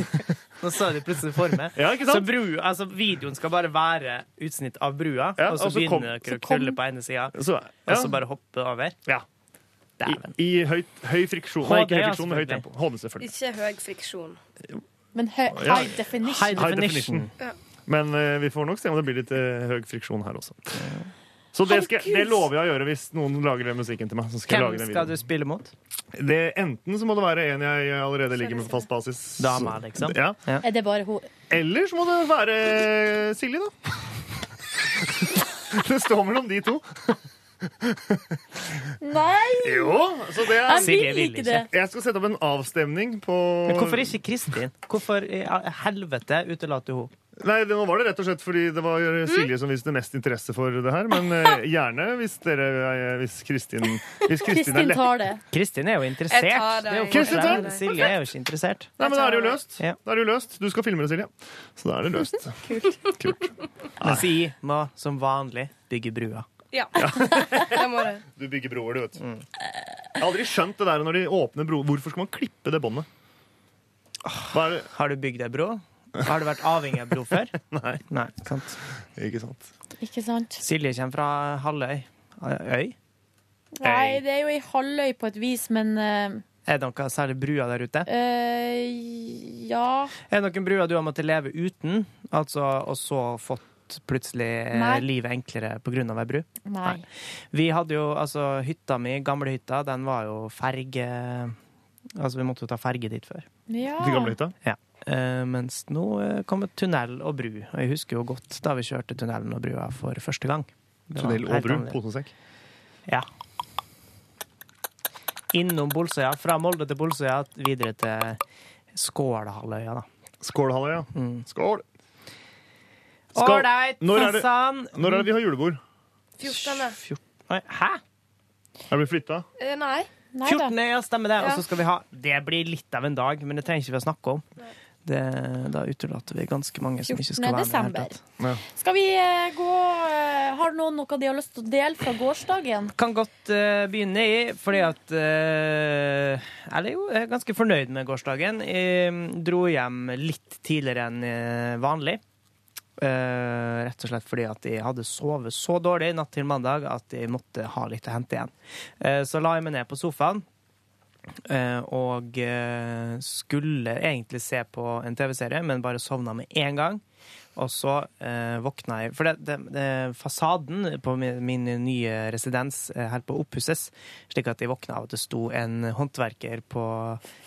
Speaker 4: nå så de plutselig for meg.
Speaker 8: Ja, ikke sant?
Speaker 4: Så bru, altså, videoen skal bare være utsnitt av brua,
Speaker 8: Ja,
Speaker 4: og så
Speaker 8: og så kom-
Speaker 4: begynner dere
Speaker 8: så
Speaker 4: å
Speaker 8: kom-
Speaker 4: knulle på ene sida,
Speaker 8: Så- ja.
Speaker 4: og så altså bare hoppe over.
Speaker 8: Ja. I, i høy, høy friksjon. Nei, ikke høy
Speaker 4: HD,
Speaker 8: friksjon, men høyt
Speaker 4: selvfølgelig.
Speaker 8: tempo. HD, selvfølgelig.
Speaker 11: Ikke høy friksjon.
Speaker 2: Men hø
Speaker 8: Ja.
Speaker 2: high definition.
Speaker 8: High definition.
Speaker 11: Ja.
Speaker 8: Men eh, vi får nok se om det blir litt eh, høy friksjon her også. Så det, skal,
Speaker 4: Herregud.
Speaker 8: det lover jeg å gjøre hvis noen lager den musikken til meg. Så skal jeg
Speaker 4: Hvem
Speaker 8: lage den
Speaker 4: skal
Speaker 8: videoen.
Speaker 4: du spille mot?
Speaker 8: Det, enten så må det være en jeg allerede ligger med på fast basis.
Speaker 4: Dama, liksom.
Speaker 8: Ja.
Speaker 2: Er det bare hun?
Speaker 8: Eller så må det være Silje, da. Det står mellom de to.
Speaker 10: Nei!
Speaker 8: Jo, så det er,
Speaker 4: Jeg vil Silje vil ikke det. ikke.
Speaker 8: Jeg skal sette opp en avstemning på
Speaker 4: Men hvorfor ikke Kristin? Hvorfor i helvete utelater hun?
Speaker 8: Nei, det, nå var det rett og slett fordi det var Silje som viste mest interesse for det her. Men eh, gjerne hvis dere eh, Hvis Kristin Hvis Kristin er lett.
Speaker 4: Kristin er jo interessert.
Speaker 8: Jeg tar deg.
Speaker 4: Det er jo
Speaker 8: Kristin tar
Speaker 4: forskjellen.
Speaker 8: deg.
Speaker 4: Silje er jo ikke interessert.
Speaker 8: Nei, men da er det jo løst.
Speaker 4: Ja.
Speaker 8: Da er det jo løst. Du skal filme det, Silje. Så da er det løst.
Speaker 4: Mens jeg må som vanlig bygge brua.
Speaker 11: Ja. Jeg må det.
Speaker 8: Du bygger broer, du, vet du. Jeg har aldri skjønt det der når de åpner broer. Hvorfor skal man klippe det båndet?
Speaker 4: Har du bygd ei bro? Har du vært avhengig av bro før?
Speaker 8: Nei.
Speaker 4: Nei, sant.
Speaker 8: Ikke sant.
Speaker 10: Ikke sant?
Speaker 4: Silje kommer fra Halvøy. Øy?
Speaker 10: Nei, det er jo ei halvøy på et vis, men eh,
Speaker 4: Er det noen særlig bruer der ute?
Speaker 10: eh, Ja.
Speaker 4: Er det noen bruer du har måttet leve uten, altså, og så fått plutselig eh,
Speaker 10: Nei.
Speaker 4: livet enklere pga. ei bru?
Speaker 10: Nei.
Speaker 4: Vi hadde jo, altså, hytta mi, gamlehytta, den var jo ferge... Altså, vi måtte jo ta ferge dit før.
Speaker 10: Ja.
Speaker 4: Ja. Eh, mens nå eh, kommer tunnel og bru. Og jeg husker jo godt da vi kjørte tunnelen og brua for første gang. Det var
Speaker 8: Tunnel og
Speaker 4: helt
Speaker 8: bru.
Speaker 4: annerledes.
Speaker 8: Posen og sekk.
Speaker 4: Ja. Innom Bolsøya. Fra Molde til Bolsøya, videre til Skålhalvøya, da.
Speaker 8: Skålhalvøya. Skål! Skål.
Speaker 4: Ålreit,
Speaker 8: Når er det-
Speaker 4: Hassan.
Speaker 8: Når er det vi har julebord?
Speaker 11: 14.
Speaker 4: Oi, Hæ?
Speaker 8: Er vi flytta?
Speaker 11: Eh, Nei.
Speaker 4: 14. ja, stemmer det.
Speaker 11: Ja.
Speaker 4: Og så skal vi ha Det blir litt av en dag, men det trenger ikke vi å snakke om. Det, da utelater vi ganske mange som ikke
Speaker 10: 14.
Speaker 4: skal være med. i det hele tatt.
Speaker 10: Skal vi eh, gå eh, Har noen noe de har lyst til å dele fra gårsdagen?
Speaker 4: Kan godt eh, begynne i, fordi at eh, Eller jo, jeg er ganske fornøyd med gårsdagen. Jeg dro hjem litt tidligere enn eh, vanlig. Eh, rett og slett fordi at jeg hadde sovet så dårlig natt til mandag at jeg måtte ha litt å hente igjen. Eh, så la jeg meg ned på sofaen. eh, og eh, skulle egentlig se på en TV-serie, men bare sovna med én gang. Og så eh, våkna jeg For det, det, det, fasaden på min, min nye residens eh, holder på å oppusses, slik at jeg våkna av at det sto en håndverker på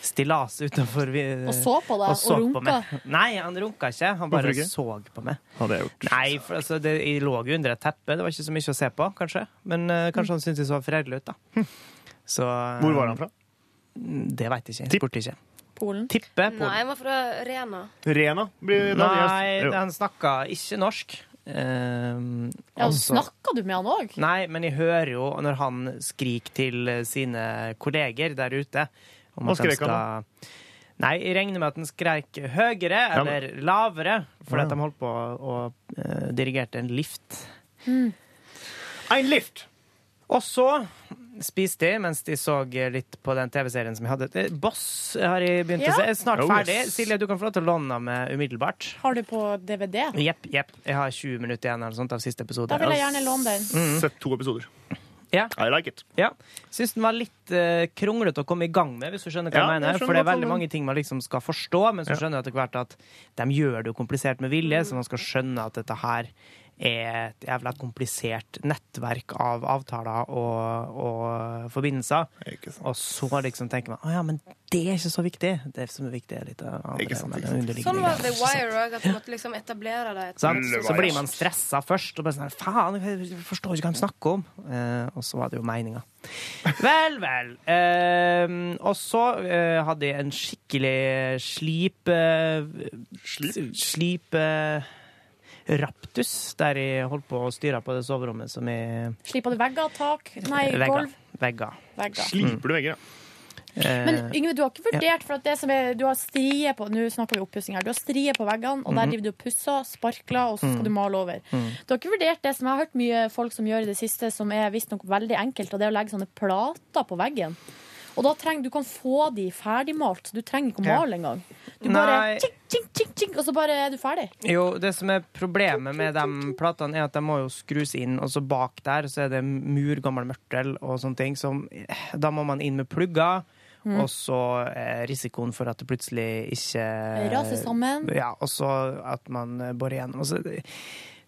Speaker 4: stillas utenfor vi,
Speaker 10: Og så på deg,
Speaker 4: så
Speaker 10: og
Speaker 4: på
Speaker 10: runka.
Speaker 4: meg. Nei, han runka ikke. Han
Speaker 8: Hvorfor
Speaker 4: bare
Speaker 8: ikke?
Speaker 4: så på meg.
Speaker 8: Hadde jeg gjort.
Speaker 4: Nei, for altså, det, jeg lå jo under et teppe. Det var ikke så mye å se på, kanskje. Men eh, kanskje han syntes jeg så fredelig ut, da. Så, eh,
Speaker 8: Hvor var han fra?
Speaker 4: Det veit jeg ikke. Jeg spurte ikke.
Speaker 10: Polen.
Speaker 4: Tipper
Speaker 11: Nei,
Speaker 4: Polen.
Speaker 11: jeg var fra Rena.
Speaker 8: Rena blir da
Speaker 4: Nei,
Speaker 8: gjest. Jo.
Speaker 4: han snakka ikke norsk. Um,
Speaker 10: Ja, Snakka du med han òg?
Speaker 4: Nei, men jeg hører jo når han skriker til eh, sine kolleger der ute om
Speaker 8: Hva
Speaker 4: at de
Speaker 8: skrek han
Speaker 4: skal- Nei, jeg regner med at han skreik høyere
Speaker 8: Ja, men-
Speaker 4: eller lavere, fordi
Speaker 8: Ja.
Speaker 4: at de holdt på å eh, dirigerte en lift.
Speaker 10: Mm.
Speaker 8: En lift!
Speaker 4: Og så spiste de mens de så litt på den TV-serien som jeg hadde. Eh, Boss har jeg begynt
Speaker 10: Ja.
Speaker 4: å se. Jeg er Snart
Speaker 10: Oh,
Speaker 4: ferdig.
Speaker 10: yes.
Speaker 4: Silje, du kan få lov til å låne den av meg umiddelbart.
Speaker 10: Har du på DVD?
Speaker 4: Jepp, jepp. Jeg har 20 minutter igjen eller noe sånt av siste episode.
Speaker 10: Da vil jeg gjerne låne den.
Speaker 4: Mhm.
Speaker 8: Sett to episoder.
Speaker 4: Ja.
Speaker 8: I like it.
Speaker 4: Ja. Syns den var litt eh, kronglete å komme i gang med, hvis du skjønner hva
Speaker 8: Ja,
Speaker 4: jeg
Speaker 8: jeg
Speaker 4: mener.
Speaker 8: skjønner
Speaker 4: For det er
Speaker 8: hva du
Speaker 4: veldig
Speaker 8: mener.
Speaker 4: mange ting man liksom skal forstå, men så skjønner jeg etter hvert at de gjør det jo komplisert med vilje, så man skal skjønne at dette her er et jævla komplisert nettverk av avtaler og, og forbindelser. Og så liksom tenker man å ja, men det er ikke så viktig. Det som er viktig, er litt av andre, men underliggende
Speaker 11: Sånn var
Speaker 4: greier.
Speaker 11: The Wire òg, at du måtte liksom etablere deg. et-
Speaker 4: Sant? Så blir man stressa først. Og bare sånn, her, Faen, jeg forstår ikke hva de snakker om. Eh, og så var det jo meninga. Vel, vel. Eh, og så eh, hadde jeg en skikkelig slip eh, Slip? eh, raptus, der jeg holdt på å styre på det soverommet som jeg
Speaker 10: Slipa du vegger, tak? Nei,
Speaker 4: Vegger.
Speaker 10: gulv?
Speaker 4: Vegger.
Speaker 10: Vegger.
Speaker 8: Sliper du vegger, ja.
Speaker 4: Eh,
Speaker 10: Men Yngve, du har ikke
Speaker 4: ja.
Speaker 10: vurdert, for at det som er, du har strie på Nå snakker vi oppussing her. Du har strie på veggene, og der
Speaker 4: Mhm.
Speaker 10: driver du og pusser, sparkler, og så skal
Speaker 4: Mm.
Speaker 10: du male over.
Speaker 4: Mm.
Speaker 10: Du har ikke vurdert det som jeg har hørt mye folk som gjør i det siste, som er visstnok veldig enkelt, og det er å legge sånne plater på veggen. Og da trenger du kan få de ferdigmalt. Du trenger ikke å
Speaker 4: Ja.
Speaker 10: male engang. Du bare
Speaker 4: Nei.
Speaker 10: tjink, tjink, tjink, tjink, og så bare er du ferdig.
Speaker 4: Jo, det som er problemet med de platene, er at de må jo skrus inn, og så bak der så er det mur, gammel mørtel og sånne ting. Som, eh, da må man inn med plugger,
Speaker 10: Mm.
Speaker 4: og så eh, risikoen for at det plutselig ikke
Speaker 10: Raser sammen.
Speaker 4: Ja, og så at man eh, borer igjennom. Altså, det,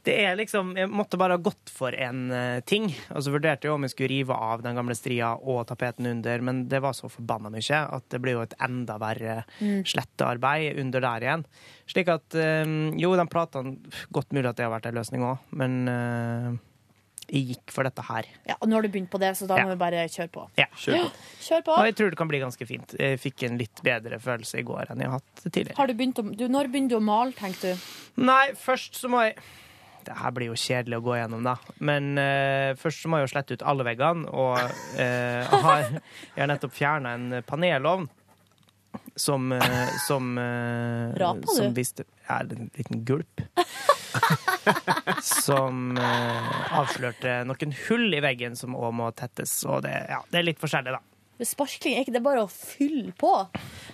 Speaker 4: det er liksom Jeg måtte bare ha gått for en eh, ting. Og så vurderte jeg om jeg skulle rive av den gamle stria og tapeten under, men det var så forbanna mye at det blir jo et enda verre
Speaker 10: Mm.
Speaker 4: slettearbeid under der igjen. Slik at eh, jo, de platene Godt mulig at det har vært en løsning òg, men eh, jeg gikk for dette her.
Speaker 2: Ja, og nå har du begynt på det, så da må
Speaker 4: Ja.
Speaker 2: vi bare kjøre på.
Speaker 4: Ja.
Speaker 2: Kjør på. Kjør på.
Speaker 4: Og jeg tror det kan bli ganske fint. Jeg fikk en litt bedre følelse i går enn jeg har hatt tidligere.
Speaker 2: Har du begynt å, du, når begynte du å male, tenkte du?
Speaker 4: Nei, først så må jeg Det her blir jo kjedelig å gå gjennom, da. Men eh, først så må jeg jo slette ut alle veggene, og eh, har, jeg har nettopp fjerna en panelovn. Som, eh, som eh,
Speaker 2: Rapa du?
Speaker 4: Som viste ja, en liten gulp. som eh, avslørte noen hull i veggen som òg må tettes. Og det, ja, det er litt forskjellig, da.
Speaker 2: Sparkling, er ikke det bare å fylle på?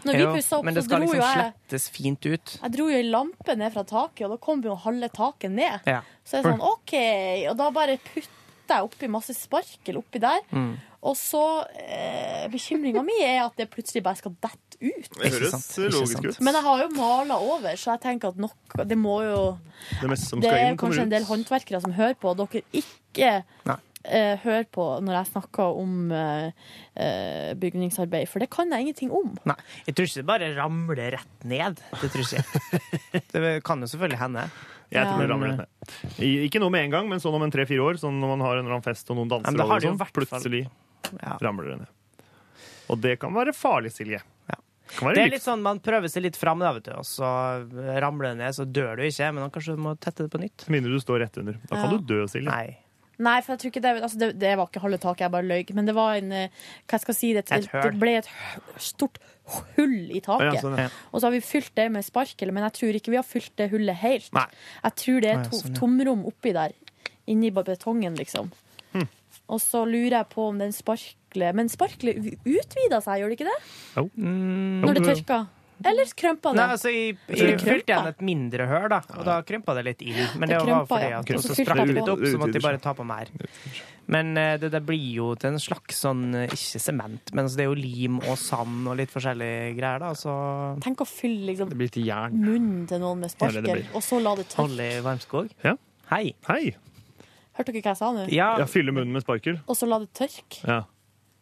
Speaker 2: Når vi
Speaker 4: Jo,
Speaker 2: pussa opp,
Speaker 4: men
Speaker 2: så
Speaker 4: det skal
Speaker 2: dro jo
Speaker 4: liksom
Speaker 2: jeg
Speaker 4: slettes fint ut.
Speaker 2: Jeg dro jo ei lampe ned fra taket, og da kom jo halve taket ned.
Speaker 4: Ja.
Speaker 2: Så jeg er sånn, OK. Og da bare putter jeg oppi masse sparkel oppi der.
Speaker 4: Mm.
Speaker 2: Og så eh, Bekymringa mi er at det plutselig bare skal dette ut.
Speaker 8: Det høres logisk ut.
Speaker 2: Men jeg har jo mala over, så jeg tenker at nok Det må jo
Speaker 8: Det meste som
Speaker 2: Det
Speaker 8: skal
Speaker 2: er
Speaker 8: inn, kommer
Speaker 2: kanskje en del
Speaker 8: ut.
Speaker 2: håndverkere som hører på, og dere ikke
Speaker 4: Nei.
Speaker 2: eh, hører på når jeg snakker om eh, eh, bygningsarbeid, for det kan jeg ingenting om.
Speaker 4: Nei, jeg tror ikke det bare ramler rett ned. Det tror ikke jeg. Det kan jo selvfølgelig hende.
Speaker 2: Jeg
Speaker 8: tror det ramler rett ned. I- Ikke nå med en gang, men sånn om en tre-fire år. Sånn når man har en eller annen fest og noen danser,
Speaker 4: Ja, men da
Speaker 8: og
Speaker 4: har det jo
Speaker 8: sånn,
Speaker 4: i hvert fall-
Speaker 8: plutselig
Speaker 4: Ja.
Speaker 8: ramler det ned. Og det kan være farlig, Silje. Det kan være
Speaker 4: Det er
Speaker 8: litt
Speaker 4: litt sånn, Man prøver seg litt fram, da, vet du, og så ramler det ned. Så dør du ikke, men man kanskje må tette det på nytt.
Speaker 8: Med mindre du står rett under. Da
Speaker 2: Ja.
Speaker 8: kan du dø, Silje.
Speaker 4: Nei.
Speaker 2: Nei, for jeg tror ikke det, altså det, det var ikke halve taket, jeg bare løy. Men det var en eh, Hva skal jeg si? Det,
Speaker 4: Et
Speaker 2: det,
Speaker 4: høl.
Speaker 2: ble et hø- stort hull i taket.
Speaker 4: Å ja, sånn, ja.
Speaker 2: Og så har vi fylt det med sparkel, men jeg tror ikke vi har fylt det hullet helt.
Speaker 4: Nei.
Speaker 2: Jeg tror det
Speaker 4: Å
Speaker 2: er
Speaker 4: ja,
Speaker 2: to,
Speaker 4: sånn, ja.
Speaker 2: tomrom oppi der. Inni ba- betongen, liksom.
Speaker 4: Hm.
Speaker 2: Og så lurer jeg på om den sparklet Men sparklet u- utvider seg, gjør det ikke det?
Speaker 4: Mm.
Speaker 2: Når det tørker? Eller krømper det?
Speaker 4: Nei, altså, jeg,
Speaker 2: Jeg tror
Speaker 4: jeg
Speaker 2: det
Speaker 4: fylte
Speaker 2: krymper.
Speaker 4: igjen et mindre høl, da, og da krympa det litt inn. Men det,
Speaker 2: Det
Speaker 4: var
Speaker 2: krympa,
Speaker 4: fordi
Speaker 2: ja.
Speaker 4: at
Speaker 2: Og
Speaker 4: og
Speaker 2: så
Speaker 4: så
Speaker 2: fylte
Speaker 4: strakk
Speaker 2: jeg
Speaker 4: det
Speaker 2: på.
Speaker 4: litt opp, så måtte
Speaker 2: Det
Speaker 4: jeg bare ta på mer. Men eh, det der blir jo til en slags sånn eh, ikke sement, men altså, det er jo lim og sand og litt forskjellige greier, da. Så
Speaker 2: Tenk å fylle liksom,
Speaker 4: blir til jern.
Speaker 2: munnen til noen med
Speaker 4: Ja, det
Speaker 2: sparkel,
Speaker 4: blir.
Speaker 2: og så la det tørke.
Speaker 4: Holly Varmskog. Hei.
Speaker 2: Hørte dere hva jeg sa nå?
Speaker 8: Ja, Fylle munnen med sparkel.
Speaker 2: Og så la det tørke.
Speaker 8: Ja.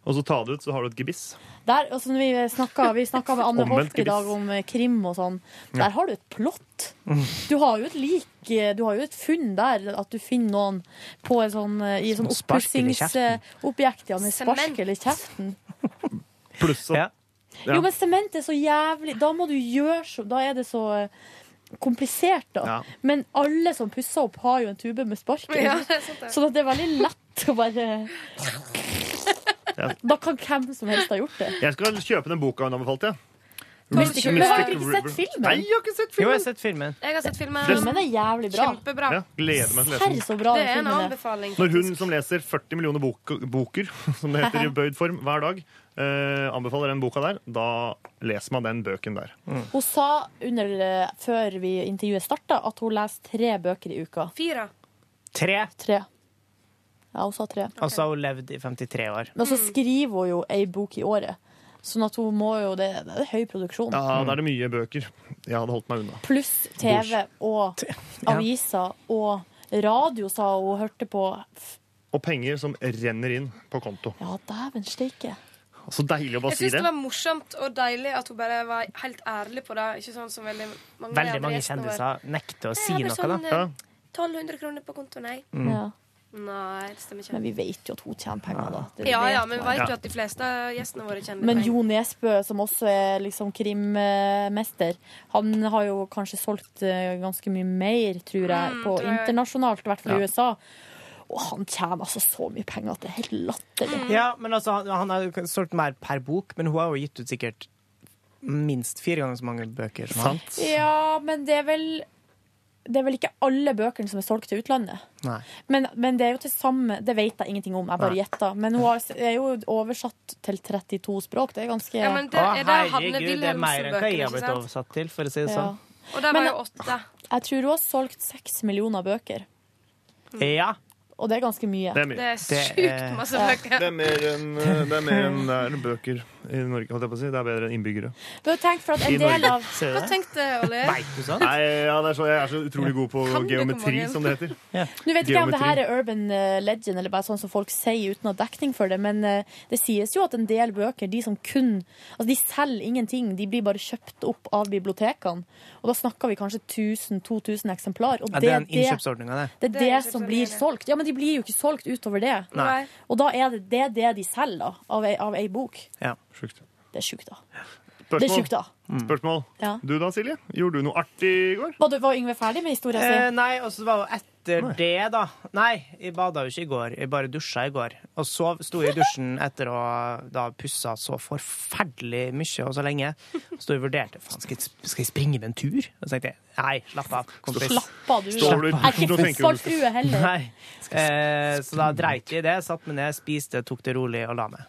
Speaker 8: Og så ta det ut, så har du et gebiss.
Speaker 2: Der, altså, når vi snakka vi snakket med Anne
Speaker 8: Omvendt
Speaker 2: Hoff i
Speaker 8: gebiss.
Speaker 2: dag om eh, krim og sånn.
Speaker 8: Ja. Mm.
Speaker 2: Der har du et plott. Du har jo et lik, eh, du har jo et funn der. At du finner noen på en sånn, eh, i et sånn
Speaker 8: Som sparker i kjeften.
Speaker 2: oppussingsobjekt ja, med
Speaker 11: Sement.
Speaker 2: sparkel i kjeften.
Speaker 8: Pluss at
Speaker 2: Jo, men sement er så jævlig Da må du gjøre så Da er det så eh, komplisert, da.
Speaker 8: Ja.
Speaker 2: Men alle som pusser opp, har jo en tube med sparkel.
Speaker 11: Ja, det er sant det.
Speaker 2: sånn at det er veldig lett å bare
Speaker 8: Ja.
Speaker 2: Da kan hvem som helst ha gjort det.
Speaker 8: Jeg skal kjøpe den boka hun anbefalte.
Speaker 2: Men har dere ikke sett filmen?
Speaker 8: Nei, jeg har ikke sett filmen.
Speaker 4: Jo, jeg har sett filmen.
Speaker 11: Jeg har sett filmen.
Speaker 2: Filmen er jævlig bra.
Speaker 11: Kjempebra.
Speaker 8: Ja, gleder meg til å lese
Speaker 2: Serr,
Speaker 8: den.
Speaker 2: så bra
Speaker 11: Det er
Speaker 2: den
Speaker 11: en
Speaker 2: filmen er.
Speaker 11: anbefaling.
Speaker 8: Når hun som leser 40 millioner bok boker, som det heter i bøyd form, hver dag, eh, anbefaler den boka der, da leser man den bøken der.
Speaker 2: Hun sa under, eh, før vi intervjuet starta, at hun leser tre bøker i uka.
Speaker 11: Fire.
Speaker 4: Tre.
Speaker 2: Tre. Ja, hun sa tre.
Speaker 4: Og så har Altså, hun levd i 53 år.
Speaker 2: Men
Speaker 11: Mm.
Speaker 2: så skriver hun jo ei bok i året. Sånn at hun må jo Det, det er høy produksjon.
Speaker 8: Ja, da er det mye bøker. Jeg hadde holdt meg unna.
Speaker 2: Pluss TV og aviser og radio, sa hun. Hun hørte på
Speaker 8: Og penger som renner inn på konto.
Speaker 2: Ja, dæven steike.
Speaker 8: Så deilig å bare
Speaker 11: Jeg
Speaker 8: si
Speaker 11: syns
Speaker 8: det.
Speaker 11: det var morsomt og deilig at hun bare var helt ærlig på det. Ikke sånn som veldig mange
Speaker 4: Veldig
Speaker 11: andre
Speaker 4: mange
Speaker 11: resten av
Speaker 4: kjendiser nekter å si
Speaker 11: Nei, bare
Speaker 4: noe,
Speaker 11: sånn,
Speaker 4: da.
Speaker 11: eh, 1200 kroner på konto, nei.
Speaker 4: Mm. Ja.
Speaker 11: Nei, det stemmer ikke.
Speaker 2: Men vi vet jo at hun tjener penger, da. Det
Speaker 11: ja, ja,
Speaker 2: vet
Speaker 11: men
Speaker 2: man.
Speaker 11: vet du at de fleste av gjestene våre kjenner
Speaker 2: Men
Speaker 11: meg?
Speaker 2: Jo Nesbø, som også er liksom krimmester, han har jo kanskje solgt eh, ganske mye mer, tror jeg,
Speaker 11: Mm,
Speaker 2: på
Speaker 11: tror jeg.
Speaker 2: internasjonalt, i hvert fall i
Speaker 4: Ja.
Speaker 2: USA. Og han tjener altså så mye penger at det er helt latterlig.
Speaker 11: Mm.
Speaker 4: Ja, men altså, han, han har jo solgt mer per bok, men hun har jo gitt ut sikkert minst fire ganger så mange bøker som han.
Speaker 2: Ja, men det er vel det er vel ikke alle bøkene som er solgt til utlandet.
Speaker 4: Nei.
Speaker 2: Men, men det er jo til samme Det vet jeg ingenting om, jeg bare
Speaker 4: Nei.
Speaker 2: gjetter. Men hun har- er jo oversatt til 32 språk. Det er ganske
Speaker 11: Ja, men det,
Speaker 4: Å,
Speaker 11: er det Hanne
Speaker 4: herregud, det er mer enn hva jeg
Speaker 11: Wilhelmsen-bøkene,
Speaker 4: har blitt
Speaker 11: ikke sant?
Speaker 4: oversatt til, for å si det
Speaker 2: Ja.
Speaker 4: sånn.
Speaker 11: Og det var
Speaker 2: Men-
Speaker 11: jo åtte.
Speaker 2: Jeg tror hun har solgt seks millioner bøker.
Speaker 4: Ja.
Speaker 2: Og det er ganske mye.
Speaker 8: Det er mye. Det er
Speaker 11: sjukt masse bøker.
Speaker 8: Det er mer enn, eh, det er mer enn det er bøker. i Norge, holdt jeg på å si. Det er bedre enn innbyggere.
Speaker 2: Bør tenke for at
Speaker 8: I
Speaker 2: en del
Speaker 8: Norge.
Speaker 2: av
Speaker 8: Ser du det? Hva
Speaker 5: tenkte Ole?
Speaker 8: du sant? Nei, ja, det er så, jeg er så utrolig god på
Speaker 5: Kan du
Speaker 8: geometri,
Speaker 5: på mange?
Speaker 8: som det heter.
Speaker 2: Nå vet ikke jeg om det
Speaker 8: Geometri.
Speaker 2: her er urban eh, legend, eller bare sånn som folk sier uten å ha dekning for det, men eh, det sies jo at en del bøker, de som kun Altså, de selger ingenting, de blir bare kjøpt opp av bibliotekene. Og da snakker vi kanskje 1000-2000 eksemplar. Og
Speaker 4: Ja, det er en innkjøpsordning av det.
Speaker 2: Det er det som blir solgt. Ja, men de blir jo ikke solgt utover det.
Speaker 4: Nei.
Speaker 2: Og da er det det, er det de selger, da, av ei, av ei bok.
Speaker 4: Ja.
Speaker 8: Sjukt.
Speaker 2: Det er sjukt, da.
Speaker 8: Spørsmål.
Speaker 2: Det er sjukt, da.
Speaker 8: Spørsmål.
Speaker 2: Ja.
Speaker 8: Du da, Silje? Gjorde du noe artig i går?
Speaker 2: Var, du- var Yngve ferdig med historien
Speaker 4: Eh,
Speaker 2: sin?
Speaker 4: nei, og så var det etter det, da. Nei, jeg bada jo ikke i går. Jeg bare dusja i går. Og så sto jeg i dusjen etter å da pussa så forferdelig mye og så lenge. Så jeg vurderte faen, skal, jeg, skal jeg springe med en tur? Og så tenkte jeg nei, slapp av, kompis.
Speaker 2: Slapp av, du.
Speaker 4: Står du-
Speaker 2: er ikke
Speaker 4: Nå tenker du-
Speaker 2: fotballfrue heller.
Speaker 4: Nei. Eh, så da dreit jeg i det. Satt meg ned, spiste, tok det rolig og la meg.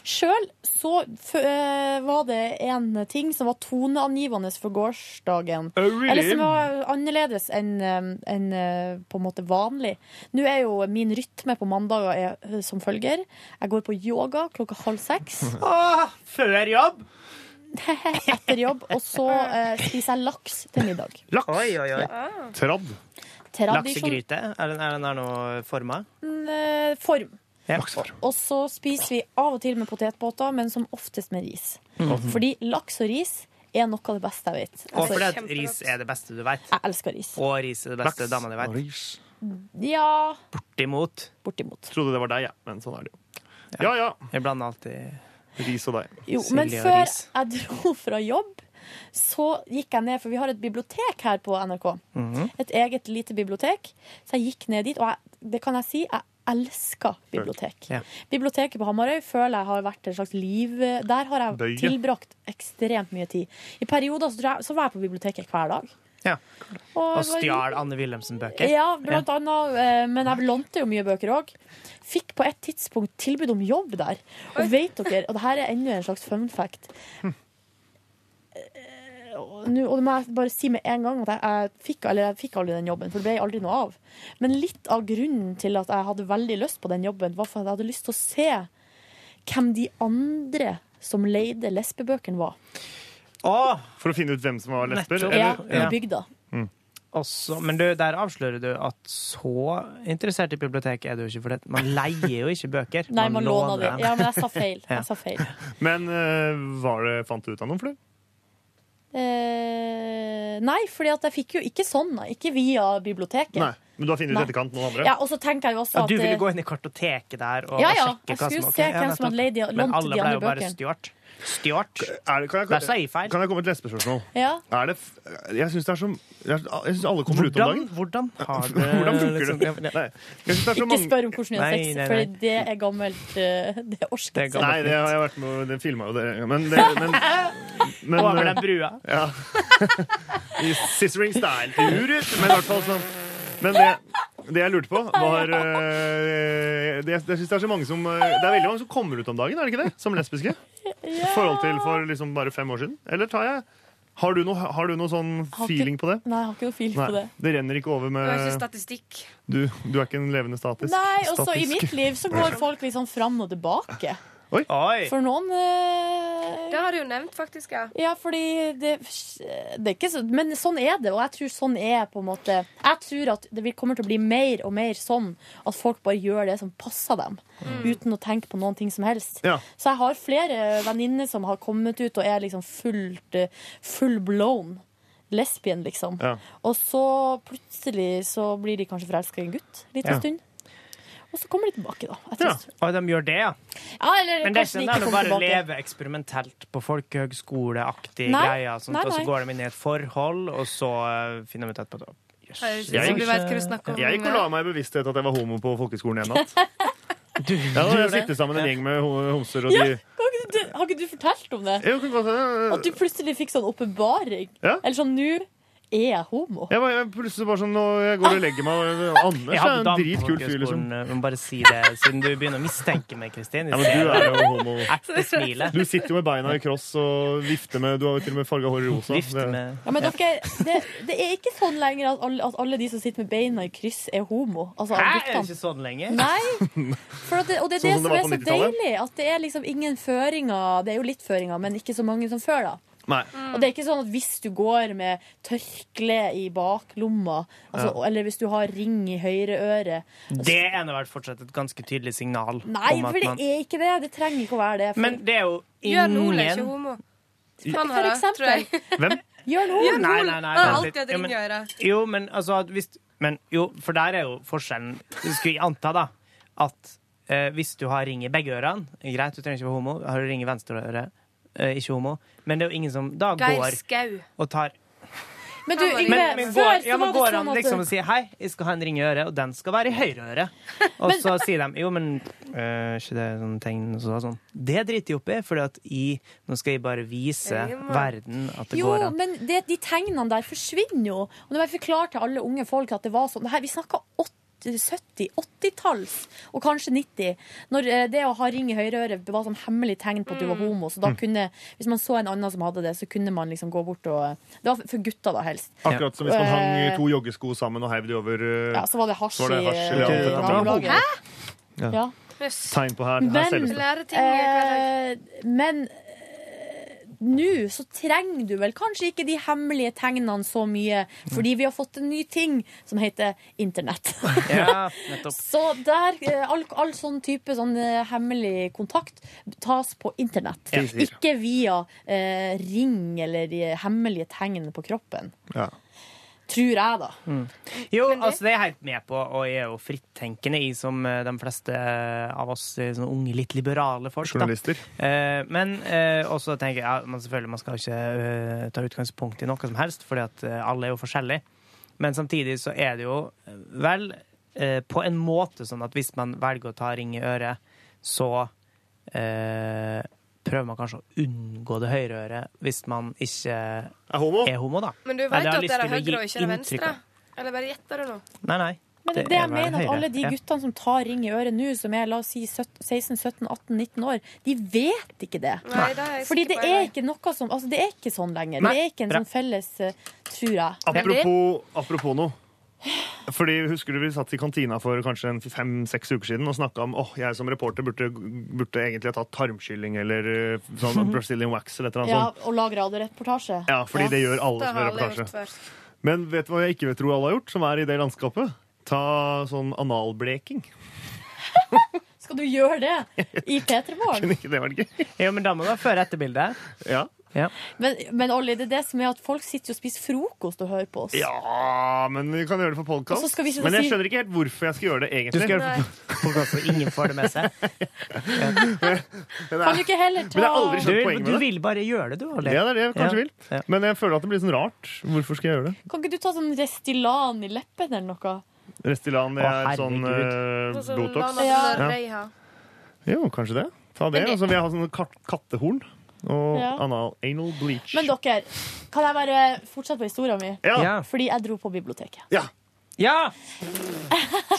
Speaker 2: Sjøl så f øh, var det en ting som var toneangivende for gårsdagen.
Speaker 4: Oh,
Speaker 11: really?
Speaker 2: Eller som var annerledes enn øh, enn, øh, på en måte vanlig. Nå er jo min rytme på mandager er, øh, som følger. Jeg går på yoga klokka halv seks.
Speaker 4: Åh, før jobb?
Speaker 2: Etter jobb. Og så øh, spiser jeg laks til middag.
Speaker 8: Laks?
Speaker 4: Oi, oi, oi.
Speaker 8: Tradd?
Speaker 2: Tradisjon-
Speaker 4: Laksegryte? Er den, er den der noe forma?
Speaker 2: Mm, øh, Form.
Speaker 4: Ja.
Speaker 2: Og så spiser vi av og til med potetbåter, men som oftest med ris.
Speaker 4: Mhm.
Speaker 2: Fordi laks og ris er noe av det beste jeg vet.
Speaker 4: Og
Speaker 2: Altså,
Speaker 4: fordi at ris er det beste du vet.
Speaker 2: Jeg elsker ris.
Speaker 4: Og ris er det beste dama di vet.
Speaker 2: Ja
Speaker 4: Bortimot.
Speaker 2: Bortimot.
Speaker 8: Trodde det var deg, ja. men sånn er det jo. Ja, ja.
Speaker 4: Jeg blander alltid
Speaker 8: ris og deg.
Speaker 2: Jo, men før jeg dro fra jobb, så gikk jeg ned, for vi har et bibliotek her på NRK.
Speaker 4: Mhm.
Speaker 2: Et eget lite bibliotek. Så jeg gikk ned dit, og jeg, det kan jeg si, jeg elsker bibliotek.
Speaker 11: Ja.
Speaker 2: Biblioteket på Hamarøy føler jeg har vært et slags liv eh, Der har jeg
Speaker 11: Bøye.
Speaker 2: tilbrakt ekstremt mye tid. I perioder så, tror jeg, så var jeg på biblioteket hver dag.
Speaker 4: Ja.
Speaker 2: Og
Speaker 4: Og
Speaker 2: det var-
Speaker 4: stjal Anne Wilhelmsen-bøker.
Speaker 2: Ja, blant annet. eh, Men jeg lånte jo mye bøker òg. Fikk på et tidspunkt tilbud om jobb der. Og vet dere, og det her er enda en slags fun fact Eh, og nå- og det må jeg bare si med en gang at jeg, jeg, fikk, eller jeg fikk aldri den jobben, for det ble aldri noe av. Men litt av grunnen til at jeg hadde veldig lyst på den jobben, var for at jeg hadde lyst til å se hvem de andre som leide lesbebøkene var.
Speaker 8: For å finne ut hvem som var lesber?
Speaker 4: Nettopp.
Speaker 2: Ja,
Speaker 8: eller?
Speaker 2: i bygda.
Speaker 4: Også, men du, der avslører du at så interessert i bibliotek er du ikke. For det. Man leier jo ikke bøker.
Speaker 2: Nei, man låner det.
Speaker 4: dem.
Speaker 2: Ja, men jeg sa feil.
Speaker 4: Ja.
Speaker 2: Jeg sa feil.
Speaker 8: Men eh, var det, fant du ut av noen flere?
Speaker 2: Eh, nei, fordi at jeg fikk jo ikke sånn, da. ikke via biblioteket.
Speaker 8: Nei. Men du har funnet ut i
Speaker 2: Nei.
Speaker 8: etterkant noen andre?
Speaker 2: Ja, og så tenker jeg jo også
Speaker 4: Ja,
Speaker 2: at
Speaker 4: du ville
Speaker 2: eh,
Speaker 4: gå inn i kartoteket der og,
Speaker 2: Ja, ja,
Speaker 4: og sjekke
Speaker 2: jeg
Speaker 4: hva som
Speaker 2: skulle
Speaker 4: ok,
Speaker 2: se hvem som
Speaker 4: nettopp.
Speaker 2: hadde leid de-
Speaker 4: Men
Speaker 2: lånt de
Speaker 4: alle ble jo
Speaker 2: andre
Speaker 4: bare
Speaker 2: bøkene.
Speaker 4: stjålet. Stjålet.
Speaker 8: Er det, kan jeg,
Speaker 4: Der sa jeg feil.
Speaker 8: Kan jeg komme med et lesbespørsmål?
Speaker 2: Ja.
Speaker 8: Er det, f- jeg syns det er så Jeg jeg synes alle kommer ut om dagen. Eh,
Speaker 4: Hvordan har det liksom-
Speaker 8: Hvordan funker det? Nei, jeg synes det er så
Speaker 2: Ikke
Speaker 8: mange-
Speaker 2: spør om hvordan vi har
Speaker 8: Nei,
Speaker 2: sex,
Speaker 8: nei, nei.
Speaker 2: for det er gammelt eh, Det er orsk.
Speaker 8: Nei, det har jeg vært med Det filma jo dere. Men det men, men,
Speaker 4: Over den brua.
Speaker 8: Ja. I Scissoring Style-turer. Men i hvert fall sånn. Men det, det jeg lurte på, var eh, det, Jeg syns det er så mange som eh, Det er veldig mange som kommer ut om dagen, er det ikke det? Som lesbiske. I forhold til for liksom bare fem år siden. Eller tar jeg Har du noe, har du noe sånn
Speaker 2: Har ikke-
Speaker 8: feeling på det?
Speaker 2: Nei, jeg har ikke noe fil på
Speaker 8: Nei,
Speaker 2: det.
Speaker 8: det renner ikke over
Speaker 5: Det var
Speaker 4: Eh.
Speaker 5: ikke
Speaker 8: med
Speaker 5: statistikk.
Speaker 8: Du, du er ikke en levende statisk?
Speaker 2: Nei, og så i
Speaker 8: statisk.
Speaker 2: mitt liv så går folk litt sånn fram og tilbake.
Speaker 8: Oi.
Speaker 2: For noen eh,
Speaker 5: Det har du jo nevnt, faktisk. ja.
Speaker 2: Ja, fordi det, det er ikke så Men sånn er det, og jeg tror sånn er på en måte Jeg tror at det vil- kommer til å bli mer og mer sånn at folk bare gjør det som passer dem, uten å tenke på noen ting som helst.
Speaker 11: Ja.
Speaker 2: Så jeg har flere venninner som har kommet ut og er liksom fullt eh, full blown lesbien, liksom.
Speaker 11: Ja.
Speaker 2: Og så plutselig så blir de kanskje forelska i en gutt liten
Speaker 4: Ja.
Speaker 2: stund. Og så kommer de tilbake, da. Etter
Speaker 4: Ja.
Speaker 2: en stund.
Speaker 4: Og de gjør det, ja.
Speaker 2: Ja, eller
Speaker 4: Men det
Speaker 2: kanskje de ikke
Speaker 4: skjønner jeg
Speaker 2: kommer
Speaker 4: bare
Speaker 2: tilbake.
Speaker 4: leve eksperimentelt på folkehøgskoleaktig
Speaker 2: Nei,
Speaker 4: greier. og Sånt,
Speaker 2: nei,
Speaker 4: og så
Speaker 2: nei.
Speaker 4: går de inn i et forhold, og så eh, finner de ut etterpå.
Speaker 5: Høres ut
Speaker 8: Jeg
Speaker 5: som
Speaker 8: gikk-
Speaker 5: du vet hva du snakker om.
Speaker 8: Jeg gikk og
Speaker 2: eh.
Speaker 8: la meg i bevissthet at jeg var homo på folkeskolen en natt. ja,
Speaker 4: du
Speaker 8: da jeg
Speaker 4: gjorde det?
Speaker 8: sitter sammen med en gjeng med ho- homser, og
Speaker 2: Ja,
Speaker 8: de
Speaker 2: kan ikke du, har ikke du fortalt om det?
Speaker 8: Jo, kan godt hende.
Speaker 2: At du plutselig fikk sånn åpenbaring?
Speaker 8: Ja.
Speaker 2: Eller sånn nå Er jeg homo?
Speaker 8: Jeg var jeg plutselig bare sånn Når jeg går og legger meg og- Anders
Speaker 4: Jeg
Speaker 8: er
Speaker 4: hadde
Speaker 8: en
Speaker 4: dame på
Speaker 8: dritkul fyr, liksom.
Speaker 4: folkehøyskolen, Jeg må bare si det, siden du begynner å mistenke meg, Kristin.
Speaker 8: Ja, men du er jo homo.
Speaker 4: Ertesmilet.
Speaker 8: Du sitter jo med beina i kross og vifter med Du har jo til og med farga hår i rosa. Vifte med
Speaker 2: Ja, men dere, det, det er ikke sånn lenger at alle, at alle de som sitter med beina i kryss, er homo. Altså, av
Speaker 4: Hæ, er det
Speaker 2: guttene.
Speaker 4: ikke sånn lenger?
Speaker 2: Nei. For at det, og det er det
Speaker 4: Sånn som det
Speaker 2: som
Speaker 4: var
Speaker 2: er
Speaker 4: på
Speaker 2: så
Speaker 4: 90-tallet?
Speaker 2: deilig, at det er liksom ingen føringer. Det er jo litt føringer, men ikke så mange som før, da.
Speaker 8: Nei.
Speaker 2: Og det er ikke sånn at hvis du går med tørkle i baklomma, altså,
Speaker 4: Ja.
Speaker 2: eller hvis du har ring i høyre øre
Speaker 4: Det er nå vel fortsatt et ganske tydelig signal.
Speaker 2: Nei,
Speaker 4: om at
Speaker 2: for det
Speaker 4: man-
Speaker 2: er ikke det. Det trenger ikke å være det. For,
Speaker 4: Men det er jo
Speaker 11: Jørn Ole er
Speaker 4: ingen
Speaker 11: ikke homo. Han har
Speaker 2: for
Speaker 11: det, tror jeg.
Speaker 2: eksempel.
Speaker 4: Hvem?
Speaker 2: Jørn
Speaker 11: Jørn
Speaker 2: Hoel.
Speaker 11: Hoel.
Speaker 4: Nei, nei, nei.
Speaker 11: Han har
Speaker 4: vent litt.
Speaker 11: alltid hatt
Speaker 4: Jo,
Speaker 11: ring i øret.
Speaker 4: men, jo, men altså at hvis men, Jo, for der er jo forskjellen. Du skulle jeg anta, da, at eh, hvis du har ring i begge ørene Greit, du trenger ikke være homo. Har du ring i venstre øre, eh, ikke homo. Men det er jo ingen som da
Speaker 11: Geir
Speaker 4: går
Speaker 11: Skau.
Speaker 4: og tar
Speaker 2: Men du, Yngve,
Speaker 4: men, men
Speaker 2: før
Speaker 4: går,
Speaker 2: så
Speaker 4: ja, men
Speaker 2: var det
Speaker 4: går
Speaker 2: sånn
Speaker 4: han
Speaker 2: at
Speaker 4: liksom og sier hei, jeg skal ha en ring i øret, og den skal være i høyre øre. Og så sier de jo, men øh, ikke det er sånn tegn og så, sånn. Det driter jeg opp i, for nå skal jeg bare vise
Speaker 2: Rima.
Speaker 4: verden at det
Speaker 2: Jo,
Speaker 4: går an.
Speaker 2: men det, de tegnene der forsvinner jo. Og når jeg forklarer til alle unge folk at det var sånn det her, Vi snakka 70-80-talls, og kanskje 90. Når eh, det å ha ring i høyreøret var sånn hemmelig tegn på at du var homo. Så da kunne, hvis man så en annen som hadde det, så kunne man liksom gå bort og Det var for gutta, da, helst.
Speaker 8: Akkurat som hvis man hang
Speaker 2: Eh,
Speaker 8: to joggesko sammen og heiv de over eh,
Speaker 2: Ja, så var det hasj
Speaker 8: var det
Speaker 2: i,
Speaker 8: hasj eller
Speaker 2: eh,
Speaker 8: alt dette.
Speaker 2: nabolaget. Hæ?
Speaker 8: Ja.
Speaker 2: Ja.
Speaker 8: Tegn på her. her
Speaker 2: Men,
Speaker 8: selges det.
Speaker 2: eh, men eh, nå så trenger du vel kanskje ikke de hemmelige tegnene så mye, fordi vi har fått en ny ting som heter internett.
Speaker 4: Ja, nettopp.
Speaker 2: så der, eh, all, all sånn type sånn eh, hemmelig kontakt tas på internett.
Speaker 8: Ja.
Speaker 2: Ikke via eh, ring eller de hemmelige tegn på kroppen.
Speaker 8: Ja.
Speaker 2: Tror jeg, da.
Speaker 4: Jo, altså det er jeg helt med på, og jeg er jo frittenkende i som eh, de fleste eh, av oss eh, sånne unge, litt liberale folk. da.
Speaker 8: Journalister.
Speaker 4: Eh, men eh, også tenker jeg ja, man selvfølgelig man skal ikke eh, ta utgangspunkt i noe som helst, fordi at eh, alle er jo forskjellige. Men samtidig så er det jo eh, vel eh, på en måte sånn at hvis man velger å ta ring i øret, så eh, prøver man kanskje å unngå det høyre øret hvis man ikke er
Speaker 8: homo,
Speaker 4: da.
Speaker 11: Men du
Speaker 4: Eller
Speaker 11: vet
Speaker 4: har
Speaker 11: at
Speaker 4: lyst
Speaker 11: det er
Speaker 4: til å gi
Speaker 11: høyre og ikke det
Speaker 4: inntrykk
Speaker 11: venstre?
Speaker 4: av-
Speaker 11: Eller bare gjetter du nå?
Speaker 4: Nei, nei.
Speaker 2: Men det,
Speaker 4: Det er
Speaker 2: jeg
Speaker 4: vel
Speaker 2: mener at
Speaker 4: høyre,
Speaker 2: alle de
Speaker 4: ja.
Speaker 2: guttene som tar ring i øret nå, som er la oss si 17 16, 17, 18, 19 år, de vet ikke det.
Speaker 11: Nei, Mm. det er jeg
Speaker 2: Fordi
Speaker 11: sikker
Speaker 2: det
Speaker 11: på,
Speaker 2: er
Speaker 11: jeg.
Speaker 2: ikke noe som Altså, det er ikke sånn lenger.
Speaker 8: Nei,
Speaker 2: Det er ikke en
Speaker 8: bra.
Speaker 2: sånn felles eh, Tror jeg.
Speaker 8: Apropos, apropos noe. Fordi Husker du vi satt i kantina for kanskje fem-seks uker siden og snakka om åh, jeg som reporter burde, burde egentlig ha tatt tarmkylling eller eh, sånn Brazilian wax eller et eller
Speaker 2: Ja,
Speaker 8: annet sånt.
Speaker 2: og lag radioreportasje.
Speaker 8: Ja, fordi det gjør alle som gjør reportasje. Men vet du hva jeg ikke tror alle har gjort, som er i det landskapet? Ta sånn analbleking.
Speaker 2: Skal du gjøre det i P3 Morgen?
Speaker 8: Kunne ikke det vært gøy?
Speaker 4: Ja, men da må du ha før- og etterbilde.
Speaker 8: Ja.
Speaker 2: Men, men Olli, det er det som er at folk sitter jo og spiser frokost og hører på oss.
Speaker 8: ja, men vi kan gjøre det for
Speaker 2: Og så
Speaker 8: podkast.
Speaker 2: skal vi sitte og
Speaker 8: Men jeg
Speaker 2: si-
Speaker 8: skjønner ikke helt hvorfor jeg skal gjøre det,
Speaker 4: Du
Speaker 8: egentlig.
Speaker 4: skal gjøre det for podkast, så ingen får det med seg.
Speaker 8: Men det er-
Speaker 2: Kan du ikke heller ta
Speaker 8: Men jeg har aldri skjønt
Speaker 4: Du-
Speaker 8: poenget med
Speaker 4: Du
Speaker 8: det.
Speaker 4: vil bare gjøre det, du. Ole.
Speaker 8: Ja, det er det jeg kanskje
Speaker 4: Ja.
Speaker 8: vil. Men jeg føler at det blir sånn rart. Hvorfor skal jeg gjøre det?
Speaker 2: Kan ikke du ta sånn Restylan i leppen eller noe?
Speaker 8: Restylan det
Speaker 4: Å,
Speaker 8: er sånn
Speaker 4: herregud.
Speaker 11: Altså,
Speaker 8: eh, Botox.
Speaker 11: Ja.
Speaker 8: Ja. Jo, kanskje det. Ta det.
Speaker 2: sånn, Men det-
Speaker 8: Og så vil jeg ha sånn kat kattehorn. Og
Speaker 2: Ja.
Speaker 8: anal, anal bleach.
Speaker 2: Men dere, kan jeg bare fortsette på historien min?
Speaker 8: Ja. Ja.
Speaker 2: Fordi jeg dro på biblioteket.
Speaker 8: Ja!
Speaker 4: Ja!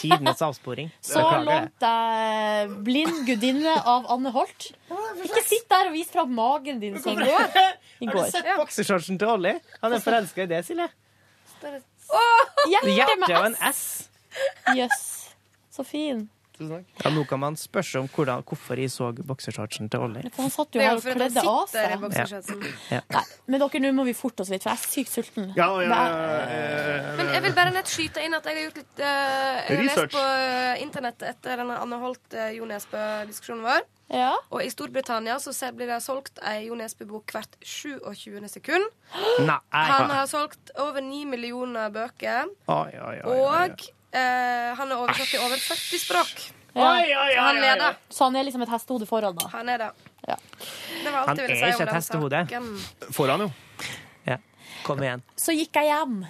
Speaker 4: Tidenes avsporing.
Speaker 2: Så lånte jeg 'Blind gudinne' av Anne Holt. Ikke sitt der og vis fra magen din som i går. I
Speaker 4: Har du
Speaker 2: går.
Speaker 4: sett bokseshortsen til Olli? Han er forelska i det, Silje. Det
Speaker 2: Hjerte
Speaker 4: hjertet og
Speaker 2: med
Speaker 4: en S.
Speaker 2: Jøss. Så fin.
Speaker 4: Ja, nå kan man spørre seg om hvordan, hvorfor jeg så bokseshortsen til Olli.
Speaker 2: For han satt jo
Speaker 11: Det er
Speaker 2: her
Speaker 11: jo
Speaker 2: og
Speaker 11: for at han
Speaker 2: kledde av
Speaker 11: sitter i
Speaker 2: seg.
Speaker 11: boksershortsen.
Speaker 4: Ja.
Speaker 2: Nei, men dere, nå må vi forte oss litt, for jeg er sykt sulten.
Speaker 8: Ja, ja,
Speaker 2: Men-
Speaker 11: Men jeg vil bare nett skyte inn at jeg har gjort litt eh, jeg har
Speaker 8: Research.
Speaker 11: lest på eh, internett etter denne Anne Holt eh, Jo Nesbø-diskusjonen vår. Og i Storbritannia så ser- blir det solgt ei Jo Nesbø-bok hvert 27. sekund. Han
Speaker 4: Nei.
Speaker 11: har solgt over 9 millioner bøker.
Speaker 4: Oi, oi, oi.
Speaker 11: Og eh, han er oversatt til over 40 språk.
Speaker 2: Ja.
Speaker 11: Så han leder.
Speaker 2: Så han er liksom et hestehode foran, da.
Speaker 11: Han er det.
Speaker 2: Ja.
Speaker 11: Det var alt
Speaker 4: Han
Speaker 11: jeg
Speaker 4: er
Speaker 11: ville si om
Speaker 4: ikke et
Speaker 11: den
Speaker 4: hestehode.
Speaker 11: saken.
Speaker 8: Foran, jo.
Speaker 4: Ja. Kom igjen.
Speaker 2: Så gikk jeg hjem.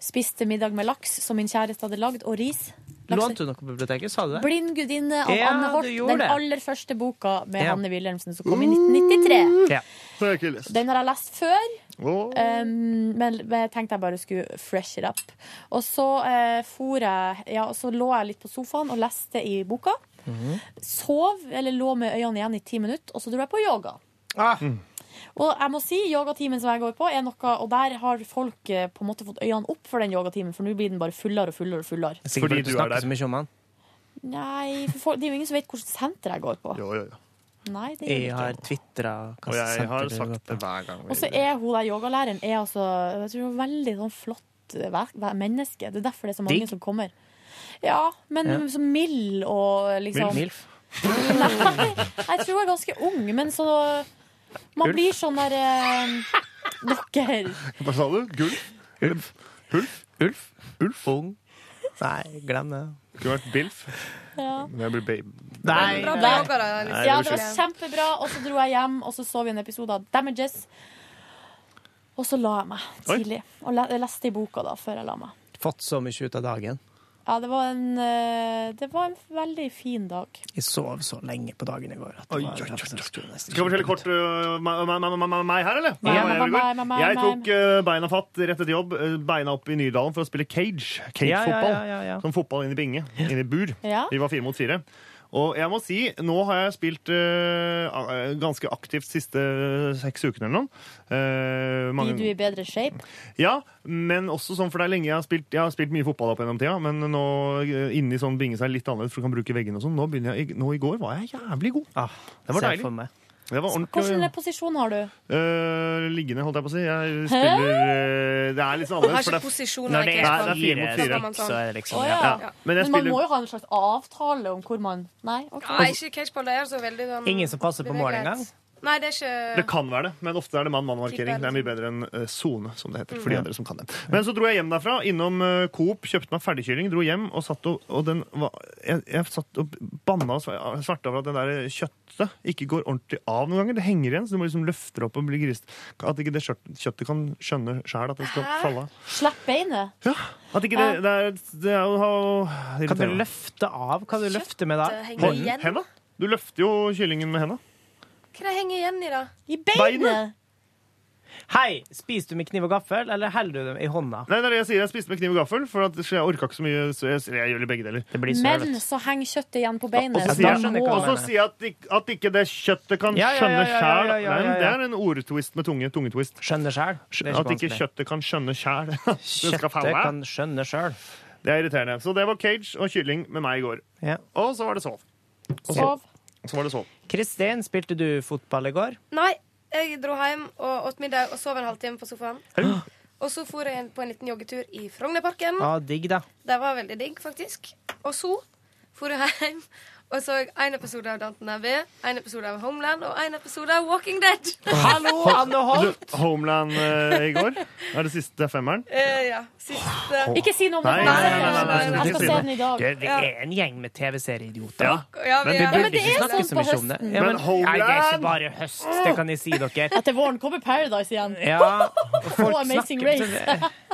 Speaker 2: Spiste middag med laks som min kjæreste hadde lagd, og ris. Laks-
Speaker 4: Lånte du noe på biblioteket? Sa du det?
Speaker 2: 'Blind gudinne' av
Speaker 4: Ja,
Speaker 2: Anne Holt.
Speaker 4: du gjorde
Speaker 2: Den
Speaker 4: det.
Speaker 2: aller første boka med
Speaker 4: Ja. Mm.
Speaker 2: Hanne Wilhelmsen, som kom i 1993.
Speaker 4: Ja.
Speaker 8: Det har jeg ikke lest.
Speaker 2: Den har jeg lest før.
Speaker 8: Åh.
Speaker 2: Um, men, men jeg tenkte jeg bare skulle fresh it up. Og så, eh, for jeg, ja, og så lå jeg litt på sofaen og leste i boka. Sov, eller lå med øynene igjen i ti minutter, og så dro jeg på yoga. Og jeg må si, yogatimen som jeg går på, er noe Og der har folk eh, på en måte fått øynene opp for den yogatimen, for nå blir den bare fullere og fullere og fullere.
Speaker 4: Sikkert fordi du snakker så mye om han.
Speaker 2: Nei, for folk, det er jo ingen som vet hvilket senter jeg går på. Nei, det gjør
Speaker 4: Jeg
Speaker 2: ikke.
Speaker 4: har tvitra
Speaker 8: Og jeg har sagt det hver gang.
Speaker 2: Og så er hun der yogalæreren er altså jeg tror hun er veldig sånn flott eh, ver- ver- menneske. Det er derfor det er så mange
Speaker 4: Digg.
Speaker 2: som kommer. Ja, men
Speaker 4: Ja.
Speaker 2: så mild og liksom
Speaker 4: Milf.
Speaker 2: Jeg tror hun er ganske ung, men så Man
Speaker 8: Ulf.
Speaker 2: blir sånn der eh, Dere
Speaker 8: Hva sa du? Gulf? Ulf? Ulf?
Speaker 4: Ulf? Ulf? Ung? Nei, glem det.
Speaker 8: Skulle vært Bilf.
Speaker 2: ja.
Speaker 8: Men jeg blir babe.
Speaker 4: Nei.
Speaker 11: Bra
Speaker 2: Nei.
Speaker 11: blogger, da.
Speaker 8: Nei,
Speaker 2: ja,
Speaker 8: det
Speaker 2: det
Speaker 8: var
Speaker 2: var kjempebra, og så dro jeg hjem, og så så vi en episode av Damages. Og så la jeg meg tidlig. Og le- jeg leste i boka da, før jeg la meg.
Speaker 4: Fått så mye ut av dagen.
Speaker 2: Ja, det var en, eh, det var en veldig fin dag.
Speaker 4: Jeg sov så lenge på dagen i går. At det var,
Speaker 8: Skal jeg fortelle kort øh, meg, meg, meg, meg, meg her, eller?
Speaker 2: Ja,
Speaker 8: Hva var
Speaker 2: meg,
Speaker 8: jeg i
Speaker 2: meg,
Speaker 8: går?
Speaker 2: meg, meg,
Speaker 8: Jeg
Speaker 2: meg.
Speaker 8: tok øh, beina fatt rett etter jobb, øh, beina opp i Nydalen for å spille cage.
Speaker 4: Ja, ja,
Speaker 8: Cage-fotball.
Speaker 4: ja, ja, ja.
Speaker 8: Som fotball inn i binge, inn i bur.
Speaker 2: Ja.
Speaker 8: Vi var fire mot fire. Og jeg må si, nå har jeg spilt øh, a- ganske aktivt siste seks ukene eller noe. Eh, mange-
Speaker 2: Blir du i bedre shape?
Speaker 8: ja, men også sånn, for det er lenge jeg har spilt, jeg har spilt mye fotball opp gjennom tida, men nå eh, inni sånn binge seg litt annerledes, for du kan bruke veggene og sånn. Nå, begynner jeg, nå i går var jeg jævlig god. det var
Speaker 4: Ah, se
Speaker 8: deilig.
Speaker 4: for meg.
Speaker 8: Det var ordentlig
Speaker 2: Hvilken posisjon har du?
Speaker 8: eh, liggende, holdt jeg på å si. Jeg
Speaker 2: Hæ?
Speaker 8: spiller eh, Det er litt sånn
Speaker 11: Har
Speaker 8: annerledes.
Speaker 11: ikke
Speaker 8: for det er-
Speaker 11: posisjoner,
Speaker 8: Når det
Speaker 11: ikke
Speaker 8: er,
Speaker 11: helt
Speaker 8: nei, det er
Speaker 11: sånn.
Speaker 8: fire
Speaker 11: Da
Speaker 8: mot
Speaker 11: skal man
Speaker 8: fire.
Speaker 11: sånn.
Speaker 2: Å, ja.
Speaker 8: Ja, men
Speaker 2: Men,
Speaker 8: jeg
Speaker 2: man
Speaker 8: spiller-
Speaker 2: må jo ha en slags avtale om hvor man Nei, OK.
Speaker 11: Nei, ikke catchball. Det er så veldig sånn
Speaker 8: Ingen som passer på mål
Speaker 11: bevegelighet.
Speaker 8: engang?
Speaker 11: Nei, det er ikke
Speaker 8: Det kan være det, men ofte er det mann-mann-markering. Det er mye bedre enn eh, sone, som det heter. for de andre som kan det. Men så dro jeg hjem derfra, innom eh, Coop, kjøpte meg ferdigkylling, dro hjem og satt og, og den var, jeg, jeg satt og banna og sver- svarte over at det der eh, kjøttet ikke går ordentlig av noen ganger. Det henger igjen, så du må liksom løfte det opp og bli grist. At ikke det kjøtt- kjøttet kan skjønne sjæl at det skal
Speaker 2: Hæ?
Speaker 8: falle av.
Speaker 2: Slipp beinet.
Speaker 8: At ikke det, det, er, det er jo å-
Speaker 4: Kan du
Speaker 8: irriterende.
Speaker 4: løfte av? Kan du løfte med da?
Speaker 11: Kjøttet henger
Speaker 8: Hånden-
Speaker 11: igjen.
Speaker 8: Henda? Du løfter jo kyllingen med henda.
Speaker 11: Hva det henger igjen i, da?
Speaker 2: I
Speaker 8: Beinet!
Speaker 4: Hei, spiser du med kniv og gaffel, eller holder du dem i hånda?
Speaker 8: Nei, det er det jeg sier. Jeg spiste med kniv og gaffel, for at, så jeg orka ikke så mye. Så jeg, jeg gjør litt begge deler. Det
Speaker 2: Men så henger kjøttet igjen på beinet.
Speaker 8: Og
Speaker 2: så
Speaker 8: så sier
Speaker 2: da
Speaker 8: Altså, jeg,
Speaker 2: må-
Speaker 8: og så sier jeg at, ikk- at ikke det kjøttet kan
Speaker 4: Ja, ja, ja,
Speaker 8: skjønne
Speaker 4: ja, ja,
Speaker 8: sjæl.
Speaker 4: ja, ja, ja, ja.
Speaker 8: Det er en ordtwist med tunge. tungetwist.
Speaker 4: Skjønner sjæl.
Speaker 8: At ikke kjøttet kan skjønne sjæl.
Speaker 4: Kjøttet kan skjønne sjøl.
Speaker 8: Det er irriterende. Så det var cage og kylling med meg i går. Og så var det sov. Og
Speaker 11: Sov.
Speaker 8: Så var det sov.
Speaker 4: Kristin, spilte du fotball i går?
Speaker 11: Nei, jeg dro hjem og åt middag og sov en halvtime på sofaen. Og så for jeg på en liten joggetur i Frognerparken.
Speaker 4: Ja, digg, da.
Speaker 11: Det var veldig digg, faktisk. Og så for jeg hjem og så en episode av Danton Abbey, en episode av Homeland og en episode av Walking Dead.
Speaker 8: Ho- Du, Homeland eh, i går. Er det siste femmeren?
Speaker 11: Eh, ja, siste
Speaker 2: Ikke si noe om det,
Speaker 8: Nei,
Speaker 2: for
Speaker 8: nei,
Speaker 2: jeg
Speaker 8: nei, nei,
Speaker 2: skal
Speaker 8: nei,
Speaker 2: se den. Jeg
Speaker 8: nei, ikke si
Speaker 2: skal se den i dag.
Speaker 4: Det, det er en gjeng med TV-serieidioter.
Speaker 8: Ja.
Speaker 11: Ja, vi
Speaker 4: Men
Speaker 11: er-
Speaker 4: vi burde
Speaker 11: Ja, men det
Speaker 4: ikke
Speaker 11: er
Speaker 4: snakke
Speaker 11: sånn
Speaker 4: så
Speaker 11: på
Speaker 4: mye om det.
Speaker 11: høsten.
Speaker 4: Ja, men,
Speaker 8: Men Homeland-
Speaker 4: jeg er ikke bare høst, det kan jeg si dere.
Speaker 2: Etter våren kommer Paradise igjen.
Speaker 4: Ja,
Speaker 2: og Amazing Race.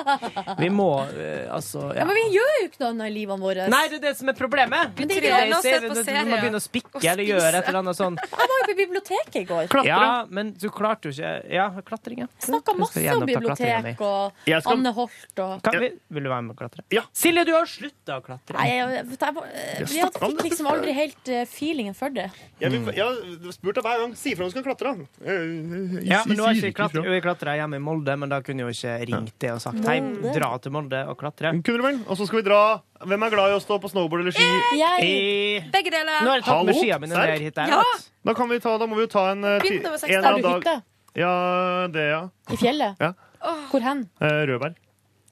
Speaker 4: Vi må eh, altså
Speaker 2: Ja,
Speaker 4: ja.
Speaker 2: men vi gjør jo ikke noe annet i livene våre.
Speaker 4: Nei, det er det som er problemet!
Speaker 2: Men det er
Speaker 4: Tre
Speaker 2: greit å
Speaker 4: days
Speaker 2: se
Speaker 4: er-
Speaker 2: på
Speaker 4: du, du må
Speaker 2: serie.
Speaker 4: begynne å spikke
Speaker 2: Og
Speaker 4: eller gjøre
Speaker 2: spise.
Speaker 4: et eller annet sånn.
Speaker 2: Jeg var jo på biblioteket i går.
Speaker 4: Ja, men du klarte jo ikke Ja, klatringa.
Speaker 2: Snakka masse om bibliotek og
Speaker 4: Jeg skal-
Speaker 2: Anne Holt og
Speaker 4: Kan vi, vil du være med og klatre?
Speaker 8: Ja.
Speaker 4: Silje, du har slutta å klatre.
Speaker 2: Nei, jeg, jeg, jeg, jeg fikk liksom aldri helt eh, feelingen for det.
Speaker 8: Jeg, vil- jeg har spurt deg hver gang. Si ifra om du skal klatre. da. Eh,
Speaker 4: Ja, men nå har
Speaker 8: sier
Speaker 4: ikke klatre, jo, jeg klatra hjemme i Molde, men da kunne jeg jo ikke ringt det og sagt hei,
Speaker 8: Molde.
Speaker 4: dra til Molde og klatre.
Speaker 8: Kunne du vel? Og så skal vi dra Hvem er glad i å stå på snowboard eller ski?
Speaker 4: Eh! I-
Speaker 11: Begge deler.
Speaker 4: Nå har jeg tatt med skia mine
Speaker 8: Serr?
Speaker 4: ned hit der.
Speaker 11: Ja.
Speaker 8: Da, kan vi ta, da må vi jo ta en eh, ti-
Speaker 11: Begynte over seks
Speaker 8: en
Speaker 11: dager.
Speaker 8: annen
Speaker 11: Har du
Speaker 8: dag. Ja, det, ja.
Speaker 2: I fjellet?
Speaker 8: Ja.
Speaker 2: Hvor hen?
Speaker 8: Eh, Rødberg.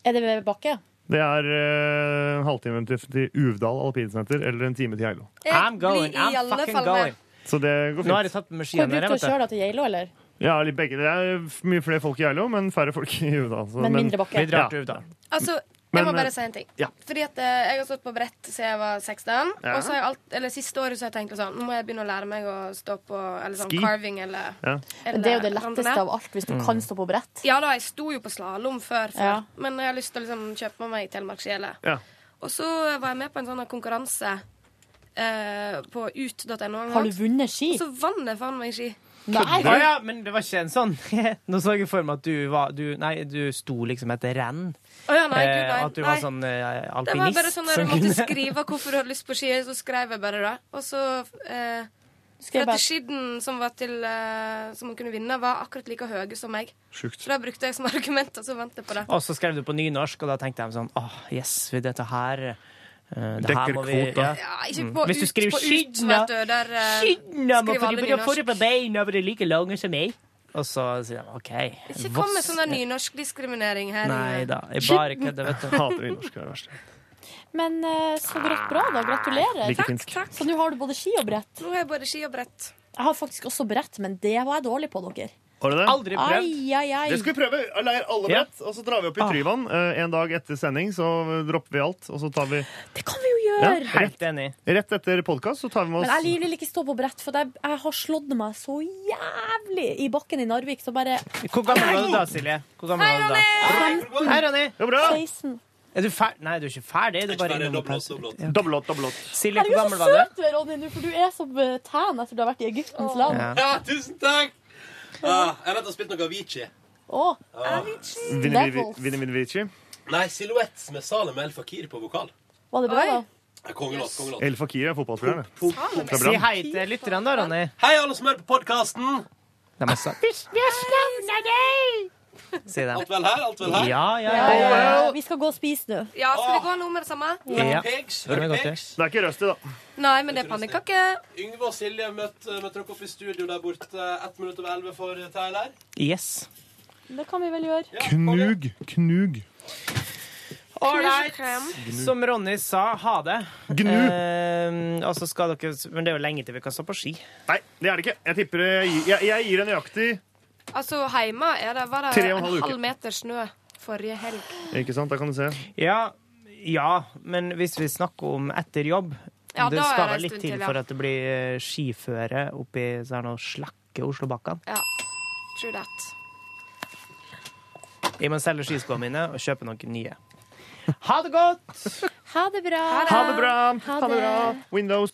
Speaker 2: Er det ved bakke?
Speaker 8: Det er eh, en halvtime til, til Uvdal alpinsenter eller en time til Geilo.
Speaker 2: Jeg
Speaker 4: I'm going,
Speaker 2: blir i
Speaker 4: I'm
Speaker 2: alle
Speaker 4: fucking
Speaker 2: fall med.
Speaker 4: going.
Speaker 8: Så det går
Speaker 4: Nå har jeg
Speaker 8: fint.
Speaker 4: tatt med
Speaker 2: Hvor
Speaker 4: skiene
Speaker 2: brukte
Speaker 4: ned,
Speaker 2: du å
Speaker 4: vet
Speaker 2: kjøre
Speaker 4: du.
Speaker 2: da til Geilo, eller?
Speaker 8: Ja, litt begge. Det er f- mye flere folk i Geilo, men færre folk i Uvdal. så-
Speaker 2: Men mindre bakke. Vi drar til
Speaker 8: Uvdal.
Speaker 11: Altså, jeg
Speaker 8: Men,
Speaker 11: må
Speaker 8: eh,
Speaker 11: bare si en ting.
Speaker 8: ja.
Speaker 11: Fordi at eh, Jeg har stått på brett siden jeg var 16.
Speaker 8: Ja.
Speaker 11: Og så har jeg alt, eller Siste året så har jeg tenkt sånn Nå må jeg begynne å lære meg å stå på eller sånn
Speaker 2: Ski?
Speaker 11: carving eller,
Speaker 8: Ja.
Speaker 2: Men det er jo det letteste
Speaker 11: randonee.
Speaker 2: av alt, hvis du
Speaker 4: Mm.
Speaker 2: kan stå på brett.
Speaker 11: Ja da, jeg sto jo på slalåm før, før.
Speaker 2: Ja.
Speaker 11: men jeg har lyst til å liksom kjøpe med meg telemarksjelet.
Speaker 8: Ja.
Speaker 11: Og så var jeg med på en sånn konkurranse eh, på ut.no. en gang.
Speaker 2: Har du vunnet ski?
Speaker 11: Og så vant jeg faen meg ski.
Speaker 2: Nei.
Speaker 4: Å ja, men det var ikke en sånn Nå så jeg for meg at du var du, Nei, du sto liksom etter renn.
Speaker 11: Å ja, nei, gud,
Speaker 4: Eh,
Speaker 11: nei.
Speaker 4: At du var
Speaker 11: Nei.
Speaker 4: sånn eh,
Speaker 11: Det var
Speaker 4: alpinist.
Speaker 11: bare sånn der,
Speaker 4: som
Speaker 11: Jeg måtte
Speaker 4: kunne-
Speaker 11: skrive hvorfor du hadde lyst på ski, så skrev jeg bare det. Og så eh,
Speaker 2: Skrev bare-
Speaker 11: Strategien som, var til, eh, som hun kunne vinne, var akkurat like høye som meg.
Speaker 4: Sjukt.
Speaker 11: Så da brukte jeg som argument, og så vant jeg på det.
Speaker 4: Og så skrev du på nynorsk, og da tenkte jeg sånn Åh, yes, vi dette her eh, det
Speaker 5: Dekker
Speaker 4: her må vi,
Speaker 5: kvota.
Speaker 11: Ja, ikke
Speaker 4: Mm.
Speaker 11: på
Speaker 4: Hvis du
Speaker 11: ut,
Speaker 4: skriver
Speaker 11: på ut,
Speaker 4: skinn,
Speaker 11: vet du. Der eh,
Speaker 5: Skynda meg,
Speaker 11: skriver
Speaker 5: for
Speaker 11: alle
Speaker 5: da får du
Speaker 11: nynorsk.
Speaker 5: på beina, for du er like lange som meg.
Speaker 4: Og så sier de OK.
Speaker 11: Ikke kom med sånn der nynorskdiskriminering her.
Speaker 4: Nei da, jeg bare kødder, vet du.
Speaker 8: Hater nynorsk, det er det verste.
Speaker 2: Men eh, så bra, bra da. Gratulerer.
Speaker 8: Like Takk, fint. takk.
Speaker 2: Så nå har du både ski og brett?
Speaker 11: Nå har jeg både ski og brett.
Speaker 2: Jeg har faktisk også brett, men det var jeg dårlig på, dere.
Speaker 8: Har du det?
Speaker 2: Aldri prøvd. Ai, ai, ai.
Speaker 8: Det skal vi prøve. Leir alle
Speaker 2: Ja. Ah.
Speaker 8: brett, og så drar vi opp i Tryvann. Eh, En dag etter sending så dropper vi alt, og så tar vi
Speaker 2: Det kan vi jo gjøre!
Speaker 8: Ja, helt
Speaker 4: enig.
Speaker 8: Rett etter podkast så tar vi med
Speaker 2: Men
Speaker 8: oss
Speaker 2: jeg vil ikke stå på brett, for jeg, jeg har slått meg så jævlig i bakken i Narvik. Så bare
Speaker 4: Hvor gammel var du da, Silje? Hvor gammel var du da? Hei, Ronny! Det
Speaker 8: bra.
Speaker 2: 16.
Speaker 4: Er du ferdig? Nei, du er ikke ferdig. Du er bare innom og pauser.
Speaker 8: Doblåt, doblåt.
Speaker 4: Silje, hvor
Speaker 2: Herregud,
Speaker 4: gammel
Speaker 2: så
Speaker 4: var du?
Speaker 2: søt du er, Ronny, nå, for du er så eh, tan etter du har vært i Egyptens land.
Speaker 4: Ja.
Speaker 2: Ja.
Speaker 3: Ja, tusen takk! Ah, jeg har nettopp spilt noe Avicii.
Speaker 8: Vinni Vinnivici.
Speaker 3: Nei, Silhouette med Salem El Fakir på vokal.
Speaker 2: Var det bra, da?
Speaker 3: Ja, Kongelåt, kongelåt.
Speaker 8: El Fakir er fotballspilleren.
Speaker 3: Salem.
Speaker 8: Fra
Speaker 4: Si
Speaker 8: Brann.
Speaker 4: hei til lytterne, da, Ronny.
Speaker 3: Hei, alle som hører på podkasten!
Speaker 4: Det er masse.
Speaker 2: Vi har savna deg!
Speaker 4: Si det.
Speaker 3: Alt vel her? Alt vel her?
Speaker 4: Ja, ja,
Speaker 2: Ja,
Speaker 4: ja.
Speaker 2: ja,
Speaker 4: ja.
Speaker 2: ja. Vi skal gå og spise nå.
Speaker 11: Ja, skal vi gå nå med det samme?
Speaker 4: Ja. Det
Speaker 3: Hører
Speaker 4: er godt,
Speaker 3: pigs?
Speaker 8: Det er ikke Rusty, da.
Speaker 11: Nei, men det er pannekake.
Speaker 3: Yngve og Silje møtte, møtte dere opp i studio der borte ett minutt over elleve for Tyler.
Speaker 4: Yes.
Speaker 2: Det kan vi vel gjøre.
Speaker 8: Knug. Knug.
Speaker 4: Ålreit.
Speaker 8: Gnu.
Speaker 4: Som Ronny sa, ha det.
Speaker 8: Gnu.
Speaker 4: Eh, og så skal dere Men det er jo lenge til vi kan stå på ski.
Speaker 8: Nei, det er det ikke. Jeg tipper det gir- jeg, jeg gir en nøyaktig
Speaker 11: Altså, hjemme er det bare
Speaker 8: Tre og en
Speaker 11: en
Speaker 8: halv uke.
Speaker 11: halv meter snø forrige helg.
Speaker 8: Ikke sant, da kan du se.
Speaker 4: Ja, ja, men hvis vi snakker om etter jobb
Speaker 11: Ja,
Speaker 4: Det
Speaker 11: da er
Speaker 4: skal
Speaker 11: det en
Speaker 4: vel litt
Speaker 11: stund
Speaker 4: til
Speaker 11: til, ja.
Speaker 4: for at det blir eh, skiføre oppi sånn og slakke Oslobakkene.
Speaker 11: Ja, true that.
Speaker 4: Jeg må selge skiskoene mine og kjøpe noen nye. Ha det godt!
Speaker 2: Ha det bra.
Speaker 8: Ha det bra.
Speaker 2: Ha
Speaker 8: Ha det bra. Windows.